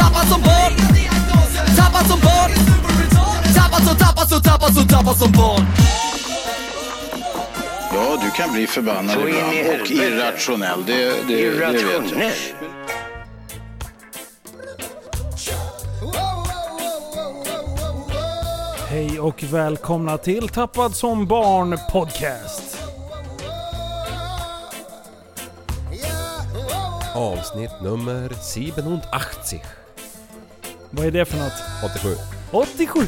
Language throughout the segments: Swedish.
Tappad som barn Tappad som barn Tappad som, tappad som, tappad som, tappad som barn Ja, du kan bli förbannad Så in i ibland och helvete. irrationell. Det, det, det vet jag. Irrationell. Hej och välkomna till Tappad som barn podcast. Avsnitt nummer 780. Vad är det för något? 87. 87! I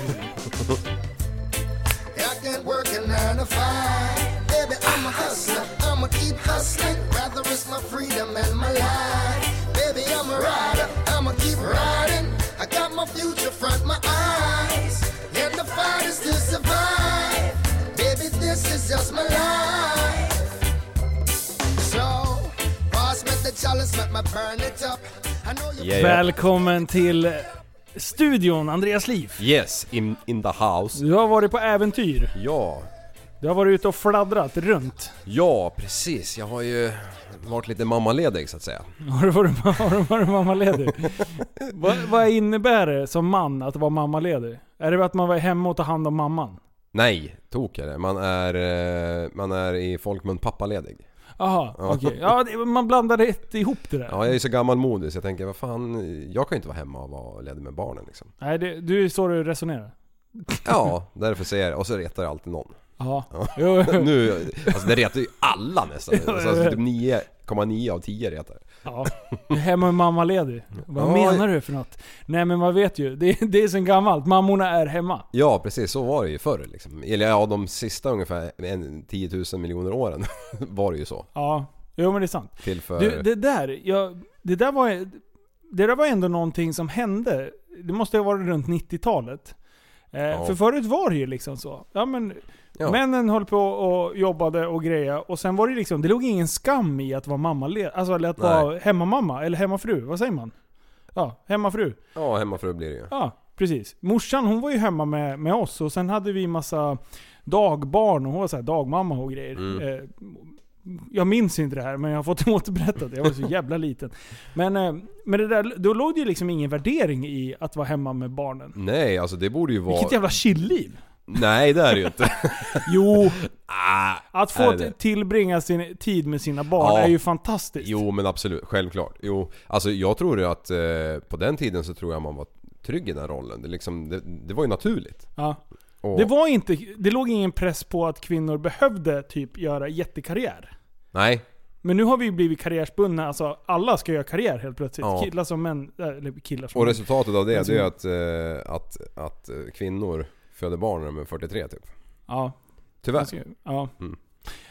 can't work a nine to five. Baby, I'm a hustler. I'ma keep hustling. Rather risk my freedom and my life. Baby, I'm a rider. I'ma keep riding. I got my future front my eyes. And the fight is to survive. Baby, this is just my life. So, pass me the chalice, let me burn it up. I know you Yeah, yeah. Välkommen till studion, Andreas Liv. Yes, in, in the house. Du har varit på äventyr. Ja, Du har varit ute och fladdrat runt. ja precis. Jag har ju varit lite mammaledig så att säga. Har du varit, har du varit mammaledig? vad, vad innebär det som man att vara mammaledig? Är det att man var hemma och tar hand om mamman? Nej, tok jag det. Man är, eh, man är i folkmun pappaledig. Jaha, okej. Ja, det- man blandar rätt ihop det där. Ja, jag är ju så gammalmodig så jag tänker vad fan, jag kan ju inte vara hemma och vara ledig med barnen liksom. Nej, det, du är så du resonerar. Ja, därför säger jag det. Och så retar jag alltid någon. Ja. Jo, jo. Nu, alltså det retar ju alla nästan. Alltså, typ 9,9 av 10 retar. Ja, du är hemma med mammaledig. Vad Ja, menar du för något? Nej men man vet ju, det, det är sen gammalt. Mammorna är hemma. Ja precis, så var det ju förr liksom. Eller ja, de sista ungefär en- 10 000 miljoner åren var det ju så. Ja, jo men det är sant. Till för... Du, det där, jag, det där var Det där var ändå någonting som hände. Det måste ha varit runt 90-talet. Eh, För förut var det ju liksom så. Ja, men, Ja. Männen höll på och jobbade och greja och sen var det liksom, det låg ingen skam i att vara mamma, alltså eller att Nej. vara hemmamamma, eller hemmafru, vad säger man? Ja, hemmafru. Ja, hemmafru blir det ju. Ja, precis. Morsan hon var ju hemma med, med oss och sen hade vi massa dagbarn och hon var så här dagmamma och grejer. Mm. Eh, jag minns inte det här men jag har fått det återberättat. Jag var så jävla liten. Men, eh, men det där, då låg det ju liksom ingen värdering i att vara hemma med barnen. Nej, alltså det borde ju vara... Vilket jävla chilliv. Nej, det är det ju inte. Jo, ah, att få är det? tillbringa sin tid med sina barn Ja. är ju fantastiskt. Jo, men absolut. Självklart. Jo, alltså jag tror ju att eh, på den tiden så tror jag man var trygg i den rollen. Det, liksom, det, det var ju naturligt. Ja. Och, Det, var inte, det låg ingen press på att kvinnor behövde typ göra jättekarriär. Nej, Men nu har vi ju blivit karriärsbundna, alltså alla ska göra karriär helt plötsligt. Ja. Killar som män, äh, eller killar som och män. resultatet av Alltså- det, det är ju att, eh, att, att eh, kvinnor föder barn när de är 43 typ. Ja, Tyvärr. alltså, ja. Mm.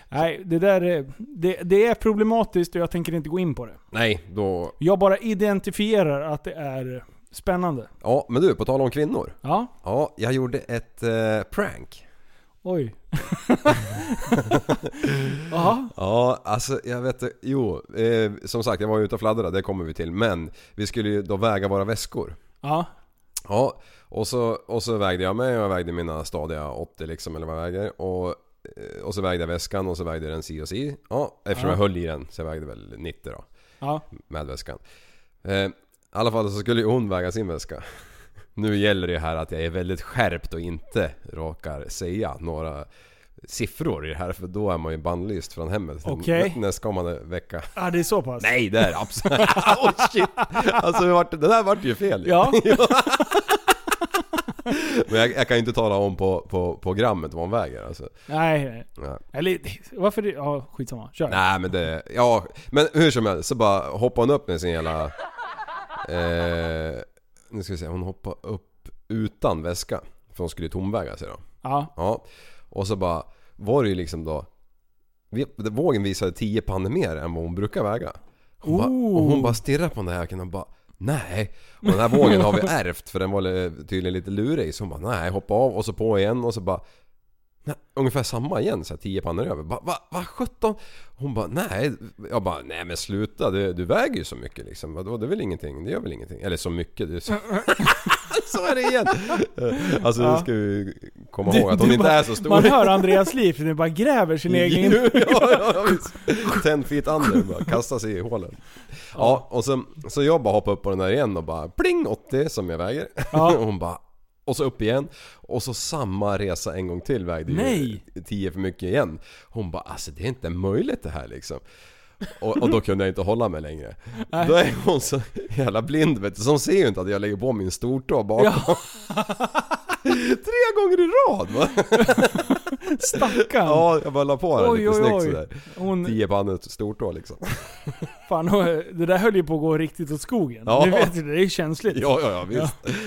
Nej, det där är, det, det är problematiskt och jag tänker inte gå in på det. Nej, då... Jag bara identifierar att det är spännande. Ja, men du, på tal om kvinnor. Ja, Ja, jag gjorde ett eh, prank. oj. Jaha, Ja, alltså jag vet Jo, eh, som sagt jag var ju ute och fladdrade, det kommer vi till. Men vi skulle ju då väga våra väskor. ja. Ja, och så, och så vägde jag mig och jag vägde mina stadiga 80 liksom eller vad jag väger. Och, eh, och så vägde jag väskan och så vägde jag den si och si. Ja, eftersom Ja. jag höll i den så jag vägde väl 90 då Ja, med väskan. Eh, I alla fall så skulle ju hon väga sin väska. Nu gäller det ju här att jag är väldigt skärpt och inte råkar säga några siffror i det här för då är man ju bannlyst från hemmet Okej. nä- nästkommande vecka. ah, det är så pass? Nej, det är det absolut... oh, shit! Alltså det, vart, det där vart ju fel ju. Ja, Men jag, jag kan ju inte tala om på, på, på grammet vad hon väger alltså. nej. nej. Ja. Eller varför det? Ja, skitsamma. Kör. Nej men det... Ja, men hur som helst så bara hoppade hon upp med sin jävla... Eh, nu ska vi se, hon hoppade upp utan väska. För hon skulle ju tomväga sig då. Ja, Ja. Och så bara var det ju liksom då... vi- Vågen visade 10 pannor mer än vad hon brukar väga. Hon, bara, och hon bara stirrade på den där jäkeln och bara... Nej. Och den här vågen har vi ärvt för den var li- tydligen lite lurig. Så hon bara nej, hoppa av och så på igen och så bara nej, Ungefär samma igen, så här, tio pannor över. Bara, Va, va, sjutton? Hon bara nej. Jag bara nej men sluta, du, du väger ju så mycket liksom. Vadå, det är väl ingenting? Det gör väl ingenting? Eller så mycket, det är så... så är det igen! Alltså nu ska vi komma ihåg att hon du inte bara- är så stor. Man hör Andreas liv nu bara gräver sin egen... ja, ja, ja, visst. Ten feet under bara, kasta sig i hålen. Ja, och sen, så jag bara hoppade upp på den där igen och bara pling 80 som jag väger. Ja. och hon bara och så upp igen och så samma resa en gång till vägde Nej. ju 10 för mycket igen. Hon bara alltså det är inte möjligt det här liksom. Och, och då kunde jag inte hålla mig längre. Då är hon så jävla blind vet du, så hon ser ju inte att jag lägger på min stortå bakom. Tre gånger i rad va? Stackarn. Ja, jag bara la på den Oj, lite oj, snyggt oj. sådär. Hon, Tio pannor stortå liksom. fan, hon- det där höll ju på att gå riktigt åt skogen. Ja. Du vet ju, det är ju känsligt. Ja, ja, ja visst.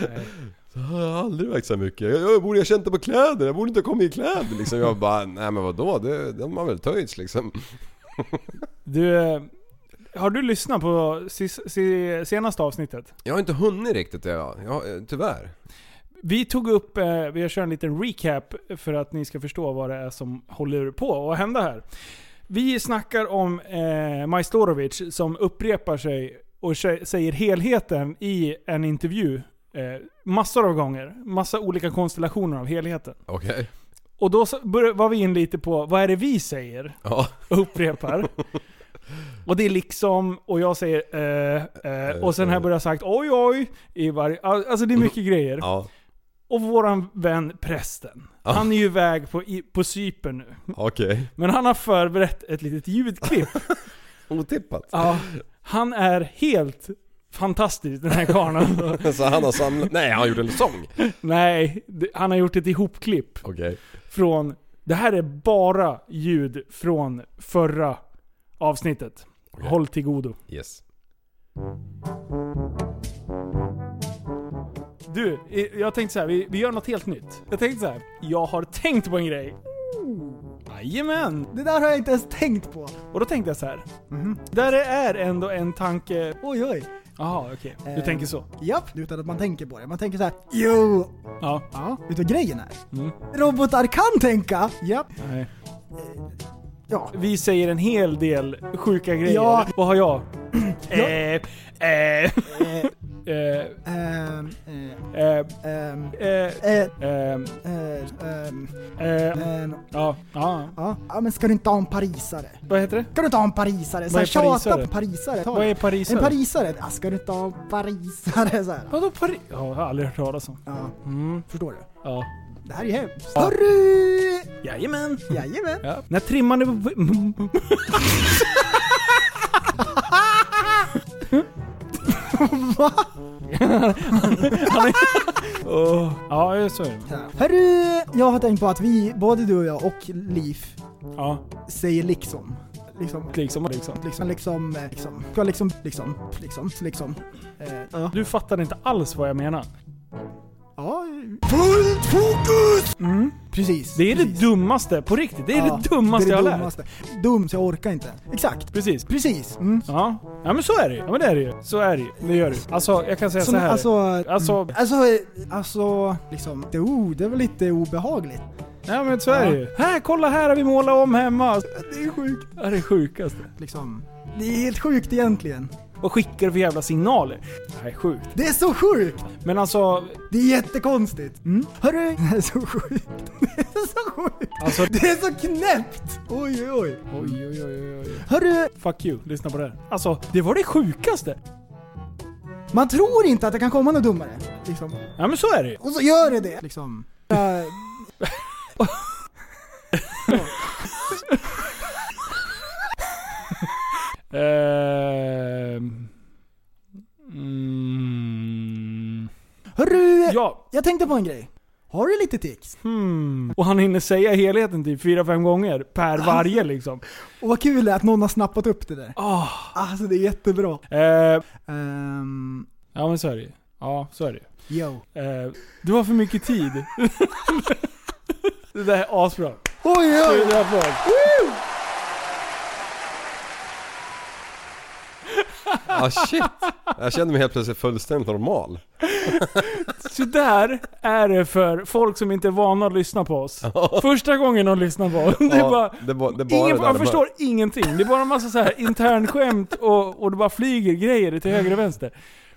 Så har jag har aldrig vägt så mycket. Jag, jag borde ha känt det på kläder, jag borde inte ha kommit i kläder liksom. Jag bara, nej men vadå? Det, de har väl töjts liksom. Du, eh, har du lyssnat på sis, si, senaste avsnittet? Jag har inte hunnit riktigt jag, jag eh, tyvärr. Vi tog upp, eh, vi kör en liten recap för att ni ska förstå vad det är som håller på att hända här. Vi snackar om eh, Majstorovic som upprepar sig och sä- säger helheten i en intervju. Eh, massor av gånger. Massa olika konstellationer av helheten. Okej. Och då så började, var vi in lite på, vad är det vi säger? Ja. och upprepar. Och det är liksom, och jag säger eh, eh, och sen har jag börjat sagt oj oj. I varje, alltså det är mycket grejer. Ja. Och våran vän prästen. Han är ju iväg på, i- på Cypern nu. Okej. Men han har förberett ett litet ljudklipp. Otippat. Ja, han är helt fantastisk den här karln. Så han har samlat... Nej, han gjorde en sång. Nej, det- han har gjort ett ihopklipp Okej. från, det här är bara ljud från förra avsnittet. Okej. Håll till godo. Yes. Du, eh, jag tänkte så här, vi, vi gör något helt nytt. Jag tänkte så här, jag har tänkt på en grej. Jajamän! Det där har jag inte ens tänkt på. Och då tänkte jag så här. Mhm. Där är ändå en tanke... Oj oj. Jaha, okej. Du Eh. tänker så? Japp, utan att man tänker på det. Man tänker så här, jo! Ja. Ja. Vet du vad grejen är? Mm. Robotar kan tänka! Japp. Eh, Nej. Ja. Vi säger en hel del sjuka grejer. Ja. Vad har jag? eh, eh, Eh, eh, ehm, eh, eh, ehm, eh, eh, ehm, eh, ehm, ehm, ehm, Ja, ja. ja. Ja, men ska du inte ha en parisare? Vad heter det? Ska du inte ha en parisare? Så Vad här, är parisare? tjata på parisare. Ta Vad är det. parisare? En parisare? Ja, ska du inte ha en parisare? Så här. Vadå Paris? Ja, jag har aldrig hört talas om. Ja, Mm. förstår du? Ja. Det här är hemskt. Ja. Hörru! Jajamän. Jajamän. Ja. När trimmar ni... Va? oh. Ja, så är det. Hörru! Jag har tänkt på att vi, både du och jag och Liv, Ja, säger liksom. Liksom. liksom. liksom. Liksom, liksom, eh, liksom, ska liksom, liksom, liksom, liksom. Eh, ja. Du fattar inte alls vad jag menar. ja. Fullt fokus! Mm, precis. Det är det precis. dummaste, på riktigt. Det är Ja, det dummaste det är det jag har lärt. dummaste. Dum, så jag orkar inte. Exakt. Precis. Precis. Mm. Ja. ja, men så är det ju. Ja, men det är det ju. Så är det ju. Det gör det ju. Alltså, jag kan säga Som, så här. alltså, Alltså- mm. alltså, eh, alltså, liksom, det, oh, det var lite obehagligt. Ja, men så är det ju. Här, kolla här har vi målat om hemma. Det är sjukt. Det är det sjukaste. Liksom, det är helt sjukt egentligen. Vad skickar du för jävla signaler? Det här är sjukt. Det är så sjukt! Men alltså, Det är jättekonstigt. Mm. Hörru! Det är så sjukt. Det är så sjukt. alltså... Det är så knäppt! Oj, oj, oj. Oj, oj, oj, oj. Hörru! Fuck you, lyssna på det här. Alltså, det var det sjukaste. Man tror inte att det kan komma något dummare. Liksom. Ja, men så är det ju. Och så gör det det. Liksom. Äh, Ehm... Mm. hörru! Ja, Jag tänkte på en grej. Har du lite tics? hmm. Och han hinner säga helheten typ 4-5 gånger per Ah. varje liksom. Och vad kul det är att någon har snappat upp det där. Ah. Alltså det är jättebra. Eh, Ehm, ja men så är det ju. Ja, så är det ju. yo. Eh, Du har för mycket tid. det där är asbra. Oj, Oj, oj, jag får. Ah shit! Jag kände mig helt plötsligt fullständigt normal. Så där är det för folk som inte är vana att lyssna på oss. Första gången de lyssnar på oss. Det är Ja, bara, det var- det bara ingen, det där, man det förstår bara- ingenting. Det är bara en massa så här internskämt och, och det bara flyger grejer till höger och vänster.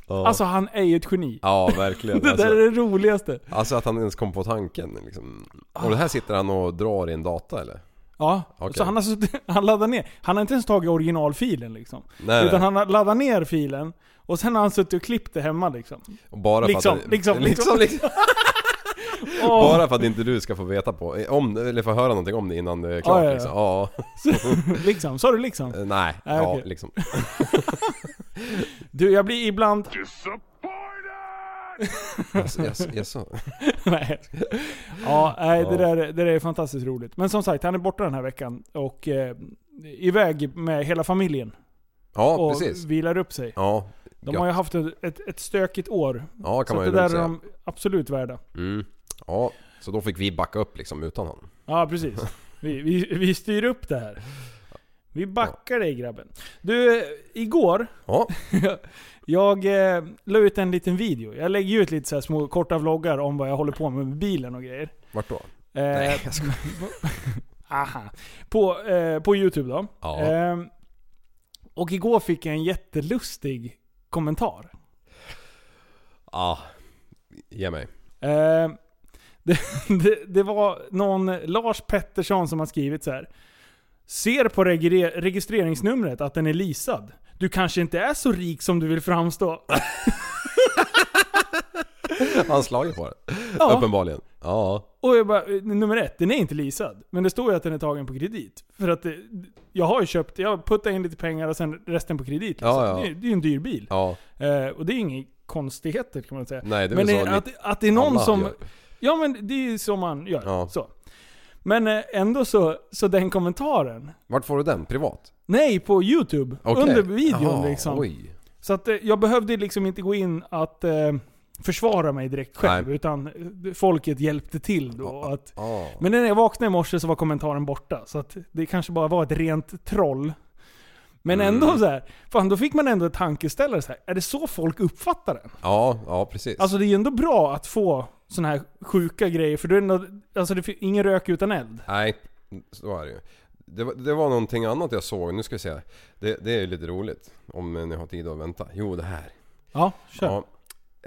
Ja. Alltså han är ju ett geni. Ja, verkligen. Det där Alltså, är det roligaste. alltså att han ens kom på tanken liksom. Och det Ah. här sitter han och drar i en data eller? Ja, Okej. så han, har, suttit- han laddar ner. Han har inte ens tagit originalfilen liksom. Nej, Utan nej. han har laddat ner filen och sen har han suttit och klippt det hemma liksom. Och bara Liksom, för att, liksom, liksom. liksom, liksom. Åh, Bara för att inte du ska få veta på, om, eller få höra någonting om det innan det är Ja, klart ja, ja. liksom. Ja, liksom. Sa du liksom? Eh, nej, Nej, ja okej. liksom. Du, jag blir ibland... Jaså, jaså, jaså. nej. Ja, nej, det, där, Ja. det där är fantastiskt roligt. Men som sagt, han är borta den här veckan och eh, iväg med hela familjen. Ja, och precis. vilar upp sig. Ja, De gött. har ju haft ett, ett, ett stökigt år. ja kan så man att det ju där är lugnt säga. de absolut värda. Mm. Ja, så då fick vi backa upp liksom utan honom. Ja, precis. Vi, vi, vi styr upp det här. Vi backar dig grabben. Du, eh, igår Ja, Jag eh, la ut en liten video. Jag lägger ju ut lite så här små korta vloggar om vad jag håller på med med bilen och grejer. vart då? Eh, Nej, jag skojar. Aha. På, eh, på Youtube då. Ja. Eh, och igår fick jag en jättelustig kommentar. Ja, ge mig. Eh, det, det, det var någon Lars Pettersson som har skrivit så här. Ser på regre- registreringsnumret att den är lisad. Du kanske inte är så rik som du vill framstå. Han slager på det. Ja. Uppenbarligen. Ja. Och jag bara, eh, nummer ett, den är inte leasad. Men det står ju att den är tagen på kredit. För att eh, jag har ju köpt, jag puttar in lite pengar och sen resten på kredit. Liksom. Ja, ja. Det, är- det är ju en dyr bil. Ja. Eh, och det är inga konstigheter kan man säga. Nej, det är men väl så eh, att, mitt- att det är någon alla som... gör. Ja men det är ju så man gör. Ja. Så. Men eh, ändå så, så den kommentaren. Vart får du den? Privat? Nej, på Youtube. Okej. Under videon Jaha, liksom. Oj. Så att eh, jag behövde liksom inte gå in att eh, försvara mig direkt själv. Nej. Utan eh, folket hjälpte till då. Ja. Att, Ja. men när jag vaknade i morse så var kommentaren borta. Så att det kanske bara var ett rent troll. Men Mm. ändå så här, fan då fick man ändå ett tankeställare så här. Är det så folk uppfattar den? Ja, ja precis. Alltså det är ju ändå bra att få såna här sjuka grejer. För då är det ändå, alltså det finns ingen rök utan eld. Nej, så är det ju. Det var, det var någonting annat jag såg, nu ska vi se. Det, det är ju lite roligt. Om ni har tid att vänta. Jo, det här. Ja, kör. Ja.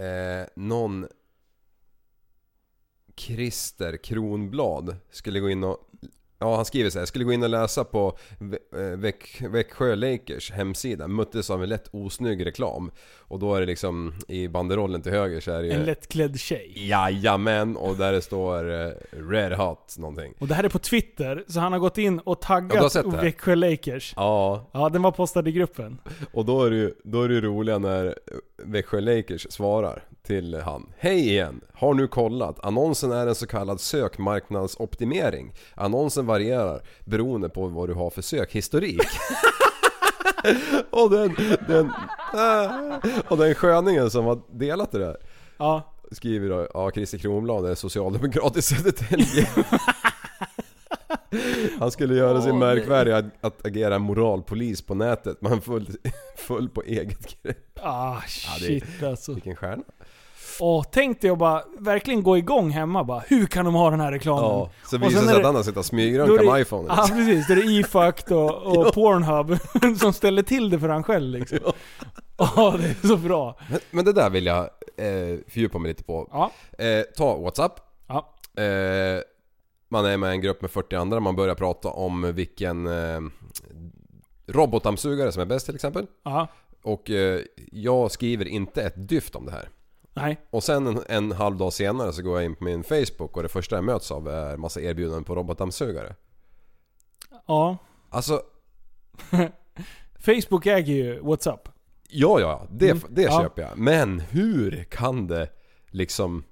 Eh, någon Christer Kronblad skulle gå in och... Ja, han skriver så här. Skulle gå in och läsa på Vä- eh, Väck- Växjö Lakers hemsida. Möttes av en lätt osnygg reklam. Och då är det liksom i banderollen till höger så är det ju... En lättklädd tjej. Jajamän! Och där det står eh, Red Hot någonting. Och det här är på Twitter, så han har gått in och Ja, du har taggat sett det här? Växjö Lakers. Ja, Ja, den var postad i gruppen. och då är det ju då är det ju roliga när eh, Växjö Lakers svarar till han. Hej igen! Har nu kollat. Annonsen är en så kallad sökmarknadsoptimering. Annonsen varierar beroende på vad du har för sökhistorik. och, den, den, och den sköningen som har delat det där Ja. skriver då, ja Christer Kronblad är socialdemokrat i Södertälje. Han skulle göra sin märkvärdiga att, att agera moralpolis på nätet, men han full, full på eget grepp. Ah det- shit alltså. Vilken stjärna. Åh, tänk dig att bara verkligen gå igång hemma bara. Hur kan de ha den här reklamen? Ja, så Och visar sen det är sig att det- han har suttit och då är smygröntgat det- med iPhone. Ja precis, det är Ifact och, och Pornhub som ställer till det för han själv liksom. Ja, det är så bra. Men, men det där vill jag eh, fördjupa mig lite på. Ja. Eh, ta WhatsApp. Ja. Eh, man är med i en grupp med 40 andra, man börjar prata om vilken eh, robotdammsugare som är bäst till exempel. Ja. Och eh, jag skriver inte ett dyft om det här. Nej. Och sen en, en halv dag senare så går jag in på min Facebook och det första jag möts av är massa erbjudanden på robotdammsugare. Ja. Alltså, Facebook äger ju WhatsApp. ja ja, det, det Mm, ja. köper jag. Men hur kan det liksom...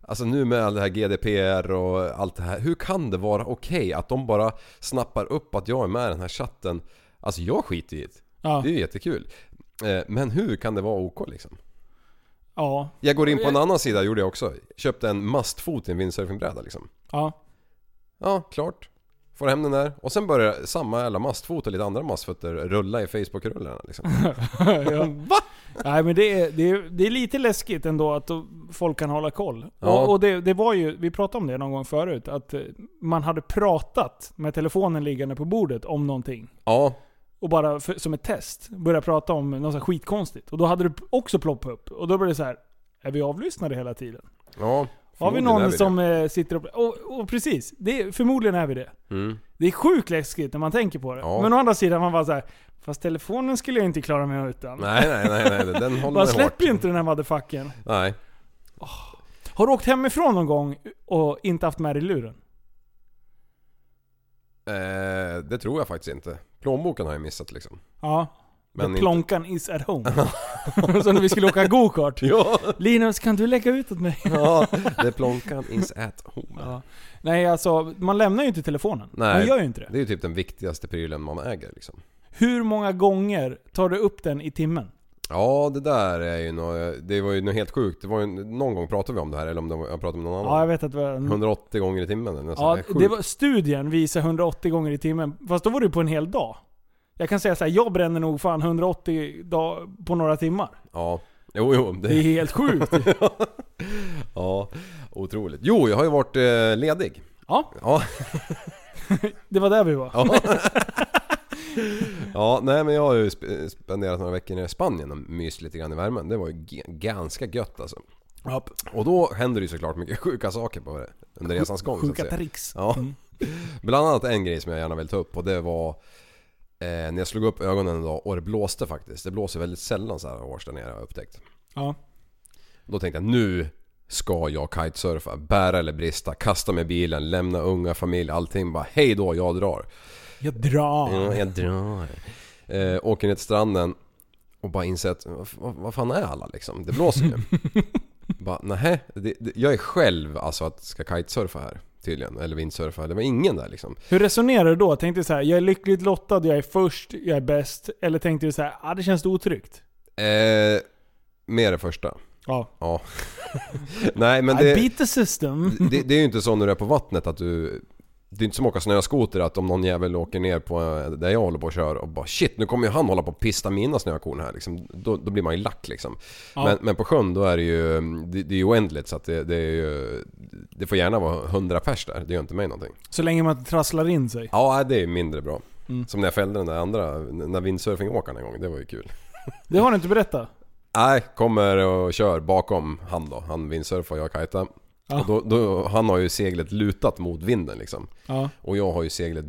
Alltså nu med all det här GDPR och allt det här. Hur kan det vara okej att de bara snappar upp att jag är med i den här chatten? Alltså jag skiter i det. Ja. Det är ju jättekul. Eh, Men hur kan det vara OK liksom? Ja. Jag går in på en annan sida, gjorde jag också. Köpte en mastfot i en windsurfingbräda liksom. Ja. Ja, klart. Får hem den där och sen börjar samma jävla massfot och lite andra massfötter rulla i Facebook-rullarna liksom. ja. Va? Nej men det är, det, är, det är lite läskigt ändå att folk kan hålla koll. Ja. Och, och det, det var ju, vi pratade om det någon gång förut, att eh, man hade pratat med telefonen liggande på bordet om någonting. Ja, Och bara för, som ett test började prata om något så här skitkonstigt. Och då hade det också ploppat upp. Och då blev det så här. är vi avlyssnade hela tiden? ja. Har vi förmodligen är någon det. som eh, sitter och... Och, och precis, det, är- förmodligen är vi det. Mm. Det är sjukt läskigt när man tänker på det. Ja. Men å andra sidan, man bara så här. Fast telefonen skulle jag inte klara mig utan. Nej, nej, nej, nej. den- Den håller Man mig släpper ju hårt. inte den här motherfuckern. Nej. Har du åkt hemifrån någon gång och inte haft med dig luren? Eh, det tror jag faktiskt inte. Plånboken har jag missat liksom. Ja. Men The inte- plonkan is at home. Som när vi skulle åka gokart. Ja, Linus, kan du lägga ut åt mig? ja. Det plånkan is at home. Ja. Nej alltså, man lämnar ju inte telefonen. Nej. Man gör ju inte det. Det är ju typ den viktigaste prylen man äger liksom. Hur många gånger tar du upp den i timmen? Ja, det där är ju nå Det var ju något helt sjukt. Det var ju, någon gång pratade vi om det här, eller om det var, jag pratade med någon Ja, jag annan. vet att det var... 180 gånger i timmen eller något Ja, sånt. det var, studien visar 180 gånger i timmen. Fast då var det ju på en hel dag. Jag kan säga så här, jag bränner nog fan 180 dag på några timmar. Ja. Jo, jo. Det är Det, helt sjukt. ja, otroligt. Jo, jag har ju varit eh, ledig. Ja, Ja, det var där vi var. ja. ja, nej men jag har ju sp- spenderat några veckor nere i Spanien och myst lite grann i värmen. Det var ju g- ganska gött alltså. Och då händer det ju såklart mycket sjuka saker på det, under resans gång så Sjuka att säga. tricks. Ja. Bland annat en grej som jag gärna vill ta upp och det var eh, när jag slog upp ögonen en dag och det blåste faktiskt. Det blåser väldigt sällan så här års där nere har jag upptäckt. Ja. Då tänkte jag nu ska jag kitesurfa, bära eller brista, kasta med bilen, lämna unga, familj, allting bara hej då, jag drar. Jag drar. Ja, jag drar. Eh, åker ner till stranden och bara inser att vad, vad, vad fan är alla liksom? Det blåser ju. bara nähä, det, det, jag är själv alltså att ska kitesurfa här tydligen. Eller vindsurfa, det var ingen där liksom. Hur resonerar du då? Tänkte du så här, jag är lyckligt lottad, jag är först, jag är bäst. Eller tänkte du så här, ah, det känns otryggt? Eh, med det första. Ja. Ja. Nej men I det, beat the system. det, det är ju inte så när du är på vattnet att du... Det är inte som att åka snöskoter att om någon jävel åker ner på eh, där jag håller på och kör och bara shit nu kommer ju han hålla på och pista mina snökorn här liksom. Då, då blir man ju lack liksom. Ja. Men, men på sjön då är det ju... Det, det är ju oändligt så att det, det är ju... Det får gärna vara 100 pers där. Det gör inte mig någonting. Så länge man inte trasslar in sig. Ja nej, det är ju mindre bra. Mm. Som när jag fällde den där andra, den där windsurfingåkaren en gång. Det var ju kul. Det har du inte berättat? Nej, kommer och kör bakom han då. Han windsurfar och jag kajtar. Ja. Och då, då, han har ju seglet lutat mot vinden liksom. Ja. Och jag har ju seglet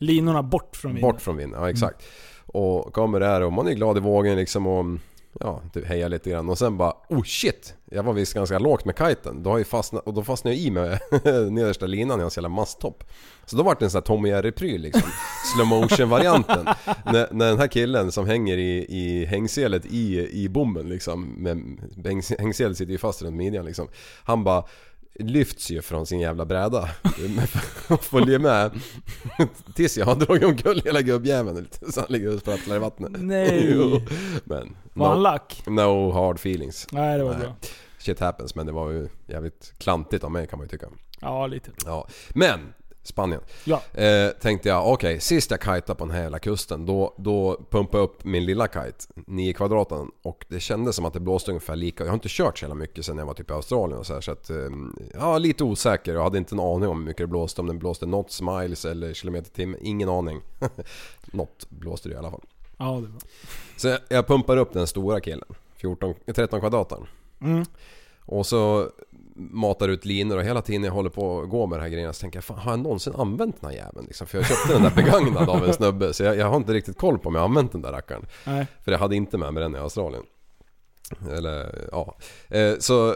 Linorna bort från vinden. bort från vinden. Ja, exakt. Och kommer där och man är glad i vågen liksom och ja, typ hejar lite grann. Och sen bara oh shit! Jag var visst ganska lågt med kiten. Då har jag fastnat, och då fastnade jag i med nedersta linan i hans jävla masttopp. Så då vart det en sån här Tom och Jerry-pryl liksom. Slow motion varianten när, när den här killen som hänger i, i hängselet i, i bommen liksom. Med, hängs- hängselet sitter ju fast runt midjan liksom. Han bara lyfts ju från sin jävla bräda och följer med tills jag har dragit omkull hela gubbjäveln lite så han ligger och sprattlar i vattnet. Nej. Jo, men Var han no, lack? no hard feelings. Nej, det var Nej. bra. Shit happens men det var ju jävligt klantigt av mig kan man ju tycka. Ja, lite. Ja. Men! Spanien. Ja. Eh, tänkte jag, okej, sist jag kajtade på den här hela kusten då, då pumpade jag upp min lilla kite, 9 kvadraten och det kändes som att det blåste ungefär lika. Jag har inte kört så jävla mycket sen jag var typ i Australien och så här så att... Eh, ja, lite osäker. Jag hade inte en aning om hur mycket det blåste. Om den blåste knots, miles eller kilometer i timmen. Ingen aning. Något blåste det i alla fall. Ja, det var. Så jag, jag pumpar upp den stora killen, 14, 13 kvadraten. Mm. Och så matar ut linor och hela tiden jag håller på och går med de här grejerna så tänker jag fan har jag någonsin använt den här jäveln liksom? För jag köpte den där begagnad av en snubbe så jag, jag har inte riktigt koll på om jag har använt den där rackaren. Nej. För jag hade inte med mig den i Australien. Eller ja. Eh, så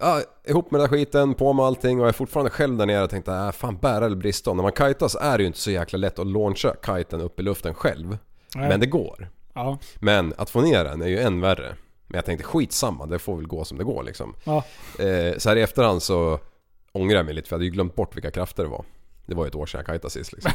ja, ihop med den där skiten, på med allting och jag är fortfarande själv där nere och tänkte äh, fan bära eller brista om. När man kitar så är det ju inte så jäkla lätt att launcha kiten upp i luften själv. Nej. Men det går. Ja. Men att få ner den är ju än värre. Men jag tänkte skitsamma, det får väl gå som det går liksom. Ja. Eh, så här i efterhand så ångrar jag mig lite för jag hade ju glömt bort vilka krafter det var. Det var ju ett år sedan jag kajtade sist liksom.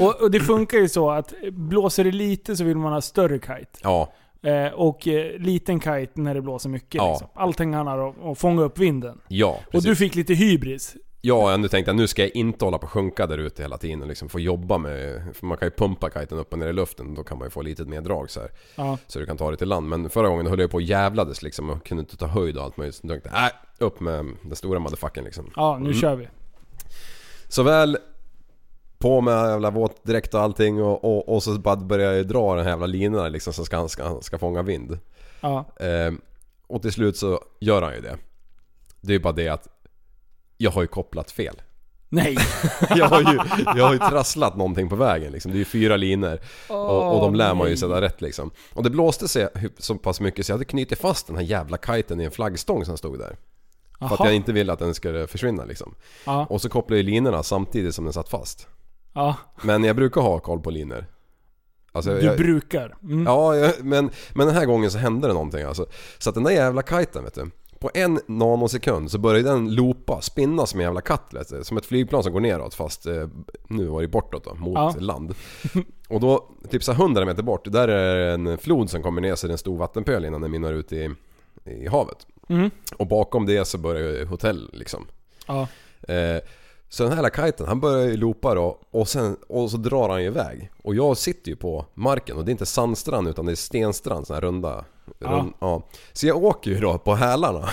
Och, och det funkar ju så att blåser det lite så vill man ha större kite. Ja, Eh, och eh, liten kite när det blåser mycket. Ja. Liksom. Allting handlar om att fånga upp vinden. ja Och du precis. fick lite hybris. Ja, nu tänkte jag nu ska jag inte hålla på och sjunka där ute hela tiden och liksom få jobba med... För man kan ju pumpa kiten upp och ner i luften, då kan man ju få lite mer drag så här. Ja. Så du kan ta det till land. Men förra gången höll jag på och jävlades liksom och kunde inte ta höjd och allt möjligt. Så jag tänkte nej, upp med den stora motherfucken liksom. Ja, nu kör vi. Såväl på med jävla våtdräkt och allting och, och, och så bara börjar jag ju dra den här jävla linan där liksom som ska, han ska, ska fånga vind. Ja. Ehm, och till slut så gör han ju det. Det är ju bara det att jag har ju kopplat fel. Nej! Jag har ju, jag har ju trasslat någonting på vägen liksom. Det är ju fyra linor och, och de lär man ju sätta rätt liksom. Och det blåste sig hy- så pass mycket så jag hade knutit fast den här jävla kiten i en flaggstång som stod där. För att Jaha. jag inte ville att den skulle försvinna liksom. Ja. Och så kopplade jag ju linorna samtidigt som den satt fast. Ja, Men jag brukar ha koll på linor. Alltså, du jag, brukar. Mm. Ja, jag, men, men den här gången så hände det någonting alltså. Så att den där jävla kiten vet du. På en nanosekund så började den loopa, spinna som en jävla katt vet du. Som ett flygplan som går neråt fast eh, nu var det bortåt då, mot Ja. land. Och då, typ så här 100 meter bort, där är det en flod som kommer ner så det är en stor vattenpöl innan den mynnar ut i, i havet. Mm. Och bakom det så börjar ju hotell liksom. Ja. Eh, så den här jävla kiten, han börjar ju loopa då och, sen, och så drar han ju iväg. Och jag sitter ju på marken och det är inte sandstrand utan det är stenstrand, sån här runda. Rund, ja. Så jag åker ju då på hälarna.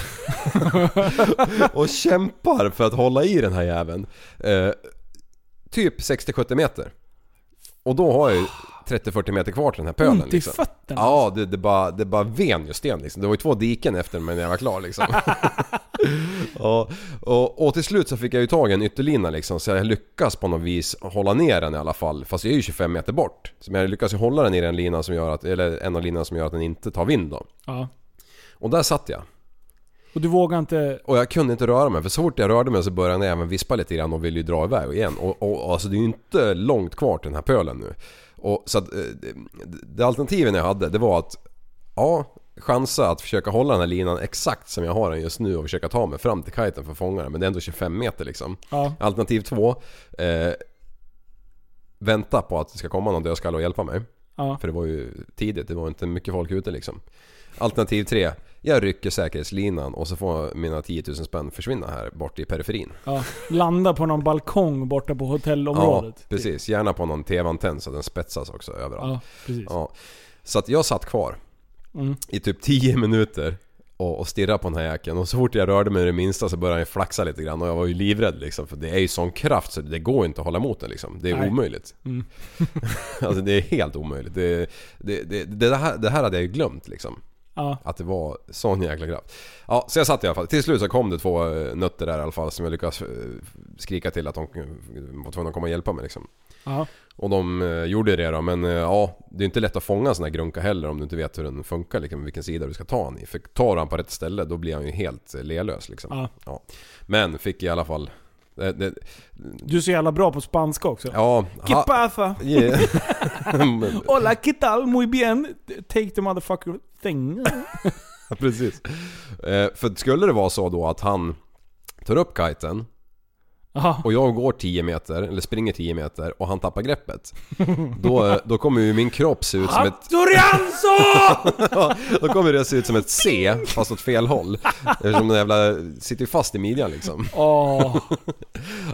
och kämpar för att hålla i den här jäveln. Eh, typ 60-70 meter. Och då har jag ju 30-40 meter kvar till den här pölen. liksom. Ont i fötterna. Ja, det, det, bara, det bara ven ju sten liksom. Det var ju två diken efter mig när jag var klar liksom. Ja, och, och till slut så fick jag ju tag i en ytterlina liksom så jag lyckas på något vis hålla ner den i alla fall. Fast jag är ju 25 meter bort. Så jag lyckas ju hålla den i den linan som gör att, eller en av linorna som gör att den inte tar vind då. Ja. Och där satt jag. Och du vågar inte... Och jag kunde inte röra mig för så fort jag rörde mig så började den även vispa lite grann och ville ju dra iväg igen. Och, och, och alltså det är ju inte långt kvar till den här pölen nu. Och så att eh, det, det alternativen jag hade det var att ja, chansa att försöka hålla den här linan exakt som jag har den just nu och försöka ta mig fram till kiten för att fånga den. Men det är ändå 25 meter liksom. Ja. Alternativ två. Eh, vänta på att det ska komma någon dödskalle och hjälpa mig. Ja. För det var ju tidigt, det var inte mycket folk ute liksom. Alternativ tre. Jag rycker säkerhetslinan och så får mina 10 000 spänn försvinna här bort i periferin. Ja. Landa på någon balkong borta på hotellområdet. Ja, precis. Gärna på någon TV-antenn så den spetsas också överallt. Ja, precis. Ja. Så att jag satt kvar Mm. i typ 10 minuter och, och stirrade på den här jäkeln. Och så fort jag rörde mig det minsta så började jag flaxa lite grann och jag var ju livrädd liksom. För det är ju sån kraft så det går inte att hålla emot den liksom. Det är Nej. Mm. omöjligt. alltså det är helt omöjligt. Det, det, det, det, här, det här hade jag ju glömt liksom. Ja. Att det var sån jäkla kraft. Ja, så jag satt i alla fall. Till slut så kom det två eh, nötter där i alla fall som jag lyckades eh, skrika till att de eh, var tvungna att komma och hjälpa mig liksom. Ja. Och de eh, gjorde det då, men eh, ja, det är inte lätt att fånga en sån här grunka heller om du inte vet hur den funkar, liksom, vilken sida du ska ta han i. För tar du han på rätt ställe, då blir han ju helt eh, lelös liksom. Ja. Men fick i alla fall... Eh, det, Du är så jävla bra på spanska också. ja... Que ha- pasa? Yeah. Men- Hola, que tal? Muy bien. Take the motherfucker thing. Ja, Precis. Eh, För skulle det vara så då att han tar upp kiten Ja. och jag går 10 meter, eller springer 10 meter och han tappar greppet. Då, eh, då kommer ju min kropp se ut som ett... Hattorianzo! Ja, då kommer det se ut som ett C fast åt fel håll. Eftersom den jävla sitter ju fast i midjan liksom. Åh.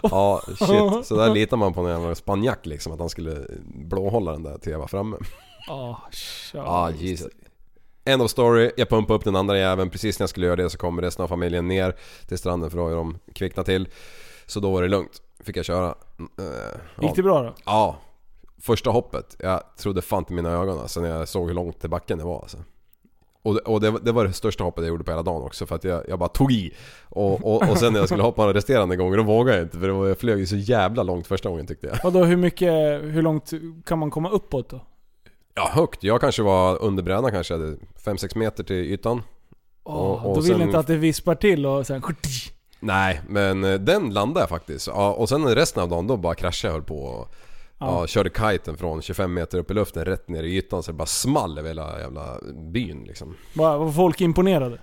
Ja, shit. Så där litar man på någon jävla spanjack liksom att han skulle blåhålla den där till jag var framme. Åh, tja. Ja, Jesus. End of story. Jag pumpade upp den andra jäveln. Precis när jag skulle göra det så kommer resten av familjen ner till stranden för då har ju de kvicknat till. Så då var det lugnt. Fick jag köra. Mm, eh, ja. Gick det bra då? Ja. Första hoppet. Jag trodde fan inte mina ögon alltså, när jag såg hur långt till backen det var alltså. Och, det, och det, var- det var det största hoppet jag gjorde på hela dagen också för att jag, jag bara tog i. Och, och, och sen när jag skulle hoppa de resterande gånger då vågade jag inte för det var, jag flög ju så jävla långt första gången tyckte jag. Vadå, hur mycket, hur långt kan man komma uppåt då? Ja högt. Jag kanske var under brädan kanske. Jag hade 5-6 meter till ytan. Åh, och då vill sen- inte att det vispar till och sen... Nej, men eh, den landade jag faktiskt. Ja, och sen resten av dagen då bara kraschade jag höll på och ja. körde kiten från 25 meter upp i luften rätt ner i ytan så det bara small över hela jävla byn liksom. Bara, var folk imponerade?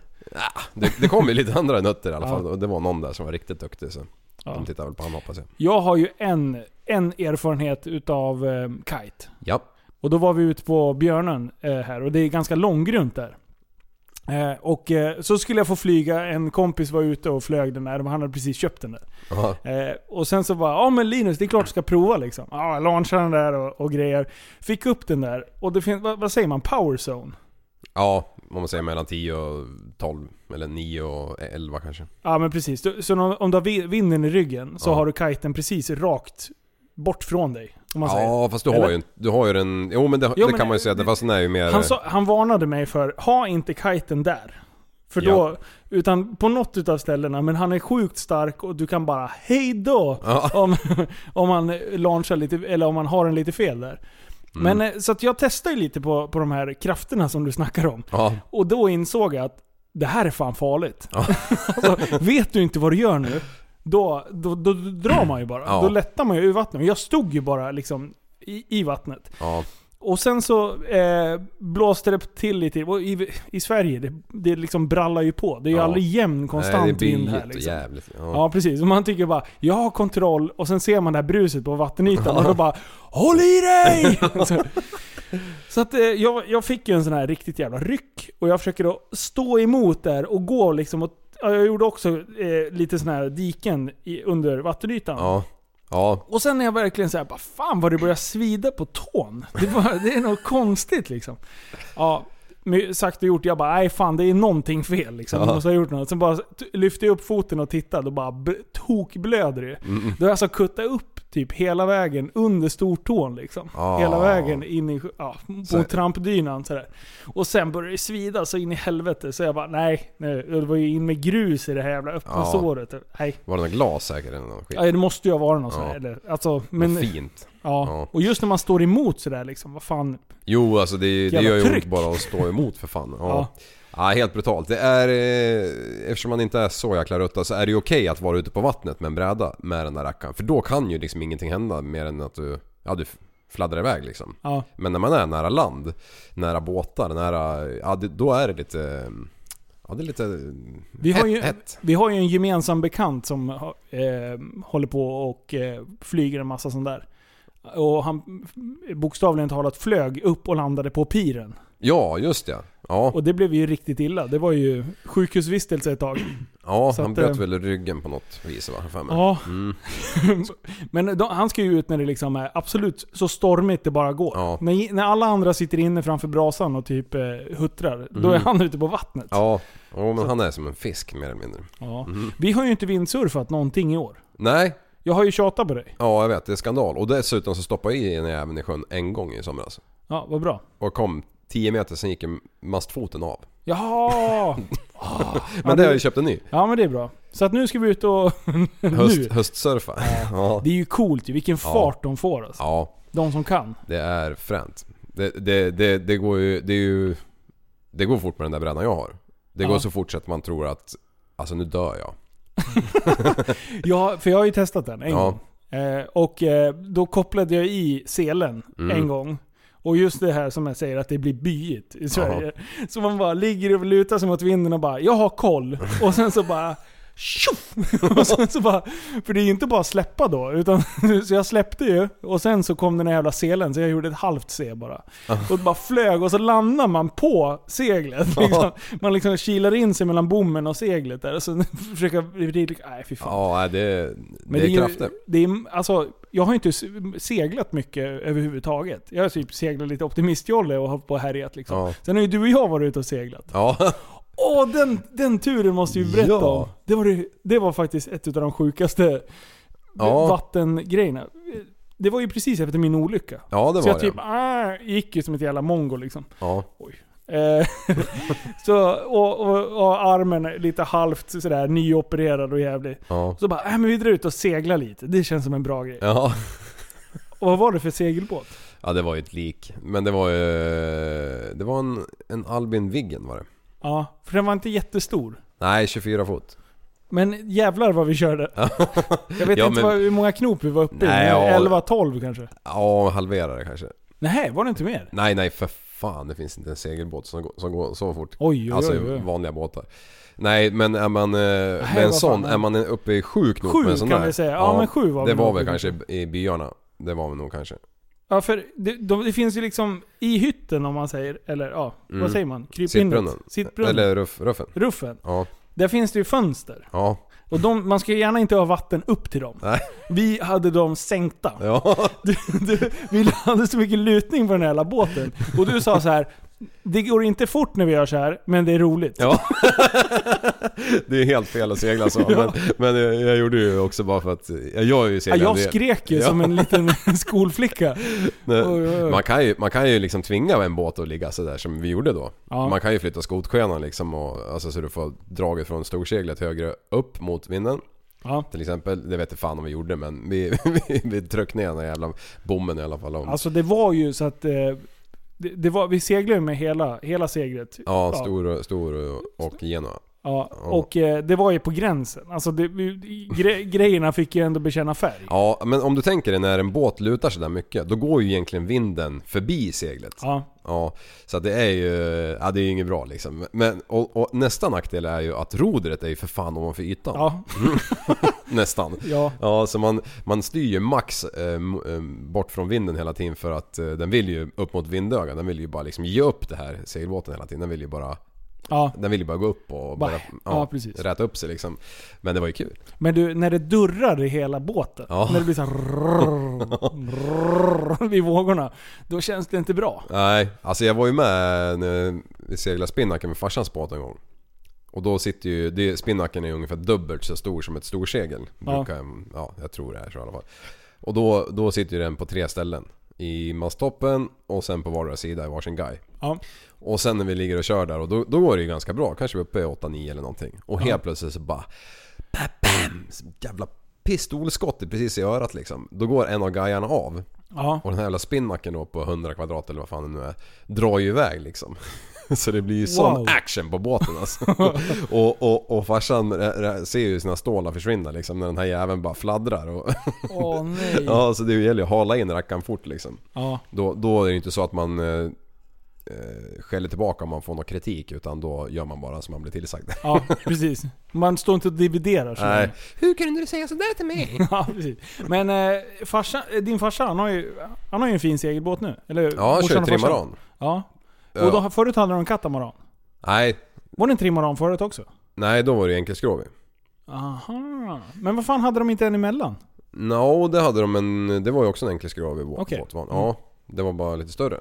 Det, det kom ju lite andra nötter i alla fall och det var någon där som var riktigt duktig så de tittade väl på honom hoppas jag. Jag har ju en, en erfarenhet utav eh, kite. Ja. Och då var vi ute på Björnen eh, här och det är ganska långgrunt där. Eh, och eh, så skulle jag få flyga, en kompis var ute och flög den där, han hade precis köpt den där. Aha. Eh, och sen så bara, ja men Linus det är klart du ska prova liksom. Ja, jag launchade den där och, och grejer. Fick upp den där, och det finns, vad, vad säger man, power zone? Ja, om man säger mellan 10 och 12. Eller 9 och 11 kanske. Ja men precis. Du, så om- om du har vi- vinden i ryggen så Ja. har du kiten precis rakt bort från dig. Om man säger. Ja, fast du har Eller? ju, en- du har ju den... Jo men det, Jo, det men kan man ju det- säga, det, fast den är ju mer... Han, sa, han varnade mig för, ha inte kiten där. För då, Ja. utan på något utav ställena, men han är sjukt stark och du kan bara hej då Ja. om, om man launchar lite, eller om man har en lite fel där. Mm. Men eh, så att jag testade ju lite på, på de här krafterna som du snackar om. Ja, Och då insåg jag att det här är fan farligt. alltså, vet du inte vad du gör nu, då, då, då, drar man ju bara. Ja. Då lättar man ju ur vattnet. Jag stod ju bara liksom i, i vattnet. ja. Och sen så eh, blåste det till lite. Och i, I Sverige, det, det liksom brallar ju på. Det är ju Ja. aldrig jämn Nej, det konstant blir vind här jätte- liksom. jävligt. Ja. Ja precis, och man tycker bara jag har kontroll och sen ser man det här bruset på vattenytan och då bara HÅLL I DIG! så så att, eh, jag, jag fick ju en sån här riktigt jävla ryck och jag försöker då stå emot där och gå liksom och ja, jag gjorde också eh, lite sån här diken i, under vattenytan. Ja. Ja. Och sen är jag verkligen såhär, bara fan vad det börjar svida på tån. Det, var, det är något konstigt liksom. Ja, men sagt och gjort, jag bara nej fan det är någonting fel liksom. Jag Ja. måste ha gjort något. Sen bara t- lyfte jag upp foten och tittade och bara b- tokblöder det. Mm, Då har jag alltså kuttat upp typ hela vägen under stortån liksom. Ah. Hela vägen in i, ja, på Så- trampdynan sådär. Och sen började det svida så in i helvete. Så jag bara nej, nej. det var ju in med grus i det här jävla öppna Ja. såret. Nej. Var det något glas säkert eller något skit? Ja, det måste ju ha varit någon sån Ja. här. eller- Alltså, Men... men, Fint. Ja. Ja. och just när man står emot sådär liksom, vad fan. Jo, alltså det, det Jävla gör ju tryck. ont bara att stå emot för fan. Ja. Ja. ja. helt brutalt. Det är, eh, eftersom man inte är så jäkla rutta så är det ju okej att vara ute på vattnet med en bräda med den där rackaren. För då kan ju liksom ingenting hända mer än att du, ja, du fladdrar iväg liksom. Ja. Men när man är nära land, nära båtar, nära, ja, det, då är det lite... Ja, det är lite... Vi har, hett, ju, hett. vi har ju en gemensam bekant som ha- eh, håller på och eh, flyger en massa sånt där. Och han eh, bokstavligen talat flög upp och landade på piren. Ja, just det. Ja, Och det blev ju riktigt illa. Det var ju sjukhusvistelse ett tag. ja så han att, bröt eh, väl ryggen på något vis va? För mig. Ja. Mm. Men de, han ska ju ut när det liksom är absolut så stormigt det bara går. Ja. När, när alla andra sitter inne framför brasan och typ eh, huttrar, då är Mm. han ute på vattnet. Ja, jo, men han är som en fisk mer eller mindre. Mm. Ja. Vi har ju inte vindsurfat någonting i år. Nej, Jag har ju tjatat på dig. Ja, jag vet. Det är skandal. Och dessutom så stoppade jag i den jäveln i sjön en gång i somras. Ja, vad bra. Och kom 10 meter, sen gick mastfoten av. Jaha! Men Ja, det har det- jag ju köpt en ny. Ja men det är bra. Så att nu ska vi ut och... nu. Höst, höstsurfa. Ja. Det är ju coolt ju, vilken fart de får alltså. ja, De som kan. det är fränt. Det, det, det, det går ju... Det, är ju, det går fort med den där brädan jag har. Det går Ja. så fort så att man tror att... Alltså nu dör jag. Ja, för jag har ju testat den en Ja. gång. Eh, och eh, då kopplade jag i selen Mm. en gång. Och just det här som jag säger, att det blir byigt i Sverige. Så man bara ligger och lutar sig mot vinden och bara 'Jag har koll' och sen så bara Tjoff! Och sen så bara, för det är ju inte bara släppa då. Utan, så jag släppte ju och sen så kom den här jävla selen så jag gjorde ett halvt C bara. Och det bara flög och så landar man på seglet. Liksom. Man liksom kilar in sig mellan bommen och seglet där. Och så försöker... Nej fy fan. Ja, nej, det, det Men är ju- krafter. Det är, alltså, jag har inte s- seglat mycket överhuvudtaget. Jag har typ seglat lite optimistjolle och hållit på och härjat liksom. Ja. Sen har ju du och jag varit ute och seglat. Ja, Åh, den, den turen måste vi berätta Ja. om. Det var, det, det var faktiskt ett av de sjukaste Ja. vattengrejerna. Det var ju precis efter min olycka. ja det Så jag var typ det. ah, gick ju som ett jävla mongo liksom. Ja. Eh, så, och, och, och armen lite halvt sådär nyopererad och jävlig. Ja. Så bara, äh, men vi drar ut och seglar lite. Det känns som en bra grej. Ja. Och vad var det för segelbåt? ja, det var ju ett lik. Men det var ju... Det var en, en Albin Viggen var det. Ja, för den var inte jättestor. Nej, 24 fot. Men jävlar vad vi körde. Jag vet Ja, inte men- vad, hur många knop vi var uppe i. Nej, ja. 11-12 kanske? Ja, halvera det kanske. Nej, var det inte mer? Nej, nej för fan. Det finns inte en segelbåt som går, som går så fort. Oj, oj, alltså oj, oj. vanliga båtar. Nej, men är man eh, med en vad sån, fan. är man uppe i sju knop Sju med en sån kan där, vi säga. Ja, men sju var Det vi var nog väl uppe i. kanske i byarna. Det var vi nog kanske. Ja, för det, de, det finns ju liksom i hytten om man säger, eller ja, Mm. vad säger man? Kryp inåt. Sittbrunnen. Sittbrunnen. Eller ruff, ruffen. Ruffen. Ja. Där finns det ju fönster. Ja. Och de, man ska ju gärna inte ha vatten upp till dem. Nej. Vi hade dem sänkta. Ja. Du, du, vi hade så mycket lutning på den här jävla båten. Och du sa så här. Det går inte fort när vi gör så här, men det är roligt. Ja. Det är helt fel att segla så. Men, men jag- jag gjorde ju också bara för att... Jag gör ju Ja, seglar jag en del. skrek ju Ja. som en liten skolflicka. Nej, Oj, oj, oj. Man kan ju, man kan ju liksom tvinga en båt att ligga sådär som vi gjorde då. Ja. Man kan ju flytta skotskenan liksom och, alltså, så du får draget från storseglet högre upp mot vinden. Ja. Till exempel, det vet jag fan om vi gjorde men vi, vi, vi tryckte ner den här jävla bommen i alla fall. Om. Alltså det var ju så att... eh, Det, det var, vi seglade ju med hela, hela seglet. ja, stor, och- stor och- och Genoa. Ja, och eh, det var ju på gränsen. Alltså det, vi- gre, grejerna fick ju ändå bekänna färg. Ja, men om du tänker dig när en båt lutar sådär mycket, då går ju egentligen vinden förbi seglet. Ja. Ja, så att det är ju, ja det är ju inget bra liksom. Men, och, och nästa nackdel är ju att rodret är ju för fan ovanför ytan. Ja. Nästan. Ja. Ja, så man, man styr ju max eh, m- eh, bort från vinden hela tiden för att eh, den vill ju upp mot vindögan. Den vill ju bara liksom ge upp det här segelbåten hela tiden. Den vill ju bara, ja. den vill ju bara gå upp och bara, Bara- ja, precis. räta upp sig liksom. Men det var ju kul. Men du, när det durrar i hela båten. Ja. När det blir så här rrrr, rrrr, vid vågorna. Då känns det inte bra. Nej, alltså jag var ju med när vi seglade spinnaken med farsans båt en gång. Och då sitter ju, det, spinnaken är ungefär dubbelt så stor som ett storsegel. Ja. Brukar, ja, jag tror det är så i alla fall. Och då, då sitter ju den på tre ställen. I masttoppen och sen på vardera sida i varsin guy. Ja. Och sen när vi ligger och kör där och då, då går det ju ganska bra. Kanske vi är uppe i 8-9 eller någonting. Och helt plötsligt så bara... pa- Bam! Så Jävla pistolskott precis i örat liksom. Då går en av guidarna av. Ja. Och den här jävla spinnacken då på 100 kvadrat eller vad fan det nu är Drar ju iväg liksom Så det blir ju sån Wow. action på båten alltså. och, och, och farsan rä- rä- ser ju sina stålar försvinna liksom när den här jäveln bara fladdrar och Åh nej. Ja. Ja så det gäller ju att hala in rackaren fort liksom Ja. då, då är det inte så att man eh, eh, skäller tillbaka om man får någon kritik utan då gör man bara som man blir tillsagd precis. Man står inte och dividerar så Nej, länge. Hur kunde du säga sådär till mig? Ja, precis. Men eh, farsa, eh, din farsa han har, ju, han har ju en fin segelbåt nu. Eller hur? Ja, han Morsan och kör farsan. trimaran Ja. Ja. Och då, förut hade de en katamaran. Nej, Var det en trimaran förut också? nej då var det ju enkelskrov ju. Aha. Men vad fan hade de inte en emellan? Nå, det hade de men det var ju också en enkel skrov i båt, Okej. Mm. båtvan. Ja, det var bara lite större.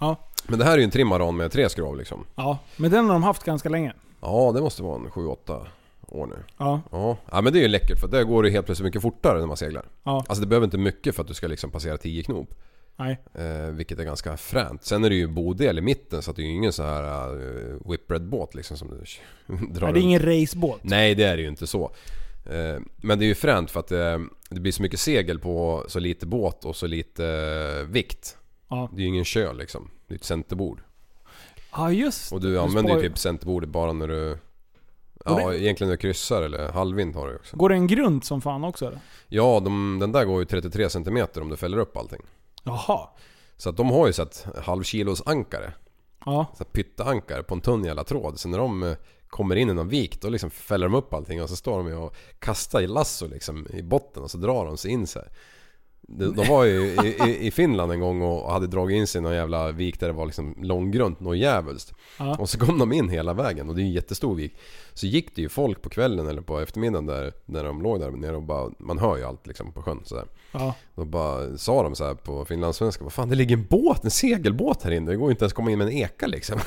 Ja. Men det här är ju en trimaran med tre skrov liksom. Ja. Men den har de haft ganska länge. Ja, det måste vara en 7-8 år nu. Ja. Ja. ja, men det är ju läckert för där går det helt plötsligt mycket fortare när man seglar. Ja. Alltså det behöver inte mycket för att du ska liksom passera 10 knop. Nej. Eh, vilket är ganska fränt. Sen är det ju bodel i mitten så att det är ju ingen så här eh, whipred båt liksom som du drar Nej, det är runt. ingen racebåt. Nej det är det ju inte så. Eh, Men det är ju fränt för att eh, det blir så mycket segel på så lite båt och så lite eh, vikt. Ja. Det är ju ingen köl liksom. Det är ett centerbord. Ja, just Och du använder ju spar- typ centerbordet bara när du... Och Ja, egentligen när du kryssar eller halvvind har du ju också. Går det en grund som fan också eller? Ja, de, den där går ju 33 cm om du fäller upp allting. Jaha. Så att de har ju sett halvkilos ankare. Ja. Så här pytteankare på en tunn jävla tråd. Så när de eh, kommer in i någon vik då liksom fäller de upp allting och så står de ju och kastar i lasso liksom i botten och så drar de sig in så här. De, de var ju i, i, i Finland en gång och hade dragit in sig i någon jävla vik där det var liksom långgrunt, något djävulskt. Ja. Och så kom de in hela vägen och det är ju en jättestor vik. Så gick det ju folk på kvällen eller på eftermiddagen där när de låg där nere och bara, man hör ju allt liksom på sjön sådär. Ja. Då bara sa de så här på finlandssvenska, vad fan det ligger en båt, en segelbåt här inne. Det går ju inte ens att komma in med en eka liksom.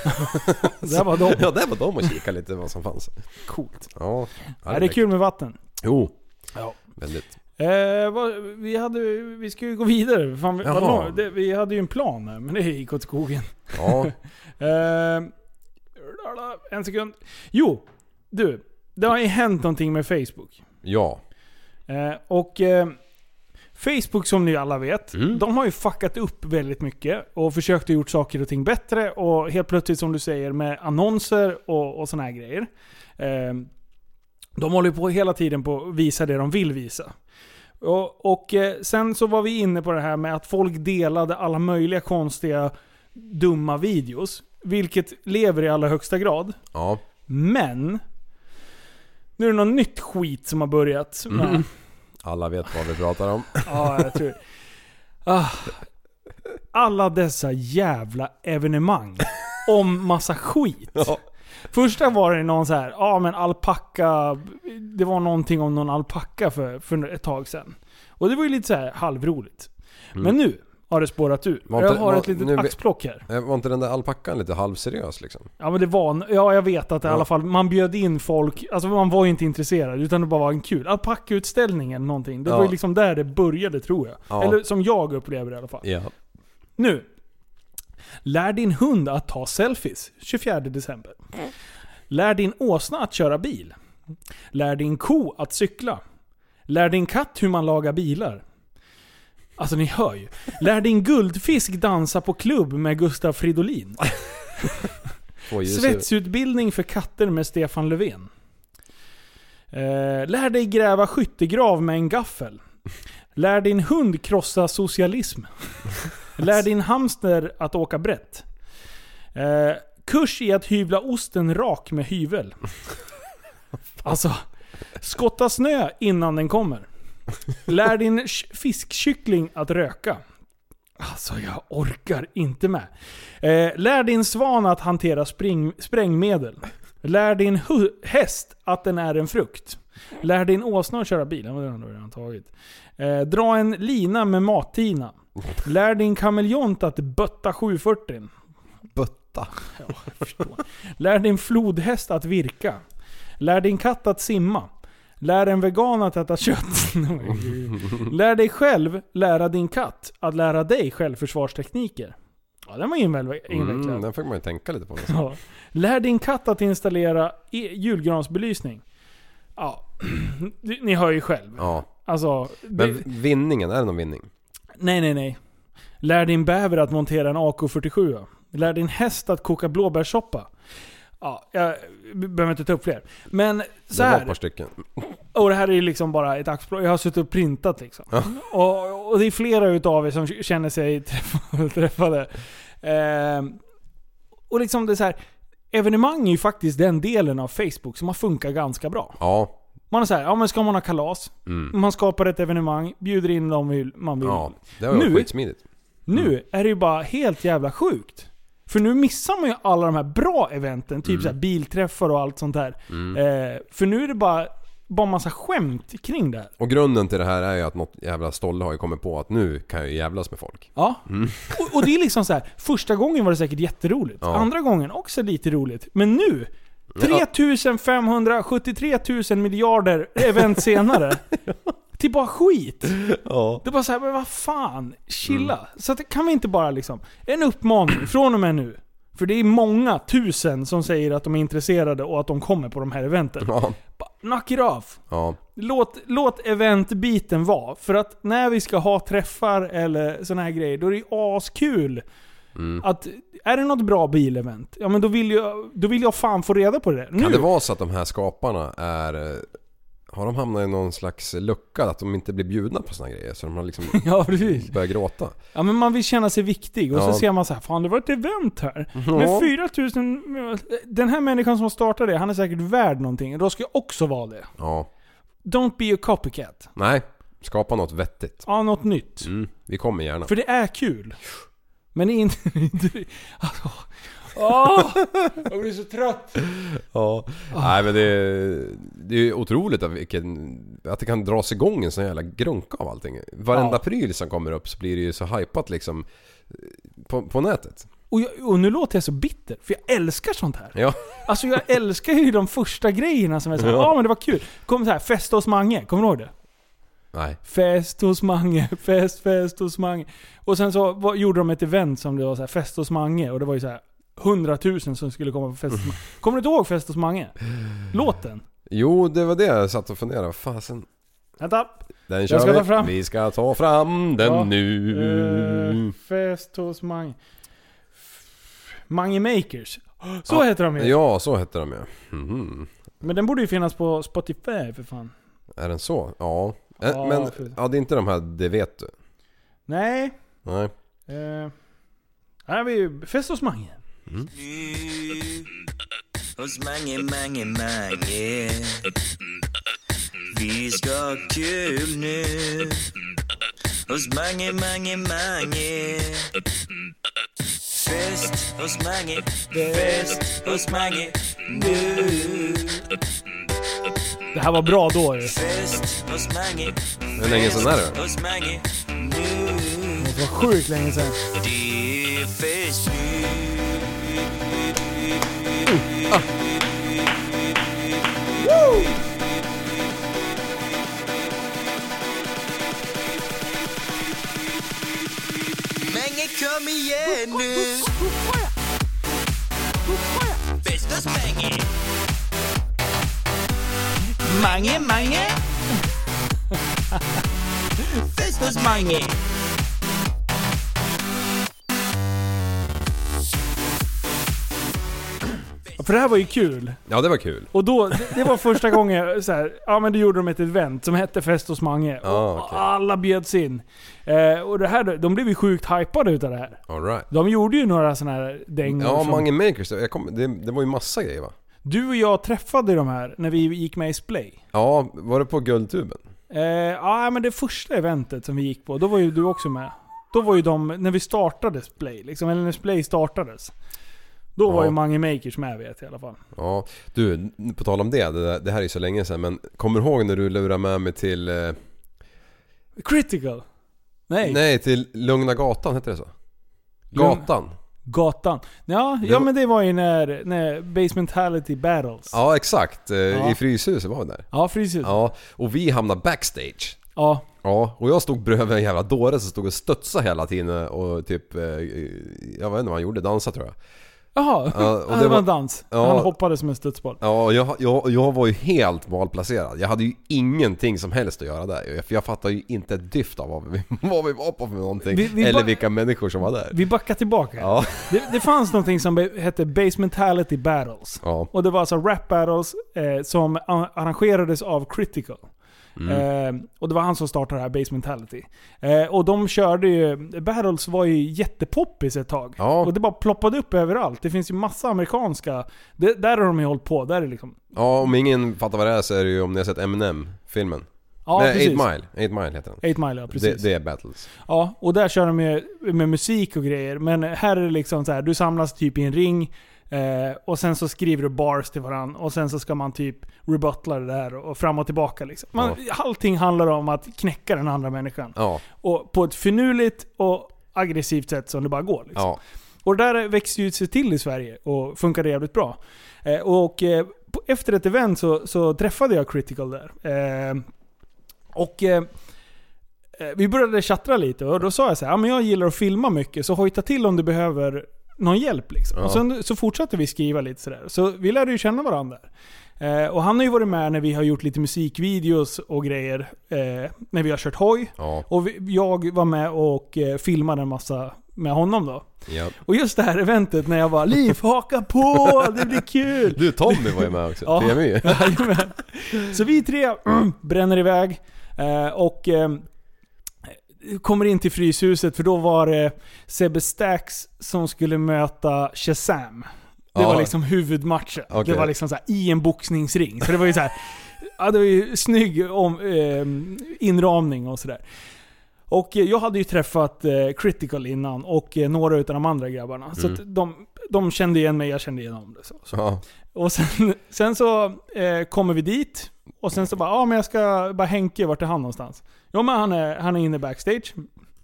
Där var de. Ja, där var de och kika lite vad som fanns. Coolt. Ja, Ja, det är kul med vatten. Jo, Ja. väldigt. Eh, vad, vi, hade, vi ska ju gå vidare. Fan, vi, Jaha. vadå? det, vi hade ju en plan här, men det gick åt skogen. Ja, Eh, en sekund. Jo, du. Det har ju hänt någonting med Facebook. ja. Eh, och eh, Facebook som ni alla vet, Mm. de har ju fuckat upp väldigt mycket och försökt att gjort saker och ting bättre och helt plötsligt som du säger med annonser och, och såna här grejer. Eh, de håller ju på hela tiden på att visa det de vill visa. Och, och eh, sen så var vi inne på det här med att folk delade alla möjliga konstiga dumma videos. Vilket lever i allra högsta grad. ja. Men... Nu är det något nytt skit som har börjat. med- Alla vet vad vi pratar om. Ja, jag tror ah. alla dessa jävla evenemang om massa skit. Ja. Första var det någon så här, ja men alpacka, det var någonting om någon alpacka för, för ett tag sedan. Och det var ju lite så här halvroligt. Men nu har det spårat ur. Mm. Var jag inte- har var- ett litet nu- axplock här. Eh, Var inte den där alpackan lite halvseriös liksom? Ja men det var, en- ja jag vet att det, i Ja. alla fall, man bjöd in folk, alltså man var ju inte intresserad utan det bara var en kul alpackautställning eller någonting. Det Ja. var ju liksom där det började tror jag. Ja. Eller som jag upplever det i alla fall. Ja. Nu. Lär din hund att ta selfies 24 december. Lär din åsna att köra bil. Lär din ko att cykla. Lär din katt hur man lagar bilar. Alltså ni hör ju. Lär din guldfisk dansa på klubb med Gustav Fridolin. Svetsutbildning för katter med Stefan Löfven. Eh, lär dig gräva skyttegrav med en gaffel. Lär din hund krossa socialism. Lär din hamster att åka brett. Eh, kurs i att hyvla osten rak med hyvel. Alltså, skotta snö innan den kommer. Lär din sh- fiskkyckling att röka. Alltså jag orkar inte med. Eh, lär din svan att hantera spring, sprängmedel. Lär din hu- häst att den är en frukt. Lär din åsna att köra bil. Ja, men Den har du redan tagit. Eh, dra en lina med mattina. Lär din kameleont att bötta 740. Bötta. Förstår. Lär din flodhäst att virka. Lär din katt att simma. Lär en vegan att äta kött. Nej, gud. Lär dig själv lära din katt att lära dig självförsvarstekniker. Ja, den var inväl- invecklad. Mm, den fick man ju tänka lite på. Ja. Lär din katt att installera e- julgransbelysning. Ja, ni ni hör ju själv. Ja. Alltså, det, Men vinningen, är det någon vinning? nej nej nej. Lär din bäver att montera en AK47. Lär din häst att koka blåbärssoppa. Ja, jag behöver inte ta upp fler. Men så Det var ett här. par stycken. Och det här är liksom bara ett axplock. Jag har suttit och printat liksom. Och, och det är flera utav er som känner sig träff- träffade. Ehm, och liksom det är så här. Evenemang är ju faktiskt den delen av Facebook som har funkat ganska bra. Ja. Man är så här, ja men ska man ha kalas? Man skapar ett evenemang, bjuder in dem vi- man vill. Ja. Det var ju Nu- skitsmidigt. Nu är det ju bara helt jävla sjukt. För nu missar man ju alla de här bra eventen, typ så här bilträffar och allt sånt där. Eh, för nu är det bara, bara massa skämt kring det här. Och grunden till det här är ju att något jävla stolle har ju kommit på att nu kan jag ju jävlas med folk. Ja. Mm. Och, och det är liksom så här. första gången var det säkert jätteroligt. Ja. Andra gången också lite roligt. Men nu, 3573 000 miljarder event senare. Till bara skit. Ja. Mm. Det är bara såhär, men vad fan. Chilla. Så att, kan vi inte bara liksom, en uppmaning från och med nu. För det är många tusen som säger att de är intresserade och att de kommer på de här eventen. Ja. Bara, knock it off. Ja. Låt, låt eventbiten vara. För att när vi ska ha träffar eller såna här grejer, då är det ju askul. Mm. Att, är det något bra bilevent, ja men då vill jag, då vill jag fan få reda på det. Nu. Kan det vara så att de här skaparna är... eh, Har de hamnat i någon slags lucka? Att de inte blir bjudna på såna grejer? Så de har liksom Ja precis. börjat gråta? Ja men man vill känna sig viktig och Ja. Mm. så ser man så här, fan det var ett event här. Med 4000... Den här människan som startade det, han är säkert värd någonting. Då ska jag också vara det. Ja. Don't be a copycat. Nej. Skapa något vettigt. Ja, något nytt. Mm. Vi kommer gärna. För det är kul. Men det är inte... inte- alltså, åh! jag blir så trött. Ja. Nej men det är, det är otroligt att, vilken, att det kan dras igång en sån jävla grunka av allting. Varenda Ja. pryl som kommer upp så blir det ju så hypat liksom på, på nätet. Och, jag, och nu låter jag så bitter, för jag älskar sånt här. Ja, Alltså jag älskar ju de första grejerna som är såhär, ja Ja. men det var kul. Kom så här, fest hos Mange, kommer du ihåg det? nej. Fest hos Mange, fest, fest hos Mange. Och sen så var, gjorde de ett event som det var så här, fest hos Mange och det var ju så här hundratusen som skulle komma på fest hos Mange. Kommer du inte ihåg fest hos Mange? Låten? Jo, det var det jag satt och funderade. Fasen. Vänta. Den ska kör vi. ta fram. Vi ska ta fram den Ja. nu. Eh, fest hos Mange. Mange Makers. Så Ja. heter de ju. Ja, så hette de ju. Mhm. Men den borde ju finnas på Spotify för fan. Är den så? Ja. Eh, Ja, Men precis. ja, det är inte de här, det vet du. Nej. Nej. Eh, här har vi ju Fest hos Mange. Hos mange, mange, mange Vi ska ha kul nu hos mange, mange, mange. Fest hos mange, fest hos mange nu. Det här var bra då ju. Fest hos mange, Hur länge sedan är det? hos mange nu. Det var sjukt länge sedan. Det är fest nu. Mange kom igen nu. Fest hos mange. Mange, mange. Fest hos mange. För det här var ju kul. Ja, det var kul. Och då, det var första gången så här, ja men då gjorde de ett event som hette Fest hos Mange. Och Ah, okej. alla bjöds in. Eh, och det här, de blev ju sjukt hypade utav det här. All right. De gjorde ju några sådana här dängor. Ja, som- Mange Makers. Jag kom, det, det var ju massa grejer va? Du och jag träffade ju de här när vi gick med i Splay. Ja, var det på Guldtuben? Eh, ja men det första eventet som vi gick på, då var ju du också med. Då var ju de, när vi startade Splay, liksom, eller när Splay startades. Då var Ja. ju Mange Makers med vet jag i alla fall. Ja, du, på tal om det. Det, där- det här är ju så länge sedan men kommer du ihåg när du lurade med mig till... Eh, Critical! Nej, nej, till Lugna Gatan, heter det så? Lugn- Gatan? Gatan. Ja, ja men det var ju när, när Basementality Battles. Ja, Ja, exakt. Eh, Ja. I Fryshuset var vi där. ja Fryshuset. Ja. Ja, och vi hamnade backstage. ja. Ja, och jag stod bredvid en jävla dåre som stod och studsade hela tiden och typ... eh, Jag vet inte vad han gjorde, dansa tror jag. Jaha, Ja, och det, det var var- en dans. Ja. Han hoppade som en studsboll. Ja, och jag, jag, jag var ju helt malplacerad. Jag hade ju ingenting som helst att göra där. För jag fattade ju inte ett dyft av vad vi, vad vi var på för någonting. Vi- vi Eller bara- vilka människor som var där. Vi backar tillbaka. Ja, Det, det fanns någonting som be- hette Basementality Battles. ja. Och det var alltså rap battles eh, som a- arrangerades av Critical. Mm. Eh, och det var han som startade det här Basementality. Eh, och de körde ju... Battles var ju jättepoppis ett tag. Ja. Och det bara ploppade upp överallt. Det finns ju massa amerikanska... Det, där har de ju hållit på. Där är det liksom... ja, om ingen fattar vad det är så är det ju om ni har sett Eminem-filmen. Ja, Nej, 8 precis. Mile. 8 Mile heter den. 8 Mile, ja Det, precis. det är battles. Ja, och där kör de ju med musik och grejer. Men här är det liksom så här, du samlas typ i en ring. Eh, och sen så skriver du bars till varandra. Och sen så ska man typ rebuttla det där och fram och tillbaka liksom. Man, Allting handlar om att knäcka den andra människan. Ja, Och på ett finurligt och aggressivt sätt som det bara går. Liksom. ja. Och det där växte ju sig till i Sverige och funkade jävligt bra. Eh, och eh, på- efter ett event så, så träffade jag Critical där. Eh, och eh, eh, vi började chattra lite och då sa jag så här, "Ja, men jag gillar att filma mycket så hojta till om du behöver någon hjälp liksom. Och sen så fortsatte vi skriva lite sådär. Så vi lärde ju känna varandra. Eh, och han har ju varit med när vi har gjort lite musikvideos och grejer. Eh, när vi har kört hoj. Ja, Och vi, jag var med och eh, filmade en massa med honom då. ja. Och just det här eventet när jag bara Liv, haka på! Det blir kul! Du Tommy var ju med också, Ja. PMY. Jajamän. Så vi tre mm, bränner iväg eh, och eh, kommer in till Fryshuset för då var det Sebbe Stax som skulle möta Shazam. Det Ja. var liksom huvudmatchen. Okej. Det var liksom så här, i en boxningsring. Så det var ju så här, ja, det var ju snygg om, eh, inramning och sådär. Och eh, jag hade ju träffat eh, Critical innan och eh, några utav de andra grabbarna. Så Mm. att de, de kände igen mig, jag kände igen dem. Så. Ja. Och sen, sen så eh, kommer vi dit. Och sen så bara, ja men jag ska bara Henke, vart är han någonstans? Jo men han är, han är inne backstage.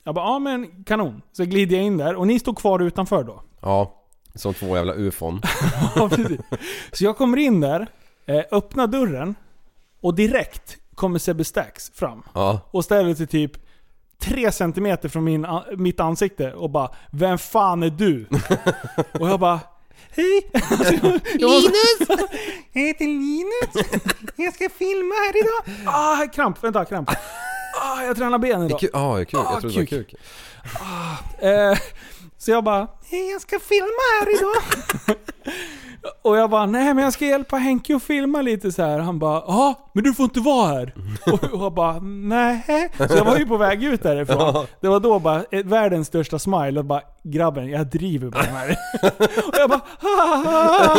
Jag bara, ja men kanon. Så glider jag in där och ni står kvar utanför då. ja, som två jävla ufon. Ja, precis. Så jag kommer in där, eh, öppnar dörren och direkt kommer Sebbe Stax fram. Ja. Och ställer sig typ tre centimeter från min, a- mitt ansikte och bara Vem fan är du? och jag bara Hej! Linus! Jag heter Linus. Jag ska filma här idag. Ah, kramp. Vänta, kramp. Ah, jag tränar benen idag. Ku- Ja, kuk. Ah, Jag trodde det var kuk. kuk. Eh, så jag bara, "Hej, jag ska filma här idag. och jag bara, nej men jag ska hjälpa Henke att filma lite så här. Han bara, ja men du får inte vara här. och jag bara, nej. Så jag var ju på väg ut därifrån. Det var då bara, eh, världens största smile och bara, grabben jag driver på den här. och jag bara, "Ah, ah,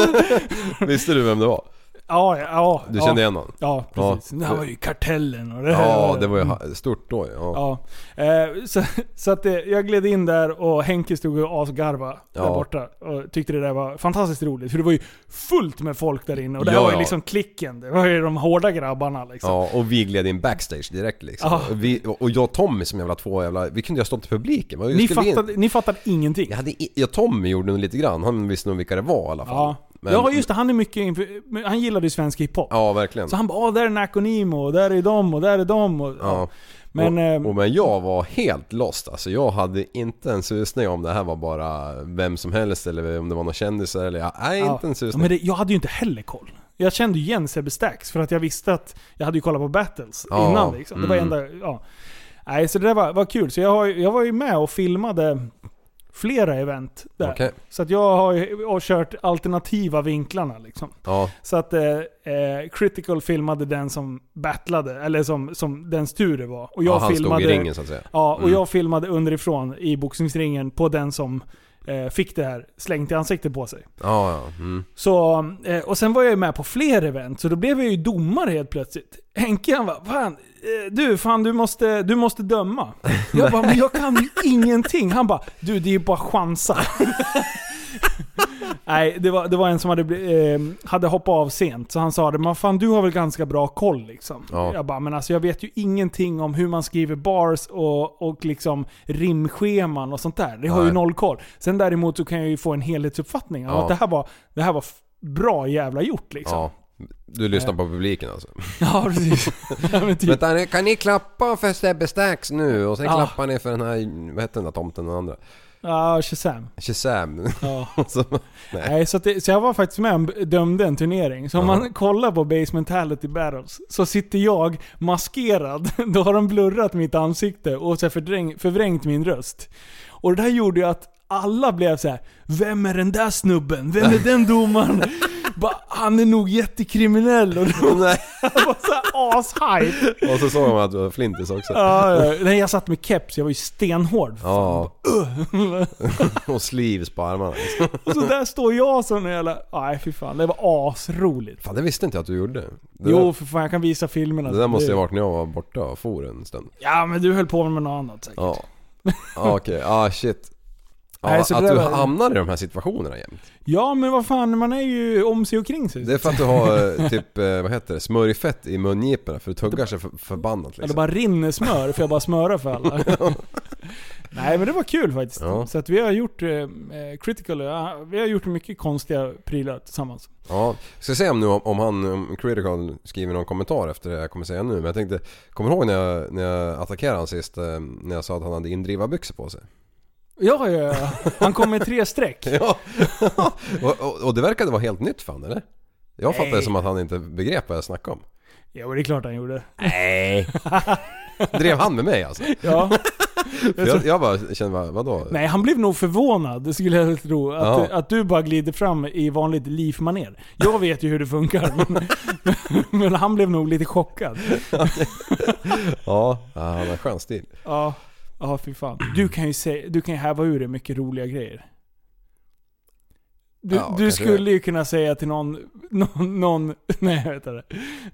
ah." Visste du vem det var? ja, ja. Du ja, kände igen honom? Ja, precis. Ja. Det här var ju Kartellen och det här. Mm. Ja, det var ju ha- stort då ja. Ja. Eh, så, så att eh, jag gled in där och Henke stod och asgarva där Ja. borta. Och tyckte det där var fantastiskt roligt. För det var ju fullt med folk där inne. Och det här Ja, var ju ja. liksom klicken. Det var ju de hårda grabbarna liksom. Ja, och vi gled in backstage direkt liksom. Ja. Och, vi, och jag och Tommy som jävla två jävla... Vi kunde ju ha stått i publiken. Vad ni, skulle vi in? fattade, ni fattade ingenting. Jag hade i- ja, Tommy gjorde nog lite grann. Han visste nog vilka det var i alla fall. Ja. Men- ja, just det. Han är mycket inför, men Han gillade ju svensk hiphop. Ja, verkligen. Så han bara "Ah, där är Nakonimo och där är de och där är de. Och, Ja. Men, och, ehm, och men jag var helt lost alltså. Jag hade inte en susning om det här var bara vem som helst eller om det var någon kändisar eller... Jag, nej, Ja. inte en Ja, susning. men det, jag hade ju inte heller koll. Jag kände ju igen Sebbe Stax för att jag visste att jag hade ju kollat på battles Ja, innan. Liksom. Det var mm. enda, ja. Nej, så det där var, var kul. Så jag, har, ju- jag var ju med och filmade flera event där. Okej. Så att jag har ju och kört alternativa vinklarna liksom. Ja, Så att eh, eh, Critical filmade den som battlade, eller som, som dens tur det var. Och jag ja, han filmade, stod i ringen så att säga. Ja, och Mm. jag filmade underifrån i boxningsringen på den som eh, fick det här slängt i ansiktet på sig. Ja, ja. Mm. Så, eh, och sen var jag ju med på fler event, så då blev jag ju domare helt plötsligt. Henke han bara, fan, eh, du, fan du måste, du måste döma. Jag bara, men jag kan ju ingenting. Han bara, du det är ju bara chansa. Nej, det var, det var en som hade, bli- eh, hade hoppat av sent, så han sa det, men fan du har väl ganska bra koll liksom. Ja. Jag bara, men alltså jag vet ju ingenting om hur man skriver bars och, och liksom rimscheman och sånt där. Det har ju Nej. noll koll. Sen däremot så kan jag ju få en helhetsuppfattning av Ja. att det här var, det här var f- bra jävla gjort liksom. ja. Du lyssnar på publiken alltså. Ja, precis. Ja, men typ. Vänta, ni- kan ni klappa för Sebbe Stax nu? Och sen Ja. klappar ni för den här, vad hette den där tomten den andra? Ja, Shazam. Shazam. Ja. Så- nej. Nej, så, att det, så jag var faktiskt med och dömde en turnering. Så om Ja. man kollar på Base Mentality Battles så sitter jag maskerad. Då har de blurrat mitt ansikte och så här fördräng, förvrängt min röst. Och det här gjorde ju att alla blev så här: Vem är den där snubben? Vem är den domaren? Bara, han är nog jättekriminell. Och det nej. var såhär ashype. Och så såg man att du var flintis också. Ja, ja. Nej, jag satt med keps, jag var ju stenhård. Ja. Och sleeves på armarna. Så där står jag som en jävla... Nej fy fan, det var asroligt. Fan det visste inte jag att du gjorde. Det, Jo för fan, jag kan visa filmerna. det där måste ju ha varit när jag var borta och for en stund. Ja men du höll på med något annat säkert. Ja. Ja okej, ah shit. Ja, Nej, så att det där du var- hamnar i de här situationerna jämt. Ja men vad fan, man är ju om sig och kring sig. Det är för att du har eh, typ, eh, vad heter det, smörjfett i mungiporna för du tuggar sig för, förbannat Eller liksom. bara rinner smör för jag bara smörar för alla. Nej men det var kul faktiskt. Ja. Så att vi har gjort eh, eh, critical, ja, vi har gjort mycket konstiga prylar tillsammans. Ja, ska se om nu om, om han, om Critical skriver någon kommentar efter det jag kommer säga nu. Men jag tänkte, kommer du ihåg när jag, när jag attackerade han sist eh, när jag sa att han hade indrivarbyxor på sig? Ja, ja, ja. Han kom med tre streck. Ja, och, och, och det verkade vara helt nytt för han eller? Jag fattade det som att han inte begrep vad jag snackade om. Ja men det är klart han gjorde. Nej. Drev han med mig alltså? Ja. För jag, jag bara kände bara, vadå? Nej, han blev nog förvånad, det skulle jag tro. Att, Ja. att du bara glider fram i vanligt livmaner. Jag vet ju hur det funkar, men, men han blev nog lite chockad. Ja, ja, han har skön stil. Ja, ja fy fan. Du kan ju, säga, du kan ju häva ur dig mycket roliga grejer. Du, Ja, kanske du det. skulle ju kunna säga till någon, någon, någon nej jag vet inte.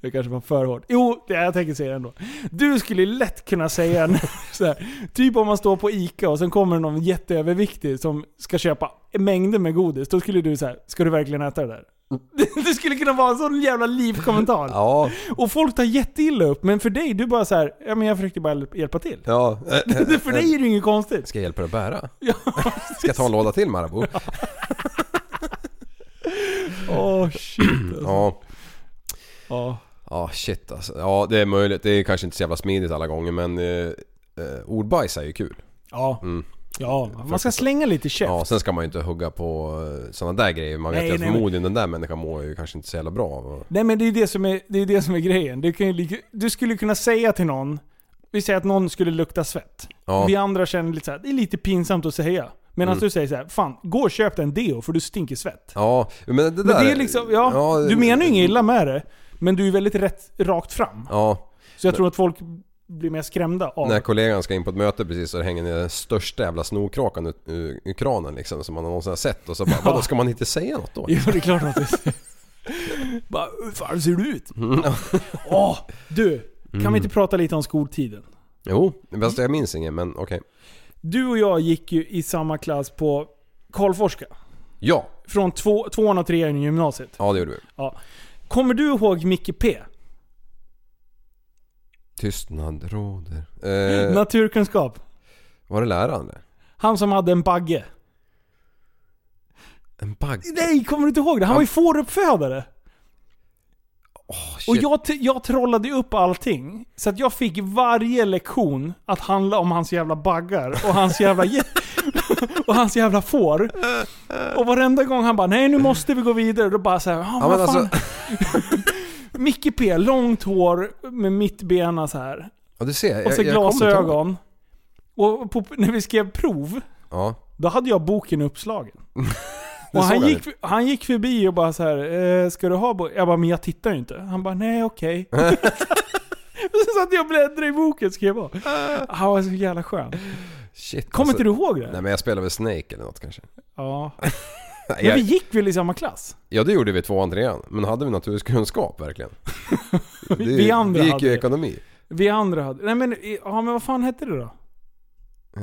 Det kanske var för hårt. Jo, det, jag tänker säga det ändå. Du skulle ju lätt kunna säga en, så här, typ om man står på ICA och sen kommer någon jätteöverviktig som ska köpa mängder med godis. Då skulle du säga, ska du verkligen äta det där? Det skulle kunna vara en sån jävla livkommentar. Ja, Och folk tar jätteilla upp, men för dig, du bara så här, ja men jag försökte bara hjälpa till. ja. Det- För dig är det ju inget konstigt. Ska jag hjälpa dig att bära? Ja, Ska jag ta en låda till Marabou? Åh shit alltså. Ja. Ja. Ja, shit alltså. Ja, det är möjligt. Det är kanske inte så jävla smidigt alla gånger men eh, eh, ordbajs är ju kul. Ja. Mm. ja, man ska slänga lite käft. Ja, sen ska man ju inte hugga på eh, såna där grejer. Man vet Nej, ju att nej, förmodligen den där människan mår ju kanske inte så jävla bra. av. Nej men det är det som är, det är, det som är grejen. Du, kan ju, lika- du skulle kunna säga till någon, vi säger att någon skulle lukta svett. Ja. Vi andra känner lite så här, det är lite pinsamt att säga. Medan du säger så här, fan gå och köp dig en deo för du stinker svett. Ja, men det där... Men det är liksom, ja, du menar ju inget illa med det. Men du är väldigt rätt, rakt fram. Ja, Så jag tror att folk blir mer skrämda av när kollegan ska in på ett möte precis så hänger ner den största jävla snorkrakan ut eh, ur, ur kranen liksom som man någonsin har sett och så bara, vadå ska man inte säga något då? Jo, det är klart att det Bara, hur fan ser du ut? Åh, du. Kan vi inte prata lite om skoltiden? Jo, fast jag minns ingen men okej. Du och jag gick ju i samma klass på Karlforska. Ja, Från två, tvåan och trean i gymnasiet. ja det gjorde vi. Kommer du ihåg Micke P? Tystnad råder. Eh, Naturkunskap. var det läraren det? Han som hade en bagge. En bagg? Nej, kommer du inte ihåg det? Han var ju fåruppfödare. Shit. Och jag, t- jag trollade ju upp allting. Så att jag fick varje lektion att handla om hans jävla baggar och hans jävla, ge- och hans jävla får. Och varenda gång han bara 'Nej nu måste vi gå vidare' då bara såhär Ja, ah, men vad fan. alltså- Micke P, långt hår med mittbena så här. Ja du ser. Och så jag kommer inte ihåg. glasögon. Och på, när vi skrev prov, Ja. då hade jag boken uppslagen. Det Och han, såg jag gick, han gick förbi och bara så här, eh, ska du ha bo-? Jag bara, men jag tittar ju inte. Han bara, nej okej. så att jag bläddrade i boken skrev jag. Han var så jävla skön. Shit. Kommer inte du ihåg Ah. Alltså, Nej det? men jag spelade väl Snake eller något kanske. Ja. Nej, Men vi jag, gick väl i samma klass? ja det gjorde vi i tvåan, trean. Men hade vi naturkunskap verkligen? Det, Vi andra Vi gick hade ju det. ekonomi. Vi andra hade... Nej men, i- ja, men vad fan hette det då? Eh,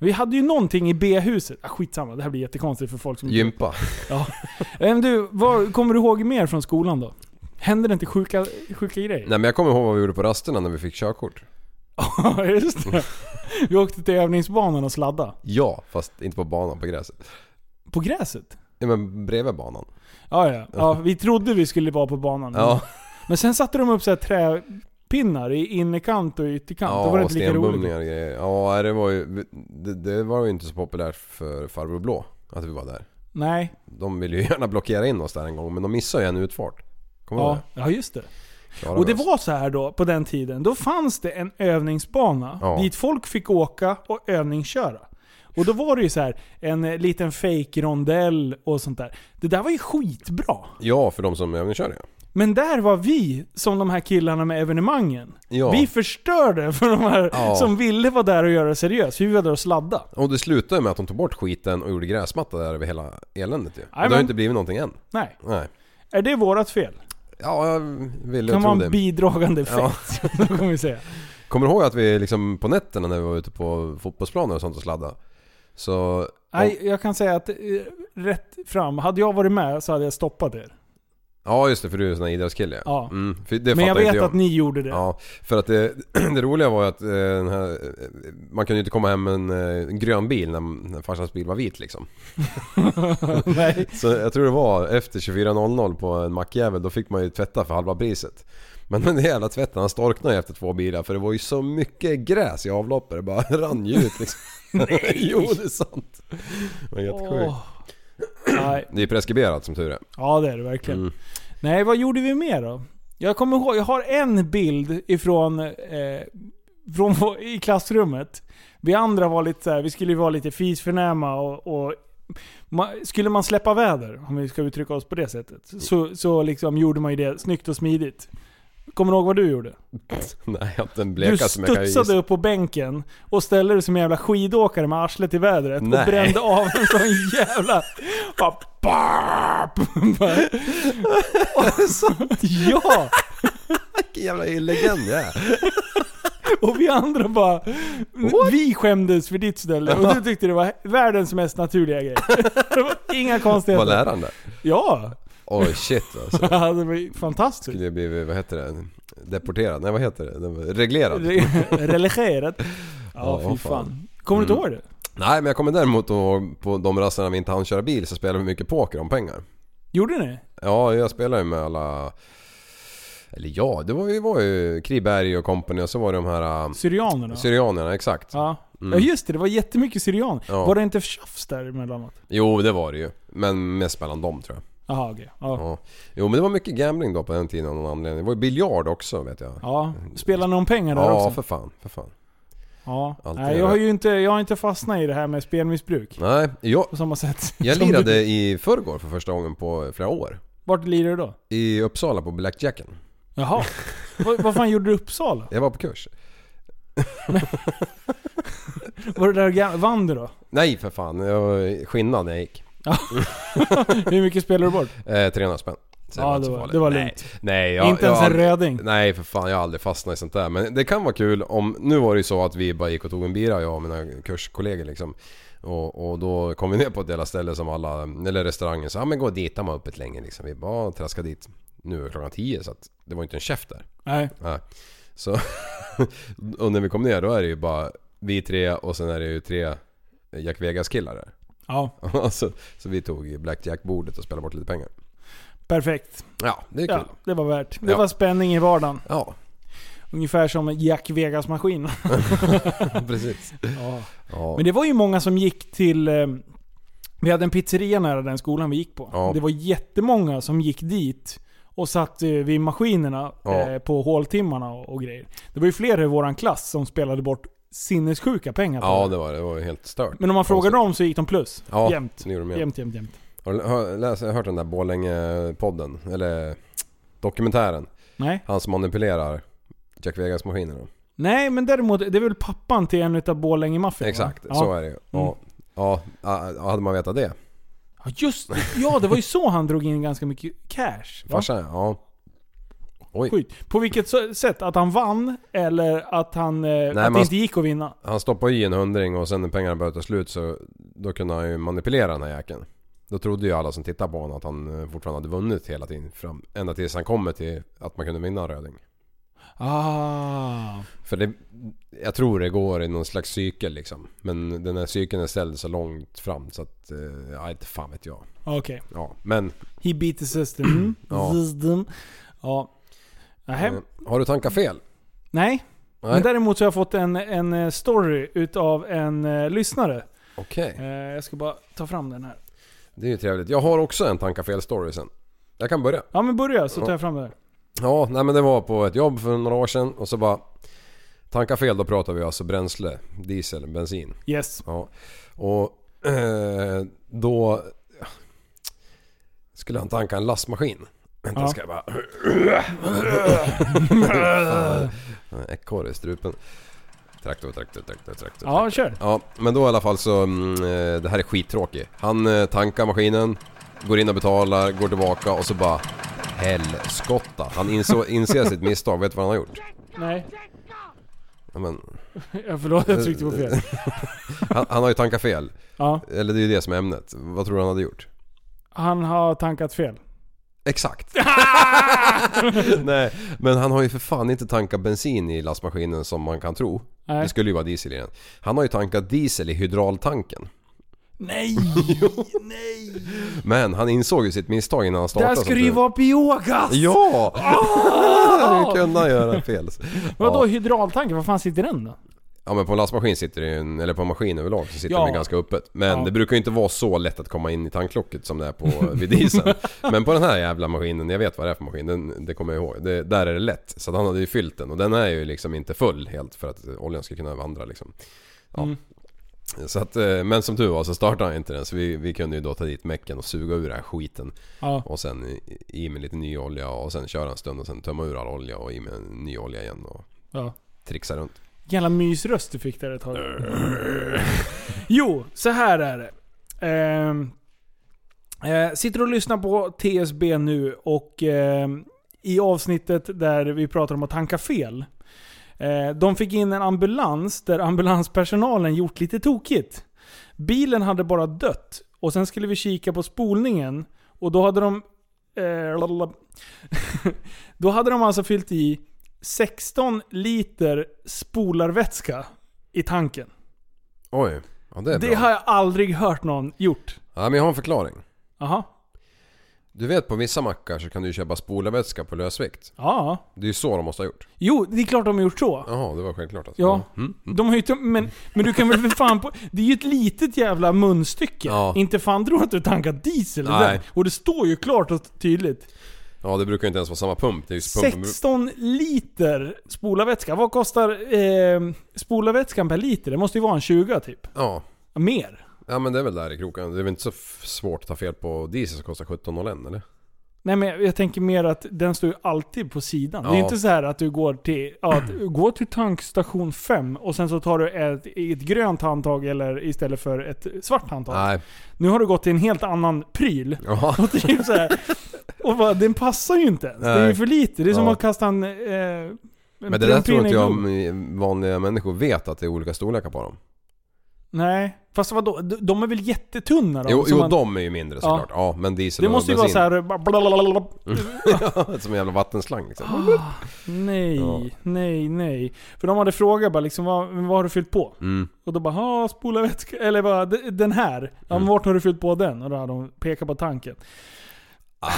Vi hade ju någonting i B-huset. Ah, skitsamma, det här blir jättekonstigt för folk som... Eh, gympa. Men du, vad kommer du ihåg mer från skolan då? Händer det inte sjuka, sjuka grejer? Nej men jag kommer ihåg vad vi gjorde på rasterna när vi fick körkort. Ja, just det. Vi åkte till övningsbanan och sladda. Ja, fast inte på banan, på gräset. På gräset? Ja men bredvid banan. Mm. Ja, ja. ja vi trodde vi skulle vara på banan. Ja, Men sen satte de upp så här träpinnar i innerkant och ytterkant. ja Då var det och inte lika roligt. stenbumlingar och grejer. Ja det var ju, det, det var ju inte så populärt för farbror blå att vi var där. Nej. De ville ju gärna blockera in oss där en gång men de missade ju en utfart. Kommer du ihåg Ja, det? ja, just det. Klarade Och det vi oss. var så här då, på den tiden. Då fanns det en övningsbana Ja. dit folk fick åka och övningsköra. Och då var det ju så här en eh, liten fake rondell och sånt där. Det där var ju skitbra. Ja, för de som övningskör ja. Men där var vi som de här killarna med evenemangen. Ja. Vi förstörde för de här Ja. som ville vara där och göra det seriöst. Vi var där och sladda. Och det slutade ju med att de tog bort skiten och gjorde gräsmatta där över hela eländet ju. Och Det har Jajamän. ju inte blivit någonting än. Nej. Nej. Är det vårat fel? Ja, jag ville kan tro vara det. en bidragande effekt. Ja. kommer vi säga. Kommer du ihåg att vi liksom på nätterna när vi var ute på fotbollsplaner och sånt och sladda Så... Nej, jag kan säga att eh, rätt fram. Hade jag varit med så hade jag stoppat er. Ja just det, för du är en sån här idrottskille Ja. Mm, för det Men jag fattar inte vet att ni gjorde det. Ja, för att det, det roliga var ju att eh, den här, eh, man kunde ju inte komma hem med en, eh, en grön bil när, när farsans bil var vit liksom. Nej. Så jag tror det var efter 24.00 på en mackjävel, då fick man ju tvätta för halva priset. Men den jävla tvätten, han storknade ju efter två bilar för det var ju så mycket gräs i avloppet, det bara rann ju ut liksom. Nej. jo, det är sant. Det var jättesjukt. Åh. Nej. Det är preskriberat som tur är. Mm. Ja, det är det verkligen. Nej, vad gjorde vi mer då? Jag kommer ihåg, jag har en bild ifrån eh, från, vår- i klassrummet. Vi andra var lite så här, vi skulle ju vara lite fisförnäma och, och ma- skulle man släppa väder, om vi ska uttrycka oss på det sättet, så, så liksom gjorde man ju det snyggt och smidigt. Kommer du ihåg vad du gjorde? Nej, jag har inte en Du bleka som jag kan studsade gissa. upp på bänken och ställde dig som en jävla skidåkare med arslet i vädret Nej. och brände av en sån jävla... Bara, bap, bara. Ja! Vilken jävla legend jag är. Och vi andra bara... Vi skämdes för ditt ställe och du tyckte det var världens mest naturliga grej. Det var inga Var konstigheter. läraren där? Ja! Oj shit alltså. Ja, Det var ju fantastiskt. skulle ju blivit, vad heter det? Deporterad? Nej vad heter det? Den var- Reglerad? Re- Religerat. Ja, Ja, fy fan. fan. Mm. Kommer du inte ihåg det? Nej men jag kommer däremot ihåg på de rasterna vi inte hann köra bil så spelade vi mycket poker om pengar. Gjorde ni? Ja, jag spelade ju med alla... Eller ja, det var, vi var ju Kriberg och company och så var det de här... äh, Syrianerna? Syrianerna, exakt. Ja. ja just det, det var jättemycket syrian. Mm. Ja. Var det inte tjafs där emellanåt? Jo, det var det ju. Men mest mellan dem tror jag. Jaha okej. Ja. Ja. Jo, men det var mycket gambling då på den tiden av någon anledning. Det var ju biljard också vet jag. ja. Spelar någon pengar där Ja, också? för fan. För fan. ja. alltid Nej, är jag det. har ju inte, jag har inte fastnat i det här med spelmissbruk. Nej, jag, På samma sätt. jag som du. lirade i förrgår för första gången på flera år. Vart lirade du då? I Uppsala på Blackjacken. Jaha. Vad, vad fan gjorde du i Uppsala? Jag var på kurs. Var du där och gam- vann du då? Nej för fan, jag var skinnad när jag gick. Hur mycket spelade du bort? Eh, 300 spänn. Så Ja, inte det så var- farligt. det var Nej, lugnt. Nej, jag, Inte jag, ens en har aldrig- röding. Nej för fan, jag har aldrig fastnat i sånt där. Men det kan vara kul om... Nu var det ju så att vi bara gick och tog en bira jag och mina kurskollegor liksom. Och, och då kom vi ner på ett jävla ställe som alla... Eller restaurangen sa ja men gå dit, de har öppet länge liksom. Vi bara "Ja, traska dit. Nu är klockan 10 så att det var inte en käft där. Nej. Nej. Så... och när vi kom ner då är det ju bara vi tre och sen är det ju tre Jack Vegas killar där. Ja, så, så vi tog ju blackjack-bordet och spelade bort lite pengar. perfekt. Ja, det är Ja, kul. det var värt. Det Ja. var spänning i vardagen. Ja, Ungefär som Jack Vegas-maskinen. precis. Ja. Ja. Men det var ju många som gick till... eh, Vi hade en pizzeria nära den skolan vi gick på. Ja. Det var jättemånga som gick dit och satt eh, vid maskinerna Ja. eh, på håltimmarna och, och grejer. Det var ju flera i våran klass som spelade bort sinnessjuka pengar på Ja det. det var det, det var ju helt stört. Alltså, Men om man frågade dem så gick de plus. Ja, jämt. det gjorde de jämt. Jämt, jämt, jämt. Har du hör- läst- hört den där Borlänge-podden? Eller dokumentären? Nej. Han som manipulerar Jack Vegas-maskinerna. Nej, men däremot, det är väl pappan till en utav Borlänge-maffian? va? Exakt, ja. Mm. så är det ju. Ja, ja, ja, hade man vetat det? Ja, just det. Ja, det var ju så han drog in ganska mycket cash. va? Farsan ja. Oj. Skit. På vilket så- sätt? Att han vann eller att, han, eh, att man- det inte gick att vinna? Han stoppade i en hundring och sen när pengarna började ta slut så då kunde han ju manipulera den här jäkeln. Då trodde ju alla som tittade på honom att han eh, fortfarande hade vunnit hela tiden. Fram, ända tills han kommer till att man kunde vinna en röding. Ah. För det, jag tror det går i någon slags cykel liksom. Men den här cykeln är ställd så långt fram så att, eh, ja inte fan vet jag. Okej. Ja, men. He beat the system. Mm. Ja. System. Ja. Nähä. Eh, har du tankat fel? Nej. Nej. Men däremot så har jag fått en, en eh, story utav en eh, lyssnare. Okej. Eh, jag ska bara ta fram den här. Det är ju trevligt. Jag har också en tanka fel story sen. Jag kan börja. Ja men börja så tar jag fram den här. Ja, nej men det var på ett jobb för några år sedan och så bara... Tanka fel, då pratar vi alltså bränsle, diesel, bensin. Yes. Ja. Och eh, då skulle han tanka en lastmaskin. Vänta, Ja. ska jag bara... Fan, Ekorre i strupen. Traktor, traktor, traktor, traktor. Ja, kör. Ja, men då i alla fall så... Mm, eh, det här är skittråkigt. Han eh, tankar maskinen, går in och betalar, går tillbaka och så bara... Helskotta. Han inså, inser sitt misstag. Vet du vad han har gjort? Nej. Ja, men, Ja, förlåt, jag tryckte på fel. han, han har ju tankat fel. Ja. Eller det är ju det som är ämnet. Vad tror du han hade gjort? Han har tankat fel. Exakt. Nej, men han har ju för fan inte tankat bensin i lastmaskinen som man kan tro. Nej. Det skulle ju vara diesel i den. Han har ju tankat diesel i hydraultanken. Nej! Men han insåg ju sitt misstag innan han startade. Där ska det ju vara biogas! Ja! Hur kunde han göra fel? Vadå Ja. hydraultanke? Var fan sitter den då? ja men på en lastmaskin sitter det ju en, eller på en maskin överlag så sitter Ja. den ju ganska öppet. Men Ja. det brukar ju inte vara så lätt att komma in i tanklocket som det är på, eh, vid dieseln. men på den här jävla maskinen, jag vet vad det är för maskin, den, det kommer jag ihåg. Det, där är det lätt. Så att han hade ju fyllt den och den är ju liksom inte full helt för att oljan ska kunna vandra liksom. Ja. Mm. Så att, eh, men som tur var så startade han inte den så vi, vi kunde ju då ta dit mecken och suga ur den här skiten. Ja. Och sen i- i med lite ny olja och sen köra en stund och sen tömma ur all olja och i med ny olja igen och ja. trixa runt. Jävla mysröst du fick där ett tag. jo, så här är det. Ehm, eh, sitter och lyssnar på TSB nu och ehm, i avsnittet där vi pratar om att tanka fel. Eh, de fick in en ambulans där ambulanspersonalen gjort lite tokigt. Bilen hade bara dött och sen skulle vi kika på spolningen och då hade de... Eh, lalala. då hade de alltså fyllt i 16 liter spolarvätska i tanken. Oj, ja det är Det, bra. har jag aldrig hört någon gjort. Ja men jag har en förklaring. Jaha. Du vet på vissa mackar så kan du ju köpa spolarvätska på lösvikt. Ja. Det är ju så de måste ha gjort. Jo, det är klart de har gjort så. Jaha, det var självklart alltså. Ja. De har ju inte, men, men du kan väl för fan på, Det är ju ett litet jävla munstycke. Ja. Inte fan tror jag att du tankar diesel i Nej. den. Och det står ju klart och tydligt. Ja det brukar ju inte ens vara samma pump. Det är ju pumpen... 16 liter spolarvätska. Vad kostar eh, spolarvätskan per liter? Det måste ju vara en 20 typ. Ja. Mer. Ja men det är väl där i kroken. Det är väl inte så f- svårt att ta fel på diesel som kostar 17,01 eller? Nej men jag- jag tänker mer att den står ju alltid på sidan. Det är Ja. inte så här att du går till, ja, att du går till tankstation 5 och sen så tar du ett, ett grönt handtag eller istället för ett svart handtag. Nej. Nu har du gått till en helt annan pryl. Ja. Och typ så här, Och bara, den passar ju inte ens. Det är Nej. ju för lite. Det är som Ja. att kasta en... Eh, en Men det där tror trumpinne inte i jag blod. om vanliga människor vet att det är olika storlekar på dem. Nej. Fast vadå? De- De är väl jättetunna då? Jo, Så jo man- de är ju mindre såklart. Ja, men diesel Det och måste ju vara bensin. såhär... bara blablabla. Ja, Som en jävla vattenslang liksom. Ah. Nej, Ja. nej, nej. För de hade frågat bara liksom, vad, vad har du fyllt på? Mm. Och då bara, ja spola vätska. Eller bara, "D- den här. Ja, Mm. men vart har du fyllt på den? Och då hade de pekat på tanken. Ah.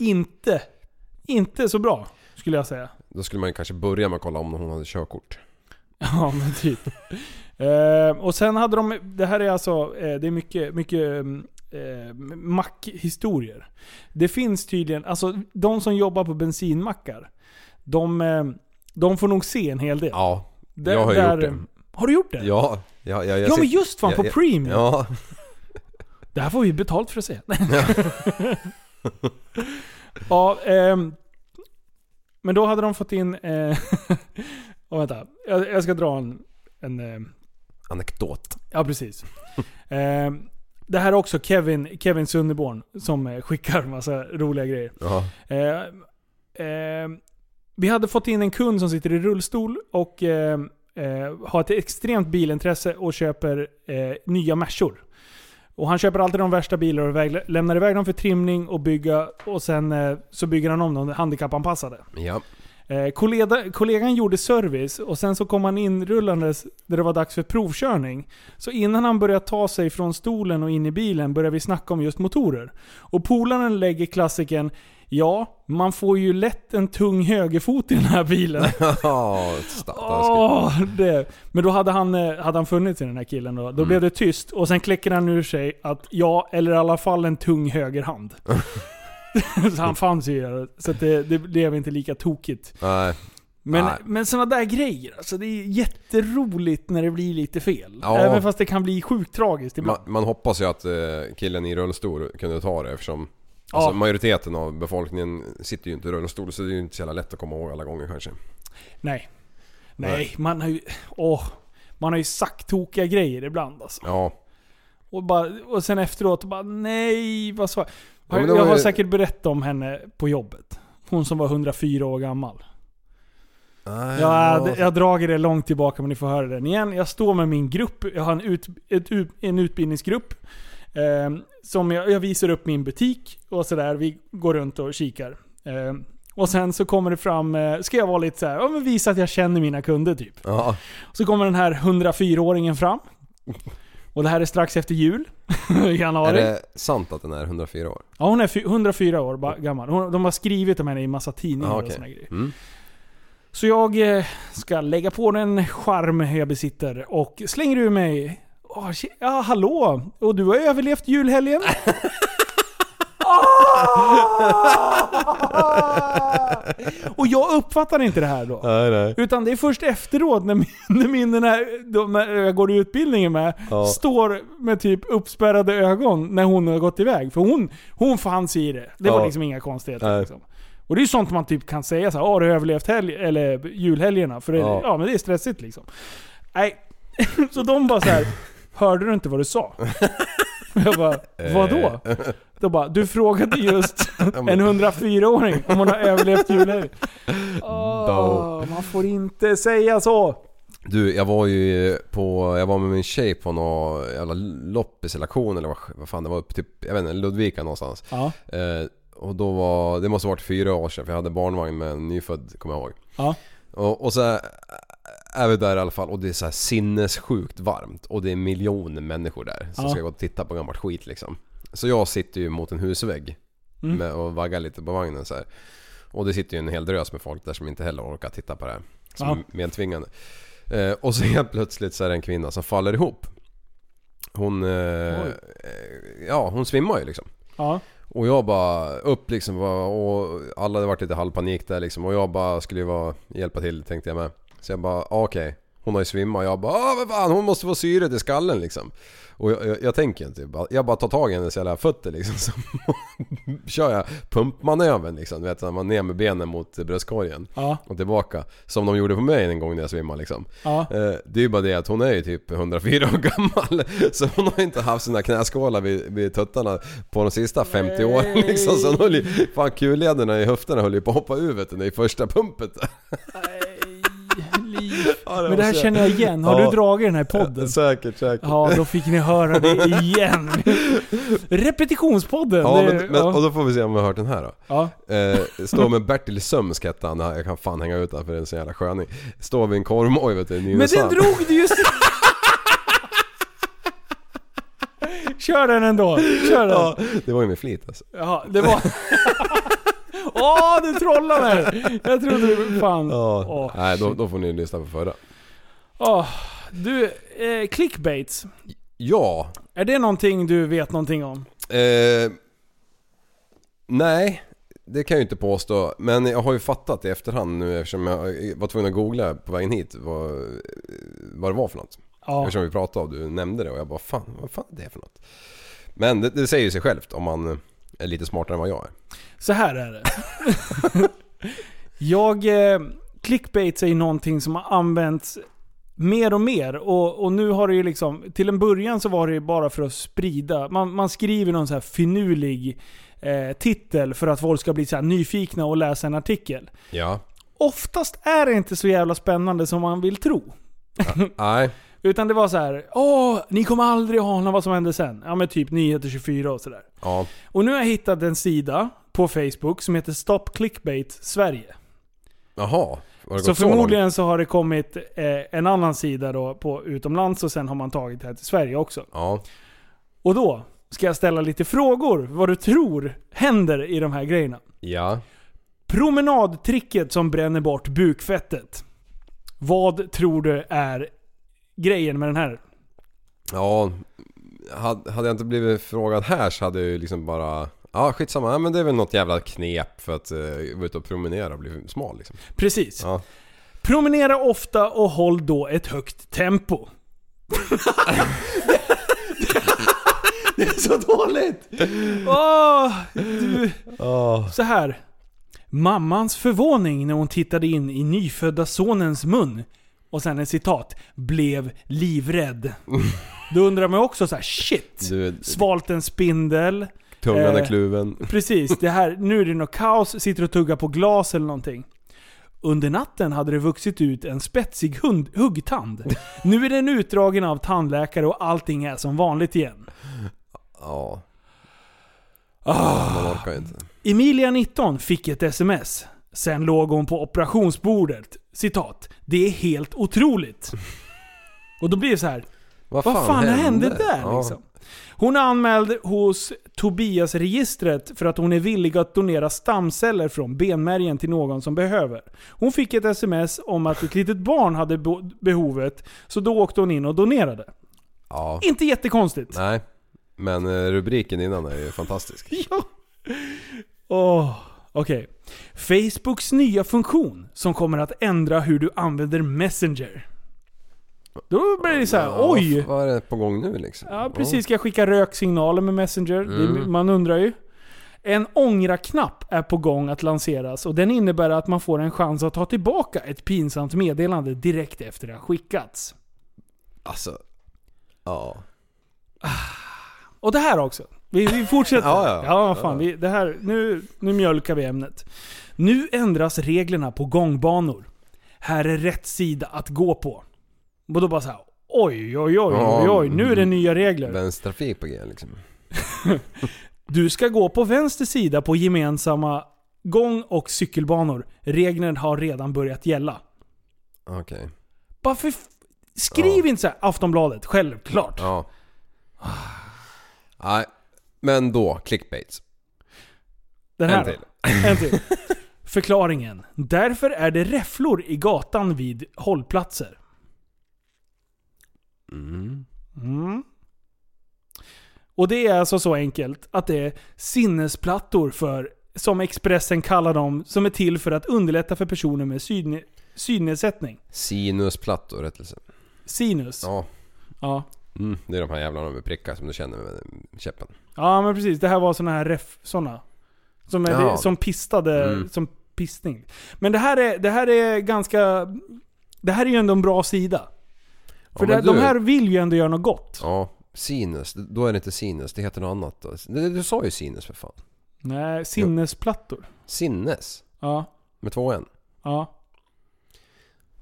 Inte, inte så bra. Skulle jag säga. Då skulle man ju kanske börja med att kolla om hon hade körkort. Ja men typ. eh, och sen hade de, det här är alltså, eh, det är mycket, mycket mm, eh, mackhistorier. Det finns tydligen, alltså de som jobbar på bensinmackar, de, eh, de får nog se en hel del. Ja, Där- jag har ju där- gjort det. Har du gjort det? Ja, ja, ja, jag Ja men sitter- just fan, jag- på jag- Premium. Ja, Det här får vi betalt för att se. ja, ehm, men då hade de fått in... Eh, oh, vänta, jag, jag ska dra en... en ehm, anekdot. ja, precis. Ehm, det här är också Kevin, Kevin Sunderborn som eh, skickar massa roliga grejer. Ja. Ehm, ehm, vi hade fått in en kund som sitter i rullstol och ehm, eh, har ett extremt bilintresse och köper eh, nya Mercor. Och han köper alltid de värsta bilarna och väg, lämnar iväg dem för trimning och bygga och sen eh, så bygger han om dem handikappanpassade. ja. Eh, kollega, kollegan gjorde service och sen så kom han inrullandes där det var dags för provkörning. Så innan han började ta sig från stolen och in i bilen började vi snacka om just motorer. Och polaren lägger klassiken Ja, man får ju lätt en tung högerfot i den här bilen. Ja, stackars. Åh, det. Men då hade han, eh, hade han funnits i den här killen då. Då blev det tyst och sen kläcker han ur sig att ja, eller i alla fall en tung högerhand. så han fanns ju där. Så att det, det blev inte lika tokigt. Nej. Men, Nej. men sådana där grejer, alltså det är jätteroligt när det blir lite fel. Ja. Även fast det kan bli sjukt tragiskt ibland. Man, man hoppas ju att eh, killen i rullstol kunde ta det eftersom alltså, majoriteten av befolkningen sitter ju inte i rullstol så det är ju inte så jävla lätt att komma ihåg alla gånger kanske. Nej. Nej, Nej. man har ju... Åh. Man har ju sagt tokiga grejer ibland alltså. Ja, Och, bara, och sen efteråt bara nej, vad sa jag? Ja, men det jag var har ju- säkert berättat om henne på jobbet. Hon som var 104 år gammal. Nej, Jag, jag drar det långt tillbaka men ni får höra den igen. Jag står med min grupp, jag har en, ut, ett, ut- en utbildningsgrupp. Eh, som jag, jag visar upp min butik och sådär. Vi går runt och kikar. Eh, och sen så kommer det fram, eh, ska jag vara lite såhär, ja men visa att jag känner mina kunder typ. Ja, Så kommer den här 104-åringen fram. Och det här är strax efter jul. I är januari. det sant att den är 104 år? Ja hon är fy- 104 år ba- gammal. Hon, de har skrivit om henne i massa tidningar Ja, och okej. såna grejer. Mm. Så jag eh, ska lägga på den charm jag besitter och slänger ur mig... Åh, tje- ja, hallå! Och du har överlevt julhelgen? Ah! och jag uppfattar inte det här då. Nej, nej. Utan det är först efteråt när min, när min den här, de här jag går i utbildningen med, Ja. står med typ uppspärrade ögon när hon har gått iväg. För hon, hon fanns i det. Det var Ja. liksom inga konstigheter. Nej. Liksom. Och det är ju sånt man typ kan säga så här, "Ah, har du överlevt helg, eller julhelgerna? För det, ja. Ja. men det är stressigt liksom. Nej. så de bara så här. hörde du inte vad du sa? Jag bara, vadå? Eh. Då bara, du frågade just en 104-åring om hon har överlevt julhelgen. Åh, man får inte säga så. Du, jag var ju på, jag var med min tjej på någon jävla loppiselektion eller vad, vad fan det var, typ, jag vet inte, Ludvika någonstans. Ja. Eh, och då var, det måste ha varit fyra år sedan för jag hade barnvagn med en nyfödd, kommer jag ihåg. Ja. Och, och så är vi där i alla fall och det är så här sinnessjukt varmt och det är miljoner människor där som Ja. ska gå och titta på gammalt skit liksom. Så jag sitter ju mot en husvägg Mm. med, och vaggar lite på vagnen så här. Och det sitter ju en hel drös med folk där som inte heller orkar titta på det här. Som Ja. är medtvingande. Eh, och så helt plötsligt så är det en kvinna som faller ihop. Hon... Eh, eh, ja, hon svimmar ju liksom. Ja. Och jag bara upp liksom bara, och alla hade varit lite halvpanik där liksom och jag bara skulle ju vara, hjälpa till tänkte jag med. Så jag bara ah, okej. Hon har ju svimmat och jag bara "Ah, vad fan hon måste få syret i skallen liksom. Och jag, jag, jag tänker inte, jag bara- jag bara tar tag i hennes jävla fötter liksom. Så kör jag pumpmanövern liksom. Du vet när man ner med benen mot eh, bröstkorgen. Ja. Och tillbaka. Som de gjorde på mig en gång när jag svimmade liksom. Ja. Eh, Det är ju bara det att hon är ju typ 104 år gammal. Så hon har ju inte haft sina knäskålar vid, vid tuttarna på de sista 50 åren liksom. Så hon höll ju, fan kullederna i höfterna höll ju på att hoppa ur vet du, i första pumpet. Men Ja, det här måste jag- känner jag igen. Har Ja. du dragit den här podden? Säkert, säkert. Ja, då fick ni höra det igen. Repetitionspodden. Ja, det, men, men, ja. och då får vi se om vi har hört den här då. Ja. Eh, står med Bertil Sömsk hette han, jag kan fan hänga ut den för det är en sån jävla sköning. Står vid en korvmoj vet du, i men den Nynäshamn. drog du ju... s- Kör den ändå. Kör den. Ja, det var ju med flit alltså. Jaha, det var... Åh, du trollar mig! Jag trodde du... Fan. Ja. Åh, Nej, då, då får ni lyssna på förra. Åh, du, eh, clickbaits. Ja, Är det någonting du vet någonting om? Eh, nej, det kan jag ju inte påstå. Men jag har ju fattat i efterhand nu eftersom jag var tvungen att googla på vägen hit vad, vad det var för något. Ja. Eftersom vi pratade och du nämnde det och jag bara fan, vad fan är det för något? Men det, det säger ju sig självt om man är lite smartare än vad jag är. Så här är det. jag... Eh, clickbait är ju någonting som har använts mer och mer. Och, och nu har det ju liksom... Till en början så var det ju bara för att sprida. Man, man skriver någon så här finurlig eh, titel för att folk ska bli så här nyfikna och läsa en artikel. Ja, Oftast är det inte så jävla spännande som man vill tro. nej, Utan det var så här, åh, ni kommer aldrig ana vad som hände sen. Ja men typ nyheter 24 och sådär. ja, Och nu har jag hittat en sida på Facebook som heter Stop Clickbait Sverige. jaha. Har det Så gått så långt? förmodligen så har det kommit eh, en annan sida då på utomlands och sen har man tagit det här till Sverige också. Ja, Och då ska jag ställa lite frågor vad du tror händer i de här grejerna. ja. Promenadtricket som bränner bort bukfettet. Vad tror du är grejen med den här? Ja, had- hade jag inte blivit frågad här så hade jag ju liksom bara... Ja skitsamma, ja, men det är väl något jävla knep för att eh, vara ute och promenera och bli smal liksom. Precis. Ja. Promenera ofta och håll då ett högt tempo. Så dåligt! Åh, du. Ja, Så här. Mammans förvåning när hon tittade in i nyfödda sonens mun. Och sen ett citat. Blev livrädd. Då undrar man också så här: shit. Du- Svalt en spindel. tungan Eh. är kluven. Precis, det här, nu är det något kaos, sitter och tuggar på glas eller någonting. Under natten hade det vuxit ut en spetsig hund, huggtand. Nu är den utdragen av tandläkare och allting är som vanligt igen. Ja. Ah. Man orkar inte. Emilia, 19, fick ett sms. Sen låg hon på operationsbordet. Citat. Det är helt otroligt. Och då blir det så här. Vad fan, hände? där Ja. liksom? Hon är anmäld hos Tobias-registret för att hon är villig att donera stamceller från benmärgen till någon som behöver. Hon fick ett sms om att ett litet barn hade bo- behovet, så då åkte hon in och donerade. Ja. Inte jättekonstigt. Nej. Men eh, rubriken innan är ju fantastisk. Åh, okej. Facebooks nya funktion som kommer att ändra hur du använder Messenger. Då blir det så här, Ja, oj! vad- Vad är det på gång nu liksom? Ja, precis. Ska jag skicka röksignaler med Messenger? Mm. Det, man undrar ju. En ångra-knapp är på gång att lanseras och den innebär att man får en chans att ta tillbaka ett pinsamt meddelande direkt efter det har skickats. Alltså. Ja. Och det här också. Vi, vi fortsätter. Ja, ja. vad fan. Vi, det här, nu, nu mjölkar vi ämnet. Nu ändras reglerna på gångbanor. Här är rätt sida att gå på. Och då bara så här, oj, oj, oj, oj, oj, nu Mm. är det nya regler. Vänstertrafik på G liksom. Du ska gå på vänster sida på gemensamma gång och cykelbanor. Reglerna har redan börjat gälla. Okej. Bara för f- Skriv inte så här Aftonbladet, självklart. Ja. Nej, men då clickbait. Den En här till. då. En till. Förklaringen. Därför är det räfflor i gatan vid hållplatser. Mm. Och det är alltså så enkelt att det är sinnesplattor för, som Expressen kallar dem, som är till för att underlätta för personer med syn, Synnedsättning. Sinusplattor, rättelse. Sinus. Ja. Ja. ja. Mm, det är de här jävlarna med prickar som du känner med eh, käppen. men precis. Det här var såna här ref... Såna. Som, är, Ja. som pistade... Mm. Som pistning. Men det här är, det här är ganska... Det här är ju ändå en bra sida. För Ja, men det, de du- här vill ju ändå göra något gott. Ja, sinus. Då är det inte sinus, det heter något annat då. Du, du sa ju sinus för fan. Nej, sinnesplattor. Sinnes. Ja. Med två n. Ja.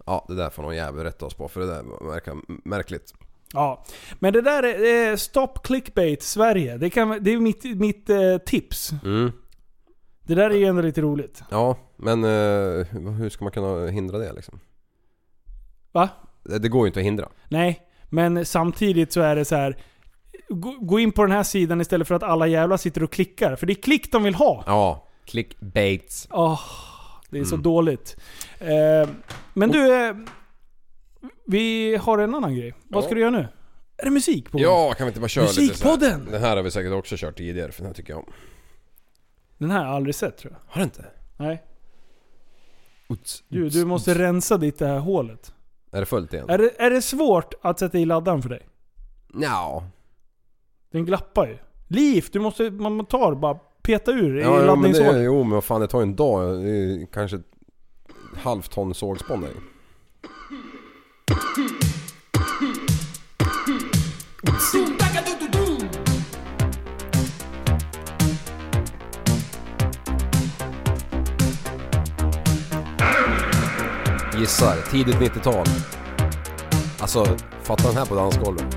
Ja, det där får någon jävel rätta oss på för det där verkar m- märkligt. Ja, men det där är eh, Stop Clickbait Sverige. Det, kan, det är mitt, mitt eh, tips. Mm. Det där är ju ändå lite roligt. Ja, men eh, hur ska man kunna hindra det liksom? Va? Det det går ju inte att hindra. Nej, men samtidigt så är det så här. Gå, gå in på den här sidan istället för att alla jävla sitter och klickar. För det är klick de vill ha. Ja, clickbaits. Åh, det är så Mm. dåligt. Eh, men du, eh, vi har en annan grej. Vad Ja. ska du göra nu? Är det musik på? Ja, kan vi inte bara köra lite så här? Musikpodden! Den här har vi säkert också kört tidigare för den här tycker jag om. Den här har jag aldrig sett tror jag. Har du inte? Nej. Uts, Du, uts, du måste uts. rensa ditt det här hålet. Är det fullt igen? Är det, är det svårt att sätta i laddaren för dig? Nja. Den glappar ju. Liv, du måste, man tar bara peta ur i Ja, jo, men det, laddningsordning. jo men vad fan det tar ju en dag. Det är ju kanske ett halvt ton sågspån där. Gissar, tidigt 90-tal. Alltså, fatta den här på dansgolvet.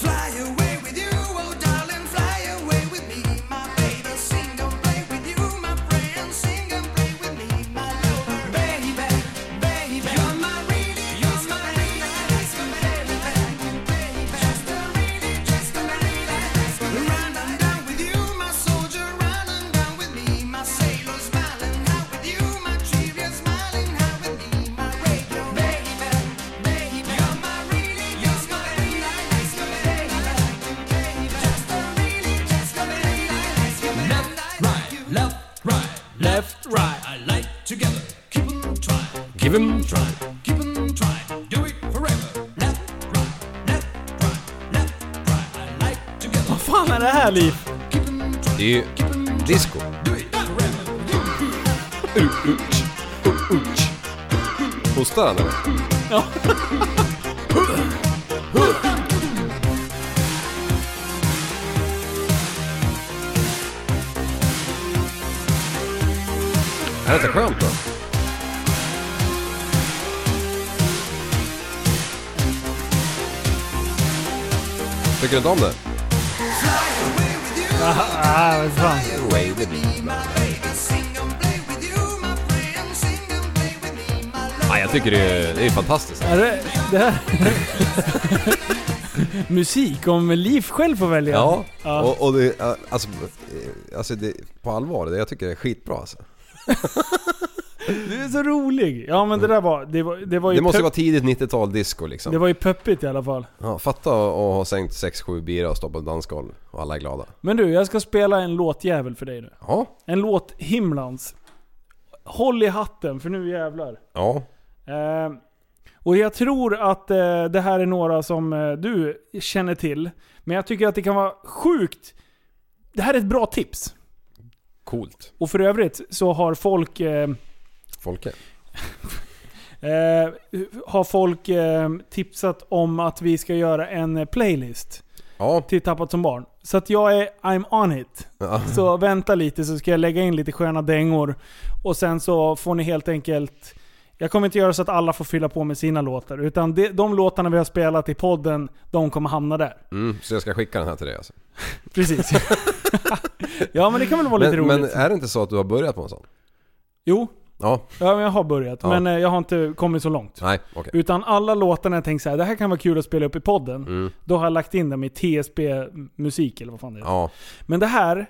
Fly away with you, oh darling, fly away with me, my baby. Sing and play with you, my friend. Sing and play with me, my lover. Baby, baby, you're my really, you're my really, just a baby, baby, just a really, just a baby. Round and down with you, my soldier. Round and down with me, my sailor. Smiling out with you, my cheerio. Smiling out with me, my radio. Baby, baby, you're my really, you're my really. Left, right, I like together. Keep 'em trying, Give him trying, keep 'em trying. Do it forever. Left, right, left, right, left, right. I like together. Vad fan är det här Liv? Keep 'em Det är ju disco. do it forever. Hostar han eller? Är det inte skönt då? Tycker du inte om det? Ah, vad fan. Nej, jag tycker det är, det är fantastiskt. Är det, det här? Musik om Liv själv får välja. Ja, Ja. och, och det, eh, alltså, eh, alltså det, på allvar, det, jag tycker det är skitbra alltså. Du är så rolig. Ja men det där var, det var, det var ju, Det måste pep- ju vara tidigt 90-tal disco liksom. det var ju peppigt i alla fall. Ja, fatta att att ha sänkt 6-7 bira och stå på ett dansgolv och alla är glada. Men du, jag ska spela en låtjävel för dig nu. Ja, En låt himlans. Håll i hatten för nu jävlar. ja. Eh, och jag tror att eh, det här är några som eh, du känner till. Men jag tycker att det kan vara sjukt. Det här är ett bra tips. Coolt. Och för övrigt så har folk, eh, Folke. eh, har folk eh, tipsat om att vi ska göra en eh, playlist. Ja. till Tappat som barn. Så att jag är I'm on it. Så vänta lite så ska jag lägga in lite sköna dängor. Och sen så får ni helt enkelt... Jag kommer inte göra så att alla får fylla på med sina låtar. Utan de, de låtarna vi har spelat i podden, de kommer hamna där. Mm, så jag ska skicka den här till dig alltså. Precis. ja men det kan väl vara lite Men, roligt. men är det inte så att du har börjat på en sån? Jo, Ja, ja, men jag har börjat. Ja. Men eh, jag har inte kommit så långt. nej, okej. Utan alla låtarna jag tänkt så här, det här kan vara kul att spela upp i podden. Mm. Då har jag lagt in dem i TSB-musik eller vad fan det är. Ja, Men det här...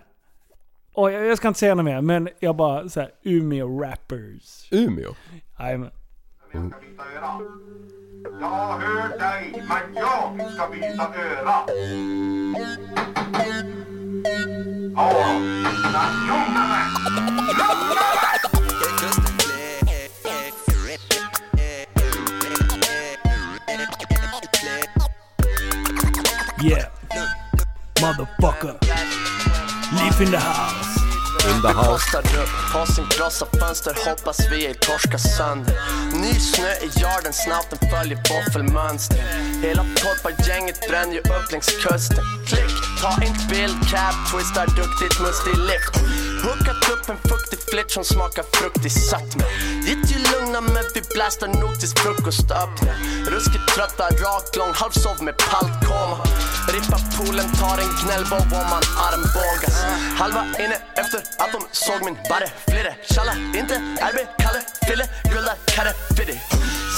åh, jag, jag ska inte säga något mer, men jag bara så här, Umeå rappers. Umeå. Jajamän. byta öra. Jag har hört dig, men jag ska byta öra. Ja, men lugna mig. Yeah. Motherfucker. Live in the house. In the house. Kastar upp, har sin krossa fönster, hoppas vi ej torskar sönder. Ny snö i yarden, snabbt följer våffelmönster. Hela torpargänget bränner ju upp längs kusten. Klick, ta inte bild, cab, twistar duktigt, mustig lift. Hookat upp en fuktig flirt som smakar fruktig sötma. Gitt ju lugna men vi blastar nog tills frukostöppning. Ruskigt trötta, rak, lång, halvsov med paltkoma. Rippar poolen, tar en gnällbåg om man armbågas. Halva inne efter att de såg min barre. Flirre, tjalla, inte RB, Kalle, Fille, Gulda, Karre, Fiddy.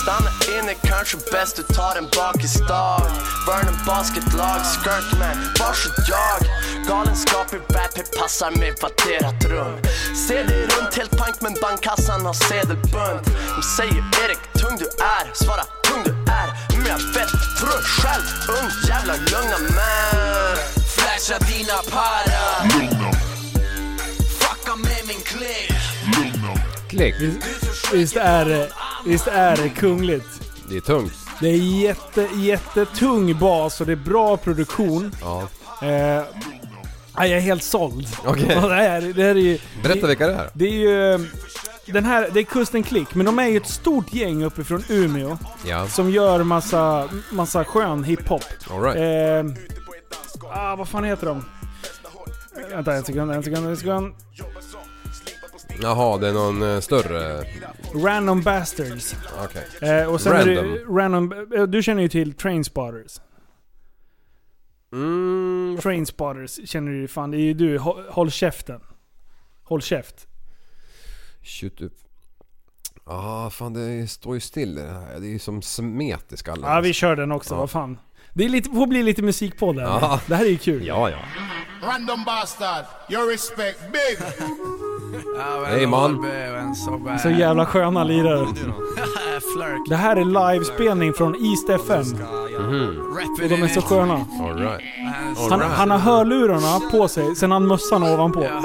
Stanna inne, kanske bäst du tar en bakisdag. Vernon basketlag, skirtman, varsågod jag. Galenskap i rap, det passar med kvarterat rum. Ser dig runt helt pank men bankkassan har sedelbunt. De säger Erik, tung du är, svara tung du är. Men jag vet, tror själv, ung jävla lugna man. Flasha dina para. Fucka med min klick. Klick. Visst är det, visst är det kungligt? Det är tungt. Det är jätte, jättetung bas och det är bra produktion. Ja. Eh, ja, jag är helt såld. Okej. Och Det, här, det här är ju... Berätta vilka det är. Det är ju... eh, Den här, det är Kusten Klick, men de är ju ett stort gäng uppifrån Umeå Ja, som gör massa, massa skön hiphop. alright. Eh, ah, vad fan heter de? Eh, Vänta en sekund, en sekund, en sekund. Jaha, det är någon eh, större... Random Bastards. Okej. Eh, och sen är det, Random. random. eh, Du känner ju till Trainspotters. Mm, Trainspotters känner du ju fan. Det är ju du. Håll, håll käften. Håll käft. shoot up. Ja, ah, fan det står ju still i det här. Det är ju som smet i skallen. Ja, vi kör den också. Ja. Vad fan. Det är lite, får bli lite musik på det här. Ja. Det här är ju kul. Ja, ja. Random bastard, your respect big. Hey man. Så jävla sköna lirare. Det här är livespelning från East FM. Och de är så sköna. Alright. Han, Alright. han har hörlurarna på sig, sen har han mössan ovanpå. Hör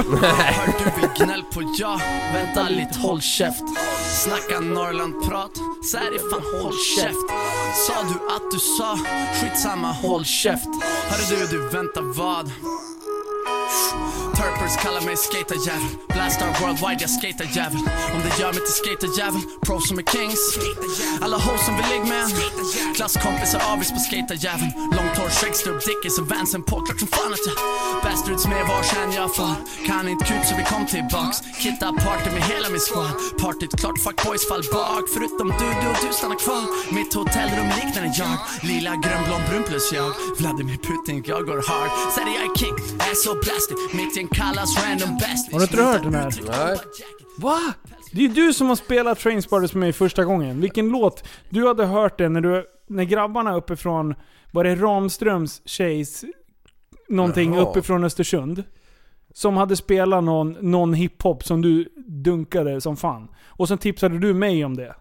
du vill gnäll på ja, vänta lite håll käft Snacka norrlandprat, så här är fan håll käft Sa du att du sa, skitsamma håll käft Hörru du, du väntar vad? Turpers kallar mig skaterjävel Blastar worldwide, jag skaterjävel Om det gör mig till skaterjävel Pro som är kings Alla hoes som vill ligg med en. Klasskompisar avis på skaterjäveln Långt hår, skäggstubb, dickies och vansen på Klart som fan att jag Bastards med varsin jag far Kan inte kut så vi kom tillbaks Kitta party med hela min squad Partyt klart, fuckboys fall bak Förutom du, du och du stannar kvar Mitt hotellrum liknar en jag Lila, grön, blond, brun plus jag Vladimir Putin, jag går hard Säger jag är king, är så plastic Mitt gäng kallas random best Har du inte hört den här? Nej. Va? Det är ju du som har spelat Trainspotters med mig första gången. Vilken låt? Du hade hört den när, du, när grabbarna uppifrån, var det Ramströms tjejs, någonting Jaha. uppifrån Östersund? Som hade spelat någon, någon hiphop som du dunkade som fan. Och sen tipsade du mig om det.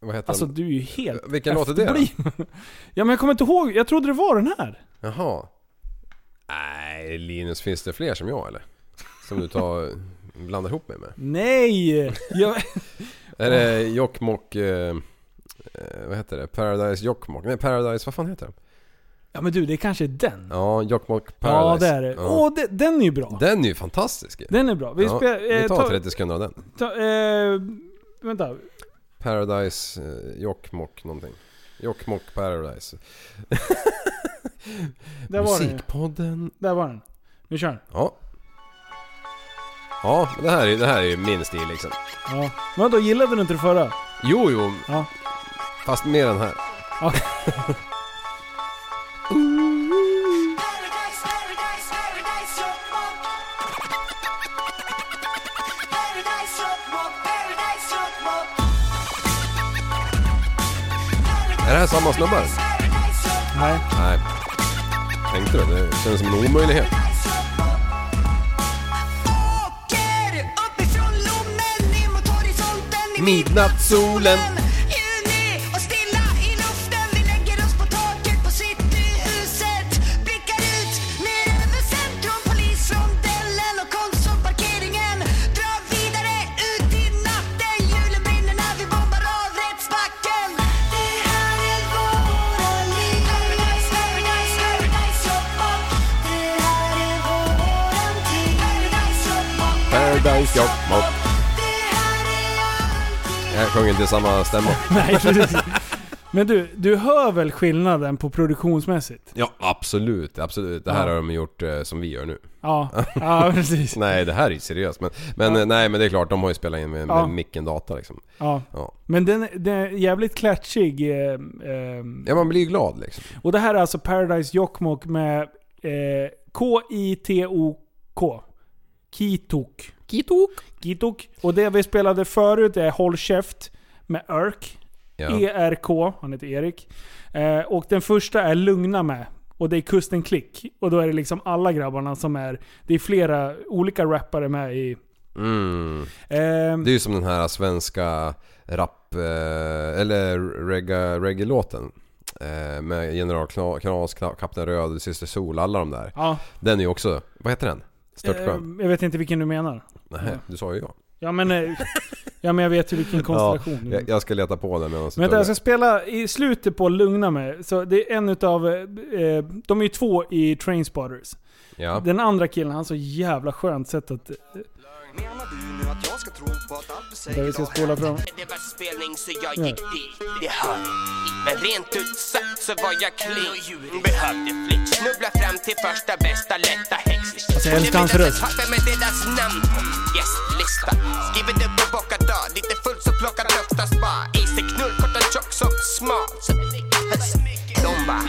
Vad heter Alltså den? du är ju helt Vilken låt är det då? efterbliven. ja men jag kommer inte ihåg, jag trodde det var den här. Jaha. Nej, Linus, finns det fler som jag eller? Som du tar... blandar ihop mig med? Nej! Jag, Är det Jokkmokk... Eh, eh, vad heter det? Paradise Jokkmokk? Nej, Paradise... Vad fan heter den? ja men du, det kanske är den. Ja, Jokkmokk Ja Paradise. det är det. Ja. Åh, det, den är ju bra. Den är ju fantastisk ju. Den är bra. Vi, ja, spel, eh, vi tar ta- 30 sekunder av den. Ta, eh, vänta. Paradise eh, Jokkmokk någonting. Jokkmokk Paradise. Där var den ju. Musikpodden. Där var den. Nu kör den. Ja. Ja, men det här är, det här är ju min stil liksom. Ja. Men då gillade du inte det förra? Jo, jo. Ja. Fast mer den här. Ja. Är det här samma snubbar? Nej. Nej. Tänkte du? Det känns som en omöjlighet. Midnattssolen. Paradise Jokkmokk. Jag sjöng inte i samma stämma. Nej, precis. Men du, du hör väl skillnaden på produktionsmässigt? Ja, absolut. Absolut. Det här Ja. har de gjort eh, som vi gör nu. Ja, ja precis. Nej, det här är ju seriöst. Men, men eh, nej, men det är klart. De har ju spelat in med, med Ja. micken data liksom. Ja. Ja. Men den, den är jävligt klatschig. Eh, ehm. ja, man blir ju glad liksom. Och det här är alltså Paradise Jokkmokk med eh, K-I-T-O-K. Kitok. Kitok. Kitok. Och det vi spelade förut är Håll Käft med Örk. Ja. E- ERK, han heter Erik. Eh, och den första är Lugna med. Och det är Kusten Klick. Och då är det liksom alla grabbarna som är... Det är flera olika rappare med i... Mm. Ehm, Det är ju som den här svenska rap... eh, Eller regga- reggae-låten. Eh, Med General Kna- Knas, Kna- Kapten Röd, Syster Sol, alla de där. ja, Den är ju också... Vad heter den? Störtskön? ehm, jag vet inte vilken du menar. Nej, du sa ju ja. Ja men, eh, ja, men jag vet ju vilken konstellation du Ja, jag, jag ska leta på den medan du Men jag tuggar. ska spela i slutet på Lugna mig. Så det är en utav... Eh, de är ju två i Trainspotters. Ja. Den andra killen, han har så jävla skönt sätt att... Där vi ska spola fram. Det var spelning så jag gick dit, det hör Men rent ut sagt så var jag clean Behövde flit, snubbla fram till första bästa lätta häxis Alltså, jag älskar hans röst. Papper med deras namn på gästlista Skrivit upp på bockat dag, lite full så plockat högsta spa Easy knull, kort och tjock som smal Så De bara,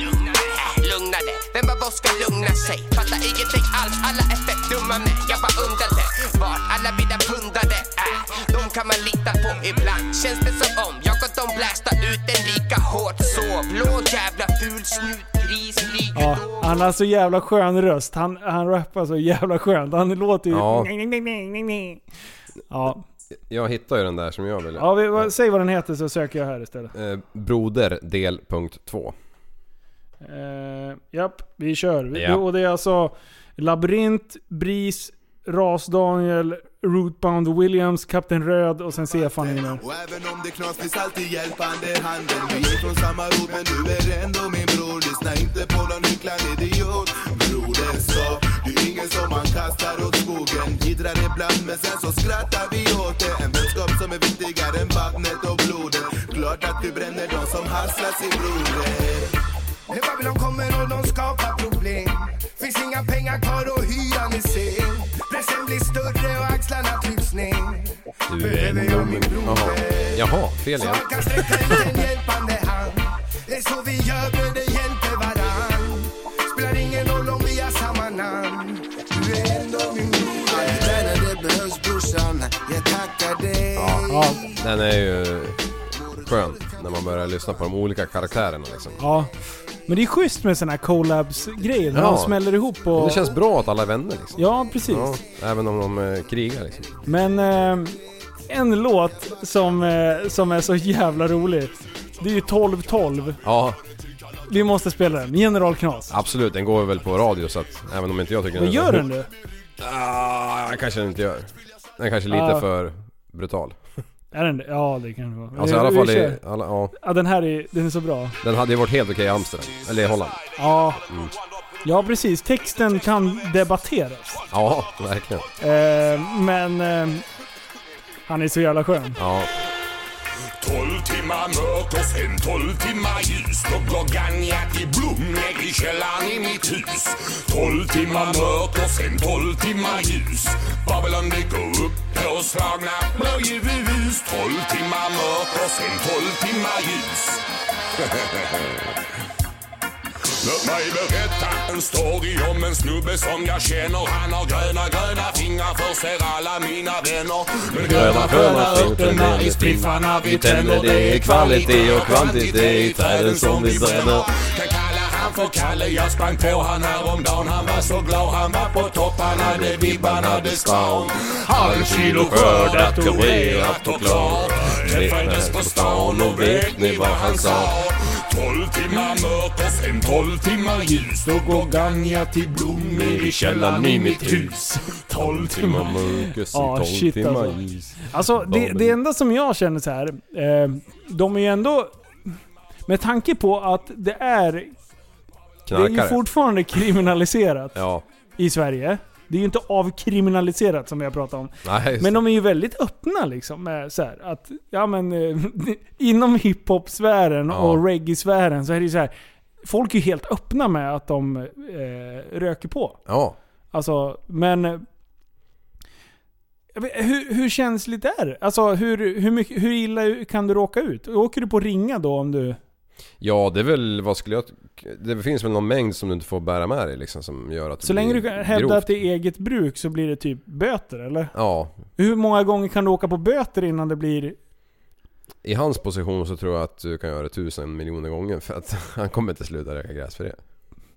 äh, lugna dig Vem av oss ska lugna sig? Fattar ingenting alls, alla är fett dumma med Jag bara undrade vart alla mina pundare är De kan man lita på ibland Känns det som om jag och de blastar ut en lika hårt så Blå jävla ful snut, gris, lik Ja, han har så jävla skön röst. Han, han rappar så jävla skönt. Han låter ju... Ja. Ja. Jag hittar ju den där som jag ville. Ja, vi, vad- säg vad den heter så söker jag här istället. Eh, broder del punkt 2. Eh, japp, vi kör. Vi, Ja. Och det är alltså Labyrint, Bris, Ras-Daniel, Rootbound Williams, Kapten Röd och sen Stefan in där. Och även om det knas finns alltid hjälpande handen Vi är från samma ort men du är ändå min bror Lyssna inte på någon hycklande idiot Broder sa, det är ingen som man kastar åt skogen Jiddrar ibland men sen så skrattar vi åt det En vänskap som är viktigare än vattnet och blodet Klart att vi bränner de som hasslar sin broder När Babylon kommer och de skapar problem Finns inga pengar kvar och hyran är sen Pressen blir större och axlarna trycks ner Du är min Jaha. Jaha, fel igen. Man kan sträcka ut en hjälpande hand Det är så vi gör bröder hjälper varann Spelar ingen roll om vi har samma namn Du är ändå min broder Där när det behövs brorsan, jag tackar dig Den är ju skön när man börjar lyssna på de olika karaktärerna liksom. Ja. Men det är schysst med såna här collabs-grejer. när Ja. De smäller ihop och... Men det känns bra att alla är vänner liksom. Ja, precis. även om de eh, krigar liksom. Men eh, en låt som, eh, som är så jävla rolig. Det är ju 12-12. Ja, Vi måste spela den. General Knas. absolut. Den går väl på radio så att även om inte jag tycker Men är- gör den det? Ah, kanske den inte gör. Den är kanske lite Ja. för brutal. Är den det? Ja, det kan det vara. Alltså Vi- i alla vi fall i, kör. alla, ja. Ja, den här är, den är så bra. Den hade ju varit helt okej i Amsterdam. Eller i Holland. Ja. Mm. Ja, precis. Texten kan debatteras. Ja, verkligen. Eh, men... Eh, han är så jävla skön. Ja. Tolv timmar mörkt och sen tolv timmar ljus. Då går Gagnjak i blomning i källaren i mitt hus. Tolv timmar mörkt och sen tolv timmar ljus. Babylon det går upp på slagna blåljus. Tolv timmar mörkt och sen tolv timmar ljus. Låt mig berätta en story om en snubbe som jag känner. Han har gröna, gröna fingrar förser alla mina vänner. Men gröna, gröna örterna i spliffarna vi tänder. Det är kvalitet och kvantitet i träden som vi bränner. Kan kalla han för Kalle, jag sprang på han häromdagen. Han var så glad, han var på topp, han hade vibban, hade span. Halv kilo skördat, kurerat och klar. Träffades på stan och vet ni vad han sa? Tolv timmar mörk och sen tolv timmar ljus. Då går Ganja till blommor i källaren i mitt hus. Tolv timmar mörk och sen Ja, tolv shit timmar alltså. ljus. Alltså det, det enda som jag känner så här. Eh, de är ju ändå... Med tanke på att det är... Det är Knarkare. ju fortfarande kriminaliserat Ja. i Sverige. Det är ju inte avkriminaliserat som vi har pratat om. Nej, just Men de är ju väldigt öppna liksom med så här, att, ja men eh, inom hiphop-sfären och reggae-sfären så är det ju så här. Folk är ju helt öppna med att de eh, röker på. Ja. Alltså, men... eh, jag vet- Hur, hur känsligt är det? Alltså hur, hur, mycket, hur illa kan du råka ut? Åker du på ringa då om du... Ja, det är väl, vad skulle jag... Det finns väl någon mängd som du inte får bära med dig liksom som gör att det Så länge du blir kan hävda grovt. att det är eget bruk så blir det typ böter eller? Ja. Hur många gånger kan du åka på böter innan det blir... I hans position så tror jag att du kan göra det tusen miljoner gånger för att han kommer inte sluta röka gräs för det.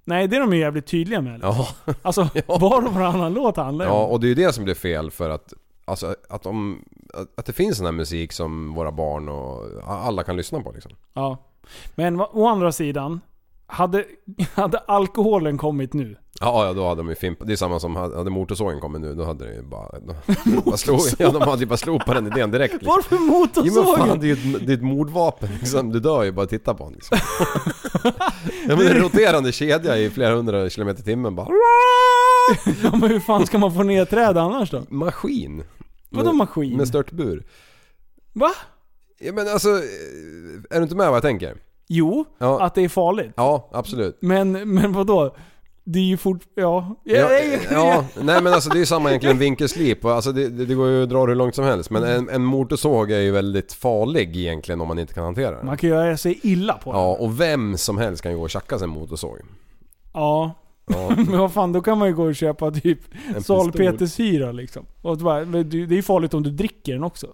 Nej det är de ju jävligt tydliga med. eller? Ja. Alltså var och varannan låt handlar ju om Ja, och det är ju det som blir fel för att... Alltså att de... Att att det finns sån här musik som våra barn och alla kan lyssna på liksom. Ja. Men va- å andra sidan, hade, hade alkoholen kommit nu? Ja, ja då hade de ju fimpat. Det är samma som hade hade motorsågen kommit nu, då hade det ju bara... Då, bara slog, ja, de hade ju bara slopat den idén direkt. Liksom. Varför Jo men fan, motorsågen? det är ju ett, det är ett mordvapen liksom. Du dör ju bara att titta på den liksom. ja, men det är en roterande kedja i flera hundra kilometer i timmen bara. ja, men hur fan ska man få ner träd annars då? Maskin. Vadå Med- maskin? Med störtbur. Va? Ja men alltså, eh, är du inte med vad jag tänker? Jo, Ja. att det är farligt. Ja, absolut. Men, men vadå? Det är ju fort... Ja. Ja, eh, ja, nej men alltså det är ju samma egentligen vinkelslip. Och Alltså det, det, det går ju att dra det hur långt som helst. Men en, en motorsåg är ju väldigt farlig egentligen om man inte kan hantera den. Man kan göra sig illa på det. Ja, och vem som helst kan ju gå och tjacka sig en motorsåg. Ja. Ja. men vad fan, då kan man ju gå och köpa typ pistol. salpetersyra liksom. Och det, bara, men du- det är ju farligt om du dricker den också.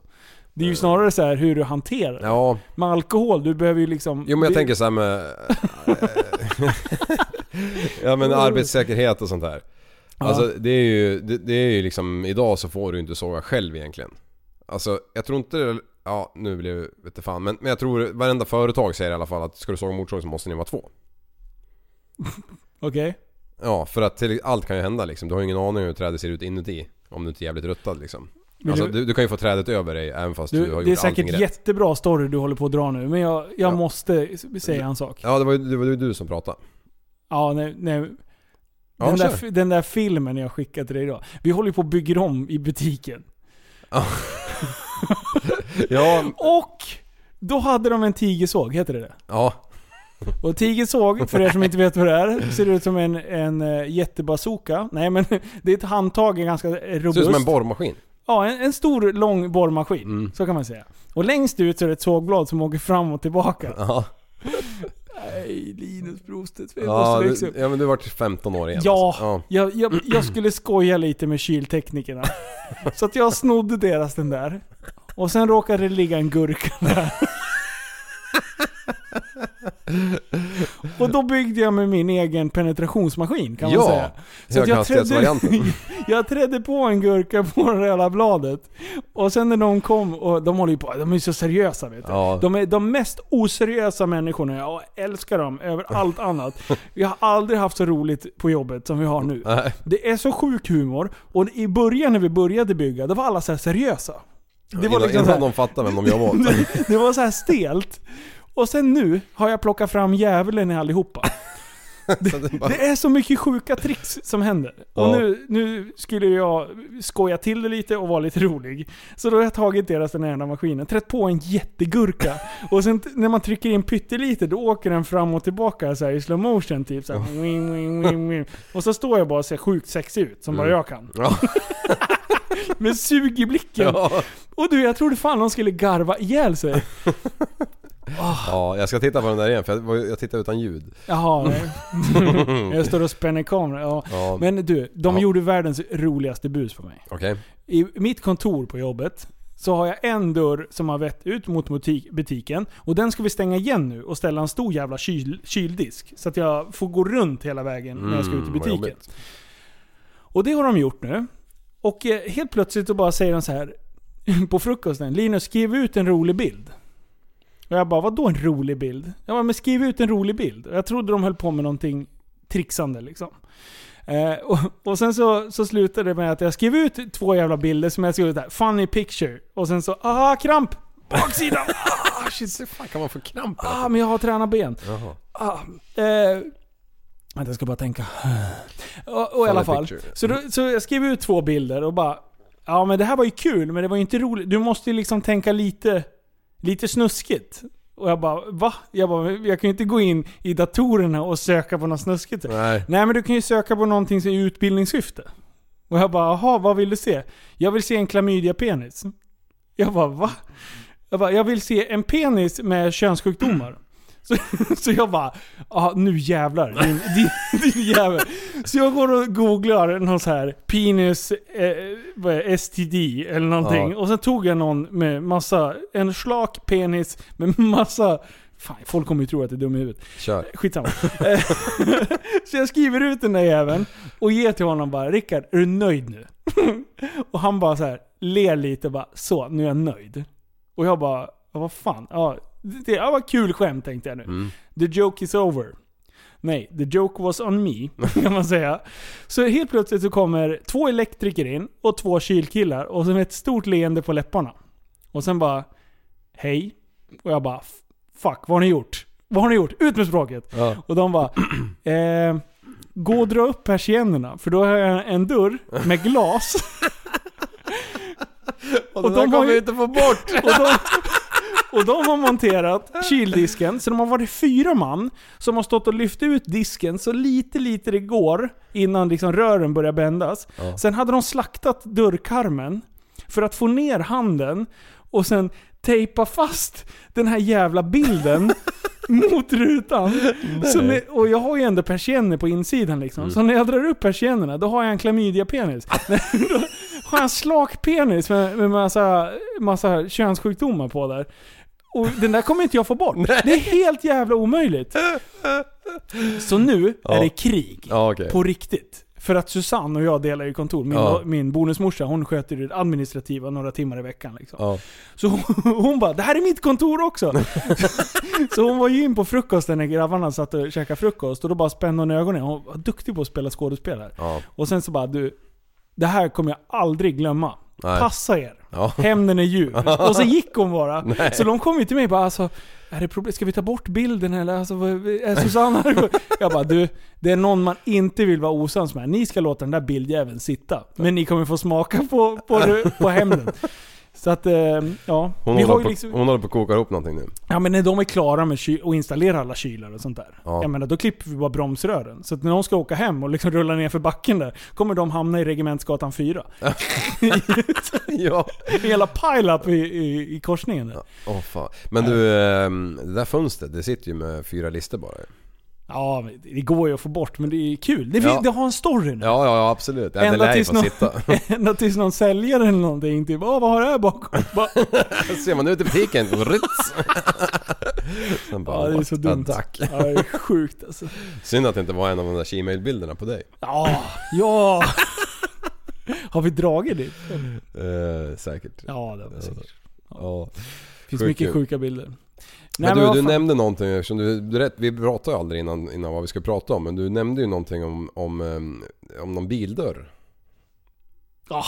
Det är Eh. ju snarare så här hur du hanterar den. Ja. Med alkohol, du behöver ju liksom... Jo men jag det- tänker såhär med... ja men arbetssäkerhet och sånt där. Ja. Alltså det är ju, det, det är ju liksom, idag så får du inte såga själv egentligen. Alltså jag tror inte det, ja nu blir det vete fan men, men jag tror varenda företag säger i alla fall att ska du såga motorsåg så måste ni vara två. Okej. Ja för att till, allt kan ju hända liksom, du har ju ingen aning hur trädet ser ut inuti. Om du inte är jävligt ruttad liksom. Men Alltså du- du, du kan ju få trädet över dig även fast du, har Du, gjort det är allting säkert rätt. jättebra story du håller på att dra nu, men jag, jag måste s- säga en sak. Ja det var ju det var ju du som pratade. Ja, nej, nej. Ja, Den, där, kör. fi- den där filmen jag skickade till dig idag. Vi håller ju på och bygger om i butiken. Ja, Och då hade de en tigersåg, heter det det? ja. Och tigersåg, för er som inte vet vad det är, ser ut som en, en eh, jättebazooka. Nej men det är ett handtag, en ganska robust. Ser ut som en borrmaskin. Ja, en, en stor lång borrmaskin. Mm. Så kan man säga. Och längst ut så är det ett sågblad som åker fram och tillbaka. Ja. Nej, Linus Brostedt. vi Ja, måste du- växa upp. ja men du vart 15 år igen Ja, alltså. ja. Jag, jag, jag skulle skoja lite med kylteknikerna. Så att jag snodde deras den där. Och sen råkade det ligga en gurka där. Och då byggde jag med min egen penetrationsmaskin kan man Ja, säga. att jag höghastighetsvarianten. trädde- Jag trädde på en gurka på det jävla bladet. Och sen när de kom, och de håller ju på, de är ju så seriösa vet du. Ja. De är de mest oseriösa människorna, jag älskar dem över allt annat. Vi har aldrig haft så roligt på jobbet som vi har nu. Nej. Det är så sjuk humor, och i början när vi började bygga, då var alla så här seriösa. Det liksom Innan- så innan de fattade vem de jobbade åt. det, det var så här stelt. Och sen nu har jag plockat fram djävulen i allihopa. Det är så mycket sjuka tricks som händer. Ja. Och nu, nu skulle jag skoja till det lite och vara lite rolig. Så då har jag tagit deras den ena maskinen, trätt på en jättegurka. Och sen t- när man trycker in pyttelite, då åker den fram och tillbaka så här, i slow motion typ. Så här, wing, wing, wing, wing. Och så står jag bara och ser sjukt sexig ut, som bara Mm. jag kan. Ja. Med sug i blicken. Ja. Och du, jag trodde fan de skulle garva ihjäl sig. Ja, jag ska titta på den där igen för jag, var- jag tittar utan ljud. Jaha, nej. jag står och spänner kameran. Ja. Ja. Men du, de Ja. gjorde världens roligaste bus på mig. Okej. I mitt kontor på jobbet så har jag en dörr som har vett ut mot butik- butiken. Och den ska vi stänga igen nu och ställa en stor jävla kyl, kyldisk. Så att jag får gå runt hela vägen när jag ska ut i Mm, vad butiken. jobbigt. Och det har de gjort nu. Och eh, helt plötsligt så bara säger de så här på frukosten. Linus, skriv ut en rolig bild. Och jag bara, vadå en rolig bild? Jag bara, men skriv ut en rolig bild. Och jag trodde de höll på med någonting trixande liksom. Eh, och, och sen så, så slutade det med att jag skrev ut två jävla bilder som jag skrev ut där. Funny picture. Och sen så, ah kramp! Baksidan! Ah shit! Hur fan kan man få kramp? Ah men jag har tränat ben. Jaha. Ah, eh, Vänta, jag ska bara tänka. Och, och i alla Funny fall. picture. Så, då, så jag skrev ut två bilder och bara... Ja men det här var ju kul, men det var ju inte roligt. Du måste ju liksom tänka lite, lite snuskigt. Och jag bara va? Jag, bara, jag kan ju inte gå in i datorerna och söka på något snuskigt. Nej. Nej men du kan ju söka på någonting som är i utbildningssyfte. Och jag bara jaha, vad vill du se? Jag vill se en klamydia-penis. Jag bara va? Jag bara, jag vill se en penis med könssjukdomar. Så, så jag bara, ja nu jävlar din, din, din jävel. Så jag går och googlar någon så här penis eh, vad är det, STD eller någonting. Ja. Och sen tog jag någon med massa, en slak penis med massa, fan folk kommer ju tro att det är dum i huvudet. Ah, Kör. Skitsamma. Eh, så jag skriver ut den där jäveln och ger till honom bara, Rickard är du nöjd nu? Och han bara så här ler lite och bara så, nu är jag nöjd. Och jag bara, ja, vad fan. Ja, det ja, var kul skämt tänkte jag nu. The joke is over. Nej, the joke was on me, kan man säga. Så helt plötsligt så kommer två elektriker in och två kylkillar och så med ett stort leende på läpparna. Och sen bara, hej. Och jag bara, "F- fuck, vad har ni gjort? Vad har ni gjort? Ut med språket! Ja. Och de bara, eh, gå och dra upp persiennerna, för då har jag en dörr med glas. Och den där kommer vi inte få bort. Och de, och de har monterat kyldisken, så de har varit fyra man som har stått och lyft ut disken så lite, lite det går innan liksom rören börjar bändas. Ja. Sen hade de slaktat dörrkarmen för att få ner handen och sen tejpa fast den här jävla bilden mot rutan. Mm. Så när, och jag har ju ändå persienner på insidan liksom. Så när jag drar upp persiennerna, då har jag en klamydia-penis. då har jag en slak penis med, med massa, massa könssjukdomar på där. Och den där kommer inte jag få bort. Det är helt jävla omöjligt. Så nu är det krig. Ja, okej. På riktigt. För att Susanne och jag delar ju kontor. Min, Ja. min bonusmorsa, hon sköter det administrativa några timmar i veckan. Liksom. Ja. Så hon, hon bara, det här är mitt kontor också. så hon var ju in på frukosten när grabbarna satt och käkade frukost. Och då bara spände hon ögonen. Hon var duktig på att spela skådespel här. Ja. Och sen så bara, du, det här kommer jag aldrig glömma. Nej. Passa er. Ja. Hämnden är ljuv. Och så gick hon bara. Nej. Så de kom ju till mig och bara alltså, är det problem? ska vi ta bort bilden eller? Alltså, vad- är Susanna... Jag bara du, det är någon man inte vill vara osams med. Ni ska låta den där bildjäveln sitta. Men ni kommer få smaka på, på, på hämnden. Så att, eh, ja. Hon, vi har håller ju på, liksom, hon håller på att koka ihop någonting nu. ja men när de är klara med ky- och installerar alla kylar och sånt där. Ja. Jag menar, då klipper vi bara bromsrören. Så att när de ska åka hem och liksom rulla ner för backen där, kommer de hamna i Regementsgatan 4. ja. Hela pile-up i, i, i korsningen där. Åh fan. Men du, ehm, det där fönstret det sitter ju med fyra lister bara. Ja, men det går ju att få bort, men det är kul. Det, fin- Ja. det har en story nu. Ja, ja, ja absolut. Ja, det lär ju få någon, sitta. ända tills någon säljare eller någonting typ Åh, vad har du här bakom? Bara, Ser man ut i butiken, rytz! Sen bara, ja, det är what så a dumt. duck. Ja, det är sjukt alltså. Synd att det inte var en av de där Gmail-bilderna på dig. Ja, ja. Har vi dragit det? Eh, säkert. Alltså, Ja, det var säkert. Ja. Det finns Sjukt mycket kul. sjuka bilder. Men vad du, du fan. nämnde någonting eftersom du, du rätt, vi pratade ju aldrig innan, innan vad vi ska prata om men du nämnde ju någonting om, om, ehm, om någon bildörr. Ja,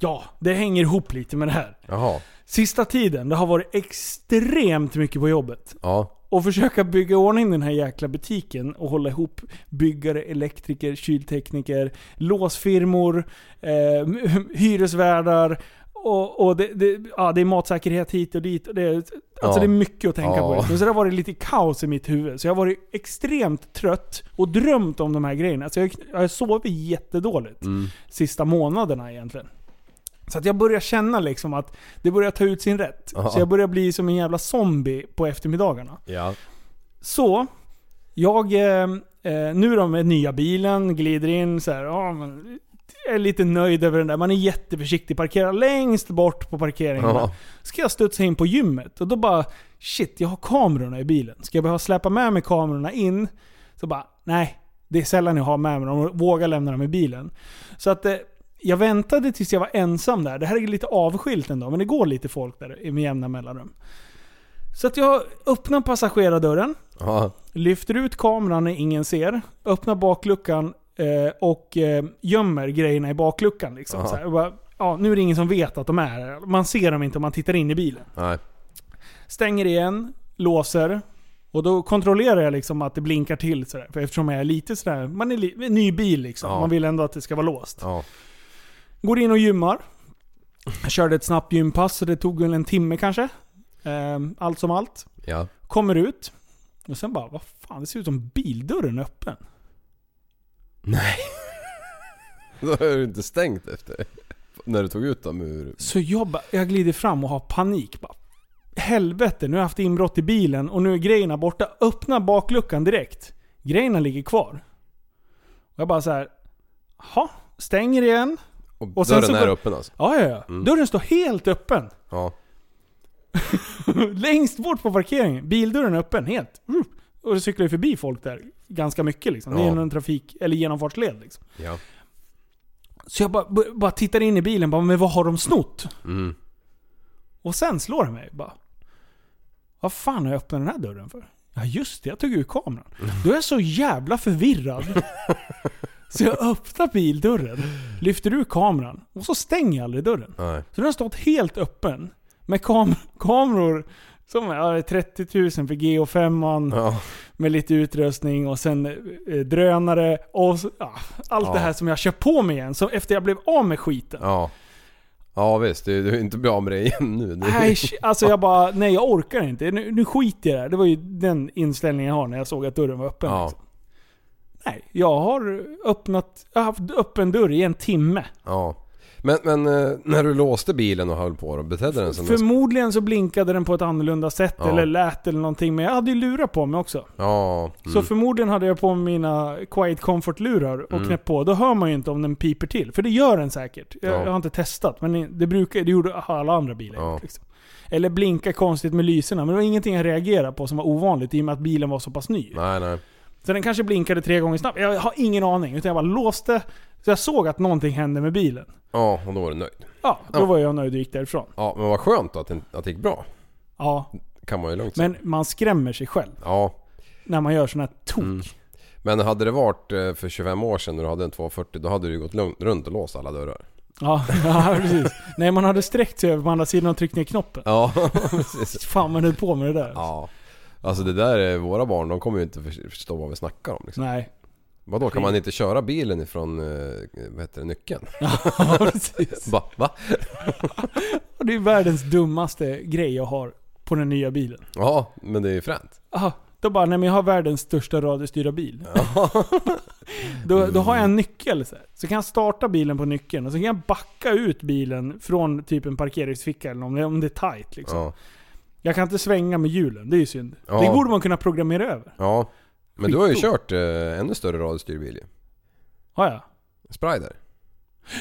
ja, det hänger ihop lite med det här. Jaha. Sista tiden, det har varit extremt mycket på jobbet. Ja. Och försöka bygga i ordning den här jäkla butiken och hålla ihop byggare, elektriker, kyltekniker, låsfirmor, eh, hyresvärdar. Och, och det, det, ja, det är matsäkerhet hit och dit. Och det, alltså Ja. det är mycket att tänka på Ja. just nu. Så det har varit lite kaos i mitt huvud. Så jag har varit extremt trött och drömt om de här grejerna. Så jag, jag har sovit jättedåligt Mm. sista månaderna egentligen. Så att jag börjar känna liksom att det börjar ta ut sin rätt. Ja. Så jag börjar bli som en jävla zombie på eftermiddagarna. Ja. Så, jag... Eh, eh, nu då med nya bilen, glider in så här, ja, men, är lite nöjd över den där. Man är jätteförsiktig, parkerar längst bort på parkeringen. Ja. Ska jag studsa in på gymmet och då bara shit, jag har kamerorna i bilen. Ska jag behöva släppa med mig kamerorna in? Så bara nej, det är sällan jag har med mig dem och vågar lämna dem i bilen. Så att eh, jag väntade tills jag var ensam där. Det här är lite avskilt ändå, men det går lite folk där med jämna mellanrum. Så att jag öppnar passagerardörren, Ja. lyfter ut kameran när ingen ser, öppnar bakluckan eh, och eh, gömmer grejerna i bakluckan. Liksom, Aha. så här. Och bara, ja, nu är det ingen som vet att de är här. Man ser dem inte om man tittar in i bilen. Nej. Stänger igen, låser. Och då kontrollerar jag liksom att det blinkar till sådär. För eftersom jag är lite sådär, man är li- ny bil liksom. Ja. Man vill ändå att det ska vara låst. Ja. Går in och gymmar. Jag körde ett snabbt gympass så det tog väl en timme kanske. Ehm, Allt som allt. Ja. Kommer ut. Och sen bara, vad fan det ser ut som bildörren är öppen. Då har du inte stängt efter. När du tog ut dem ur... Så jag, ba- jag glider fram och har panik. Bara, Helvete, nu har jag haft inbrott i bilen och nu är grejerna borta. Öppna bakluckan direkt. Grejerna ligger kvar. Och jag bara så här. "Jaha, stänger igen. Och, sen dörren så är går- öppen alltså? Ja, ja, ja. Mm. Dörren står helt öppen. Ja. Längst bort på parkeringen. Bildörren är öppen helt. Mm. Och det cyklar ju förbi folk där ganska mycket liksom. Det Ja. är ju en trafik, eller genomfartsled liksom. Ja. Så jag bara, bara tittar in i bilen bara, men vad har de snott? Mm. Och sen slår det mig bara. Vad fan har jag öppnat den här dörren för? Ja just det, jag tog ur kameran. Mm. Då är jag så jävla förvirrad. Så jag öppnar bildörren, lyfter ur kameran och så stänger jag aldrig dörren. Nej. Så den har stått helt öppen med kam- kameror som är ja, 30 000 för GH5 Ja. med lite utrustning och sen eh, drönare och så, ja, allt Ja. det här som jag köpt på mig igen så efter jag blev av med skiten. Ja. Ja visst, du, du är inte bra med det igen nu. Det- Nej, sh- alltså jag bara, nej jag orkar inte. Nu, nu skiter jag i det här. Det var ju den inställningen jag har när jag såg att dörren var öppen. Ja. Liksom. Nej, jag har öppnat, jag har haft öppen dörr i en timme. Ja. Men, men eh, när du låste bilen och höll på då, betedde den som en... Förmodligen så blinkade den på ett annorlunda sätt Ja. eller lät eller någonting. Men jag hade ju lurar på mig också. Ja. Mm. Så förmodligen hade jag på mig mina Quiet Comfort-lurar och Mm. knäppt på. Då hör man ju inte om den piper till. För det gör den säkert. Jag, Ja. jag har inte testat, men det, brukar, det gjorde alla andra bilar. Ja. Liksom. Eller blinka konstigt med lyserna. Men det var ingenting jag reagerade på som var ovanligt i och med att bilen var så pass ny. Nej, nej. Så den kanske blinkade tre gånger snabbt. Jag har ingen aning. Utan jag bara låste. Så jag såg att någonting hände med bilen. Ja, och då var du nöjd. Ja, då Ja. var jag nöjd och gick därifrån. Ja, men vad skönt då att, det- att det gick bra. Ja, Kan man ju lugnt säga. men man skrämmer sig själv Ja. när man gör sådana här tok. Mm. Men hade det varit eh, för 25 år sedan när du hade en 240 då hade du ju gått lugnt, runt och låst alla dörrar. Ja, ja, precis. Nej, man hade sträckt sig över på andra sidan och tryckt ner knoppen. Ja, precis. Fan man höll på med det där. Ja. Alltså det där är våra barn, de kommer ju inte för- förstå vad vi snackar om liksom. Nej. Vadå, kan man inte köra bilen ifrån, eh, vad heter det, nyckeln? Ja, precis. Bara, va? Och Det är världens dummaste grej jag har på den nya bilen. Ja, men det är ju fränt. Aha, då bara, nej men jag har världens största radiostyrda bil. Mm. då, då har jag en nyckel så, här. så kan jag starta bilen på nyckeln och så kan jag backa ut bilen från typ en parkeringsficka eller om det, om det är tight liksom. Ja. Jag kan inte svänga med hjulen, det är ju synd. Ja. Det borde man kunna programmera över. ja. Men du har ju Skitdom. kört eh, ännu större radiostyrd bil ju. Har jag? Sprider.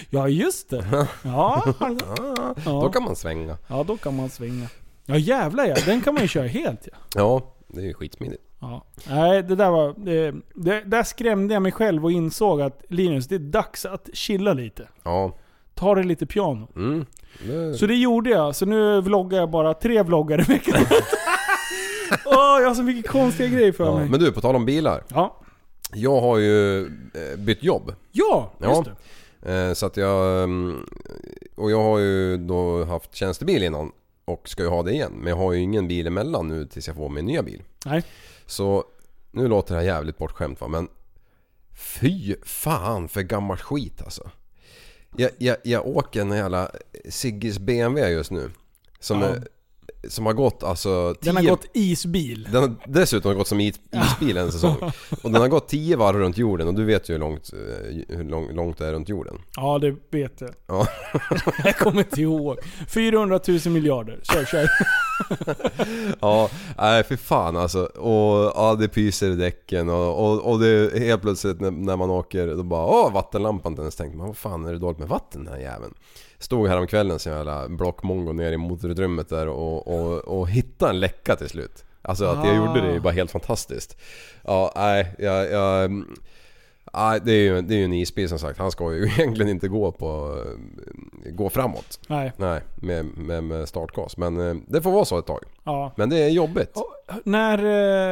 Ja just det. Ja, alltså. Ah. ja. Då kan man svänga. ja, då kan man svänga. Ja jävlar ja, den kan man ju köra helt ja. Ja, det är ju skitsmidigt. Ja. Nej, det där var... Det, det, där skrämde jag mig själv och insåg att Linus, det är dags att chilla lite. Ja. Ta det lite piano. Mm. Det... Så det gjorde jag. Så nu vloggar jag bara tre vloggar i veckan. Åh, jag har så mycket konstiga grejer för ja. mig. Men du, på tal om bilar. Ja. Jag har ju eh, bytt jobb. Ja, just Eh, Så att jag... mm, Och jag har ju då haft tjänstebil innan. och ska ju ha det igen. Men jag har ju ingen bil emellan nu tills jag får min nya bil. Nej. Så nu låter det här jävligt bortskämt va, men fy fan för gammal skit alltså. Jag, jag, jag åker en jävla Sigges BMW just nu. Som, Ja. är, som har gått alltså... Den har 10 gått isbil. den har dessutom gått som is- isbil en säsong. Och den har gått 10 varv runt jorden och du vet ju hur långt, eh, hur lång- långt det är runt jorden. Ja, det vet jag. Ja. Jag kommer inte ihåg. 400 000 miljarder. Kör, kör. Ja, nej för fan alltså. Och ja, det pyser i däcken och, och, och det är helt plötsligt när, när man åker då bara åh vattenlampan inte ens tänkte man vad fan är det dåligt med vatten den här jäveln? Stod här om kvällen så jävla blockmongo ner i motorutrymmet där och, och, och hittade en läcka till slut. Alltså att jag Ah. gjorde det är ju bara helt fantastiskt. Ja, nej, jag... jag nej, det, är ju, det är ju en isbil som sagt. Han ska ju egentligen inte gå på... Gå framåt. Nej. Nej, med, med, med startgas. Men eh, det får vara så ett tag. Ja. Men det är jobbigt. När...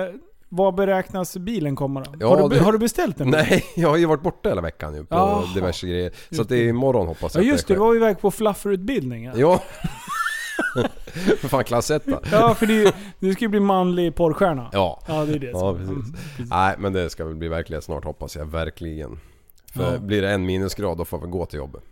Eh, vad beräknas bilen komma då? Ja, har, du, det- har du beställt den? Nej, jag har ju varit borta hela veckan nu på Jaha. diverse grejer. Så att det är imorgon hoppas Ah. Ja jag just det, att du var ju iväg på flufferutbildningen. sker. Ja. För fan klass 1 Ja, för det är ju, du ska ju bli manlig porrstjärna. Ja. Ja, det är Mm, det som- Ja, precis. Nej, men det ska väl bli verklighet snart hoppas jag. Verkligen. För Ja. blir det en minusgrad då får vi gå till jobbet.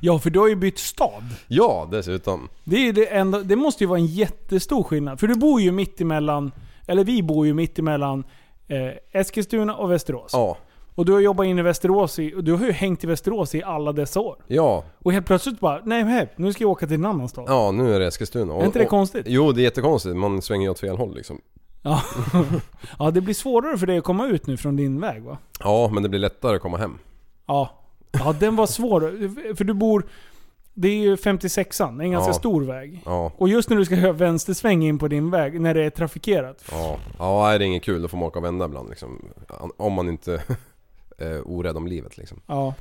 Ja, för du har ju bytt stad. Ja, dessutom. Det, är ju det, enda, det måste ju vara en jättestor skillnad. För du bor ju mitt emellan, eller vi bor ju mitt emellan eh, Eskilstuna och Västerås. Ja. Och du har jobbat inne i Västerås i, och du har ju hängt i Västerås i alla dessa år. Ja, Och helt plötsligt bara, nej men hej, nu ska jag åka till en annan stad. ja nu är det Eskilstuna. Och- Är inte det och- konstigt? Jo, det är jättekonstigt. Man svänger ju åt fel håll liksom. Ja. ja, det blir svårare för dig att komma ut nu från din väg va? Ja, men det blir lättare att komma hem. Ja. Ja, den var svår. För du bor... Det är ju 56an, det är en ganska Ja. stor väg. Ja. Och just när du ska göra vänstersväng in på din väg, när det är trafikerat. Ja, ja nej, det är inget kul. Då får man åka och vända ibland liksom. Om man inte är orädd om livet liksom. Ja.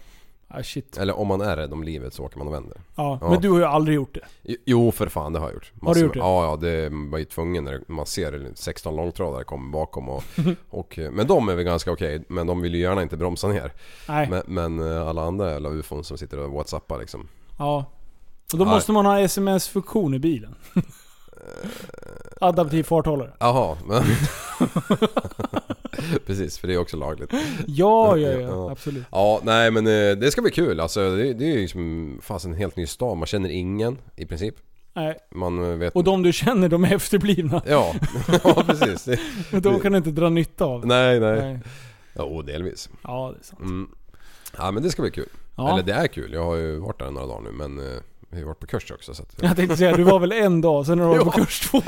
Ah, shit. Eller om man är rädd om livet så åker man och vänder. Ja, men du har ju aldrig gjort det. Jo- Jo för fan det har jag gjort. Har du gjort det? Ja, ja det var ju tvungen när man ser 16 långtradare kommer bakom och, och... eh, Men de är väl ganska okej, men de vill ju gärna inte bromsa ner. Nej. Men, men eh, alla andra jävla ufon som sitter och whatsappar liksom. Ja. Och då Nej. Eh. måste man ha sms-funktion i bilen. Adaptiv farthållare. Jaha, men... Precis, för det är också lagligt. Ja, ja, ja. Absolut. Ja, nej men eh, det ska bli kul. Alltså, det, det är ju liksom, fast en helt ny stad. Man känner ingen i princip. Nej. Man eh, vet... Och de du känner, de är efterblivna. Ja, ja precis. Det- Men de kan du inte dra nytta av. Nej, nej. Nej. Jo, delvis. Ja, det är sant. Mm. Ja, men det ska bli kul. Ja. Eller det är kul. Jag har ju varit där några dagar nu men eh, jag har ju varit på kurs också så att... Jag tänkte säga, du var väl en dag, sen har du varit på kurs två.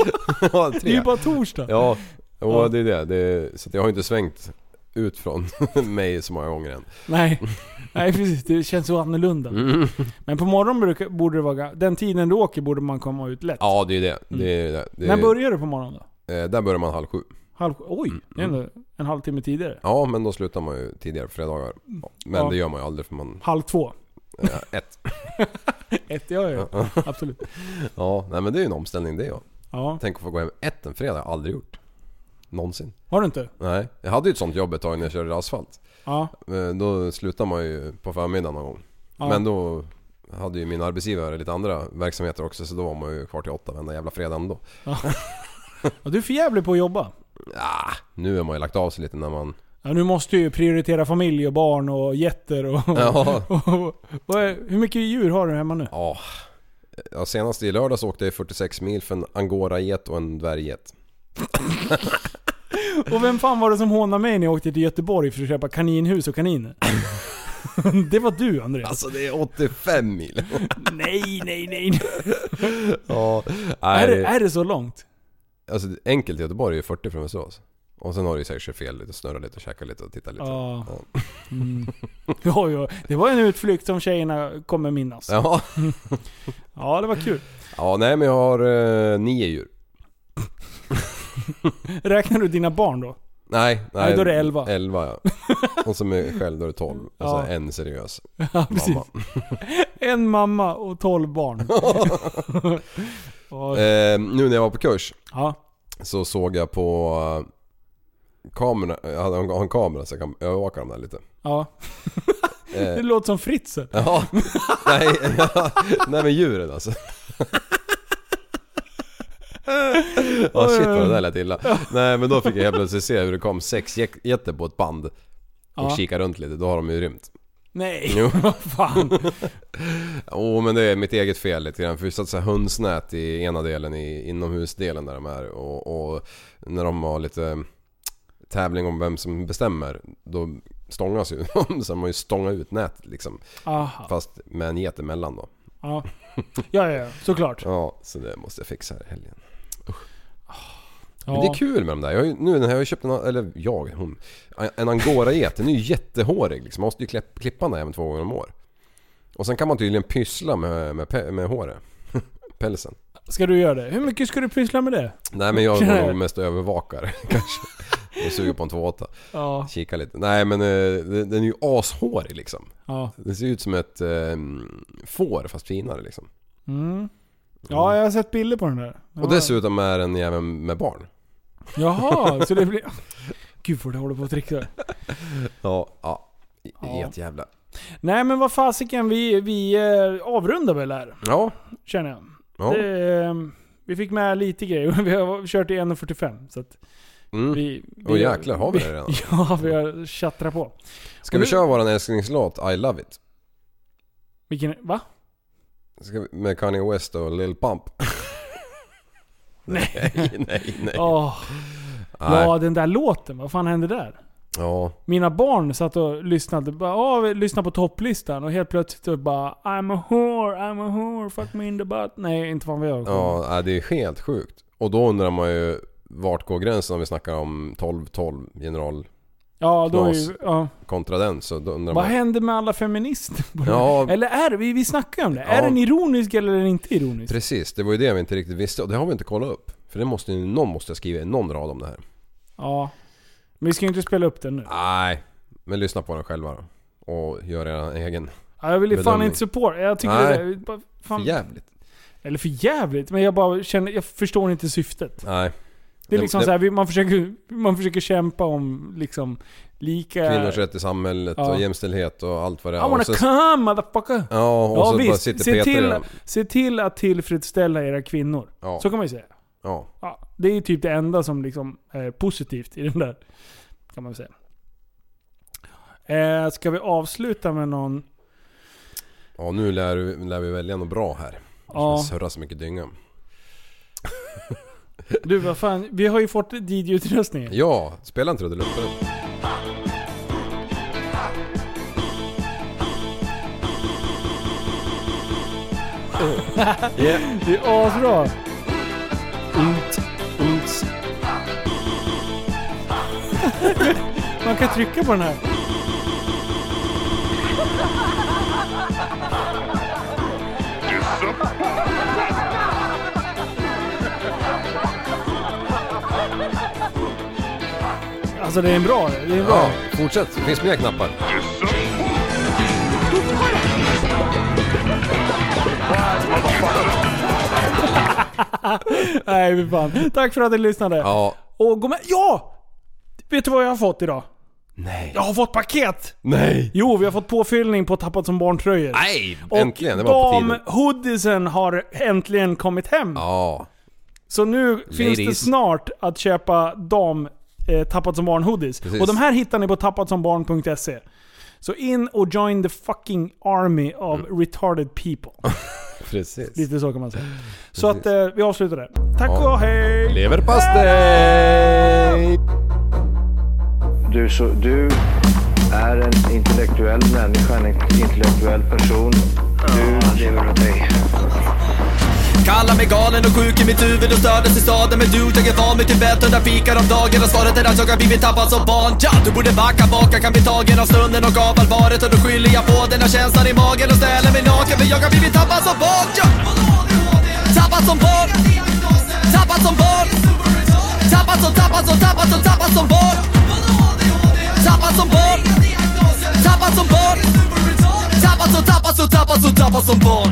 ja, Det är ju bara torsdag. Ja, jo, Ja. det är det. det är, så att jag har ju inte svängt ut från mig så många gånger än. Nej. Nej precis, det känns så annorlunda. Mm. Men på morgonen brukar- borde det vara... ga- Den tiden du åker borde man komma ut lätt. Ja, det är det. det, är, det, det Mm. När börjar du på morgonen då? eh, Där börjar man halv sju. Halv, oj, Mm. det är ändå en halvtimme tidigare. Ja, men då slutar man ju tidigare på fredagar. Ja, Men Mm. Ja. det gör man ju aldrig för man... Halv två. Eh, ett. Ett, ja, ja. Ja. Absolut. Ja, nej men det är ju en omställning det ja. Ja. Tänk att få gå hem ett en fredag, aldrig gjort. Någonsin. Har du inte? Nej, jag hade ju ett sånt jobb ett tag när jag körde asfalt. Ja. Eh, Då slutar man ju på förmiddagen någon gång. Ja. Men då hade ju min arbetsgivare lite andra verksamheter också så då var man ju kvar till åtta varenda jävla fredag ändå. Ja. Ja, du är för jävlig på att jobba. Ah, nu har man ju lagt av sig lite när man... Ja, nu måste du ju prioritera familj och barn och getter och... Ja. och, vad är- hur mycket djur har du hemma nu? Ja. Ja, senast i lördags åkte jag 46 mil för en angoraget och en dvärgget. Och vem fan var det som hånade mig när jag åkte till Göteborg för att köpa kaninhus och kaniner? Det var du Andreas. Alltså det är 85 mil. Nej, nej, nej. ja, nej, Är det, är det så långt? Alltså enkelt till Göteborg är ju 40 från Västerås. Och sen har du ju säkert kört fel lite, snurrat lite, käkat lite och tittat lite. Ja. Mm. Ja, ja. Det var en utflykt som tjejerna kommer minnas. Ja. Ja, det var kul. Ja, nej men jag har eh, nio djur. Räknar du dina barn då? Nej, nej. Nej, då är det elva. Elva ja. Och som är själv då är det tolv. Och Ja. så en seriös. Ja, precis. Mamma. En mamma och tolv barn. Ja. Eh, nu när jag var på kurs Ja. så såg jag på eh, kamerorna, jag hade- jag har en kamera så jag kan övervaka dem där lite. ja. Eh. Det låter som Fritzl. Ja, nej, ja, nej men djuren alltså. Ja shit vad det där lät illa. Nej men då fick jag helt plötsligt se hur det kom sex jä- jätter på ett band. Och Ja. kika runt lite, då har de ju rymt. Nej, Jo. vad fan. Åh men det är mitt eget fel lite grann. För vi satte så här hönsnät i ena delen, i inomhusdelen där de är. Och, och när de har lite tävling om vem som bestämmer. Då stångas ju de. Så de har ju stångat ut nät liksom. Aha. Fast med en get emellan då. Ja. ja, ja, ja. Såklart. Ja, så det måste jag fixa här i helgen. Ja. Men det är kul med de där. Jag har ju, nu när jag har köpt en, eller jag, hon, en angora-get. Den är ju jättehårig liksom. Man måste ju klipp, klippa den där även två gånger om år. Och sen kan man tydligen pyssla med, med, pe- med håret. Pälsen. Ska du göra det? Hur mycket ska du pyssla med det? Nej men jag Tjena. var nog mest övervakare kanske. Och suger på en 2,8. Ja. Kika lite. Nej men eh, den den är ju ashårig liksom. Ja. Den ser ut som ett eh, får fast finare liksom. Mm. Ja, jag har sett bilder på den där. Ja. Och dessutom är den även med barn. Jaha, så det blir... Gud vad du håller på att trixa. Ja, ja. Ja. Get jävla. Nej men vad fasiken, vi, vi eh, avrundar väl här. Ja. Känner jag. Ja. Det, eh, vi fick med lite grejer. Vi har kört i 1.45. Så att Mm. vi... vi Åh, jäklar, har vi det redan? Ja, vi har tjattrat på. Ska Och vi nu- köra våran älsklingslåt I Love It? Vilken... Va? Ska vi, med Kanye West och Lil Pump? nej, nej, nej. Åh. Nej. Ja, den där låten. Vad fan hände där? Ja. Mina barn satt och lyssnade. Bara, "Ja, vi lyssnade på topplistan och helt plötsligt så bara I'm a whore, I'm a whore, fuck me in the butt. Nej, inte fan vad jag. Ja, nej, det är helt sjukt. Och då undrar man ju vart går gränsen om vi snackar om 12-12 general Ja, då är knas ju... Ja. kontra den så då undrar Vad man... händer med alla feminister? på det? Ja. Eller är det? Vi, vi snackar ju om det. Är Ja. den ironisk eller är den inte ironisk? Precis, det var ju det vi inte riktigt visste och det har vi inte kollat upp. För det måste, ju- någon måste skriva någon rad om det här. Ja. Men vi ska ju inte spela upp den nu. Nej, men lyssna på den själva då. Och gör er egen. Ja, jag vill ju fan Bedömning. inte supporta. Jag tycker Nej. det där... bara, Fan. För jävligt. Eller för jävligt. Men jag bara känner... Jag förstår inte syftet. Nej. Det är liksom det- så här, vi- man försöker, man försöker kämpa om liksom lika... Kvinnors rätt i samhället Ja. och jämställdhet och allt vad det I är. Och wanna så- come motherfucker! Ja, och så bara sitter se Peter i till, den. se till att tillfredsställa era kvinnor. Ja. Så kan man ju säga. Ja. Ja, det är ju typ det enda som liksom är positivt i den där. Kan man väl säga. Eh, ska vi avsluta med någon... ja, nu lär, vi- lär vi välja något bra här. Ja. Ja. Surra så mycket dynga. Du vad fan, vi har ju fått DJ-utrustningen. Ja, spela en trudelutt på den. Yeah. Det är asbra. Man kan trycka på den här. Alltså det är en bra, det är en bra. Ja, fortsätt. Det finns mer knappar. Nej fy fan. Tack för att ni lyssnade. Ja. Och gå med. Ja! Vet du vad jag har fått idag? Nej. Jag har fått paket! Nej. Jo, vi har fått påfyllning på Tappat som barn-tröjor. Nej! Och äntligen, det var på tiden. damhoodiesen har äntligen kommit hem. Ja. Så nu finns det Ladies. snart att köpa dam eh, Tappat som barn-hoodies. Precis. Och de här hittar ni på tappatsombarn.se. Så in och join the fucking army of Mm. retarded people. Precis. Lite så kan man säga. Så att eh, vi avslutar där. Tack och hej! Leverpastej! Du, så, du är en intellektuell människa, en intellektuell person. Du lever dig. Kallar mig galen och sjuk i mitt huvud och stördes i staden Men du, jag är van vid Tibet under fikar om dagen Och svaret är att jag har blivit tappad som barn ja, Du borde backa bak, jag kan bli tagen av stunden och av allvaret Och då skyller jag på den här känslan i magen och ställer mig naken För jag har blivit tappad som barn ja. Tappad som barn Tappad som barn Tappad som, tappad som, tappad som, tappad som barn Tappad som barn Tappad som barn Tappad som, tappad som, tappad som, tappad som barn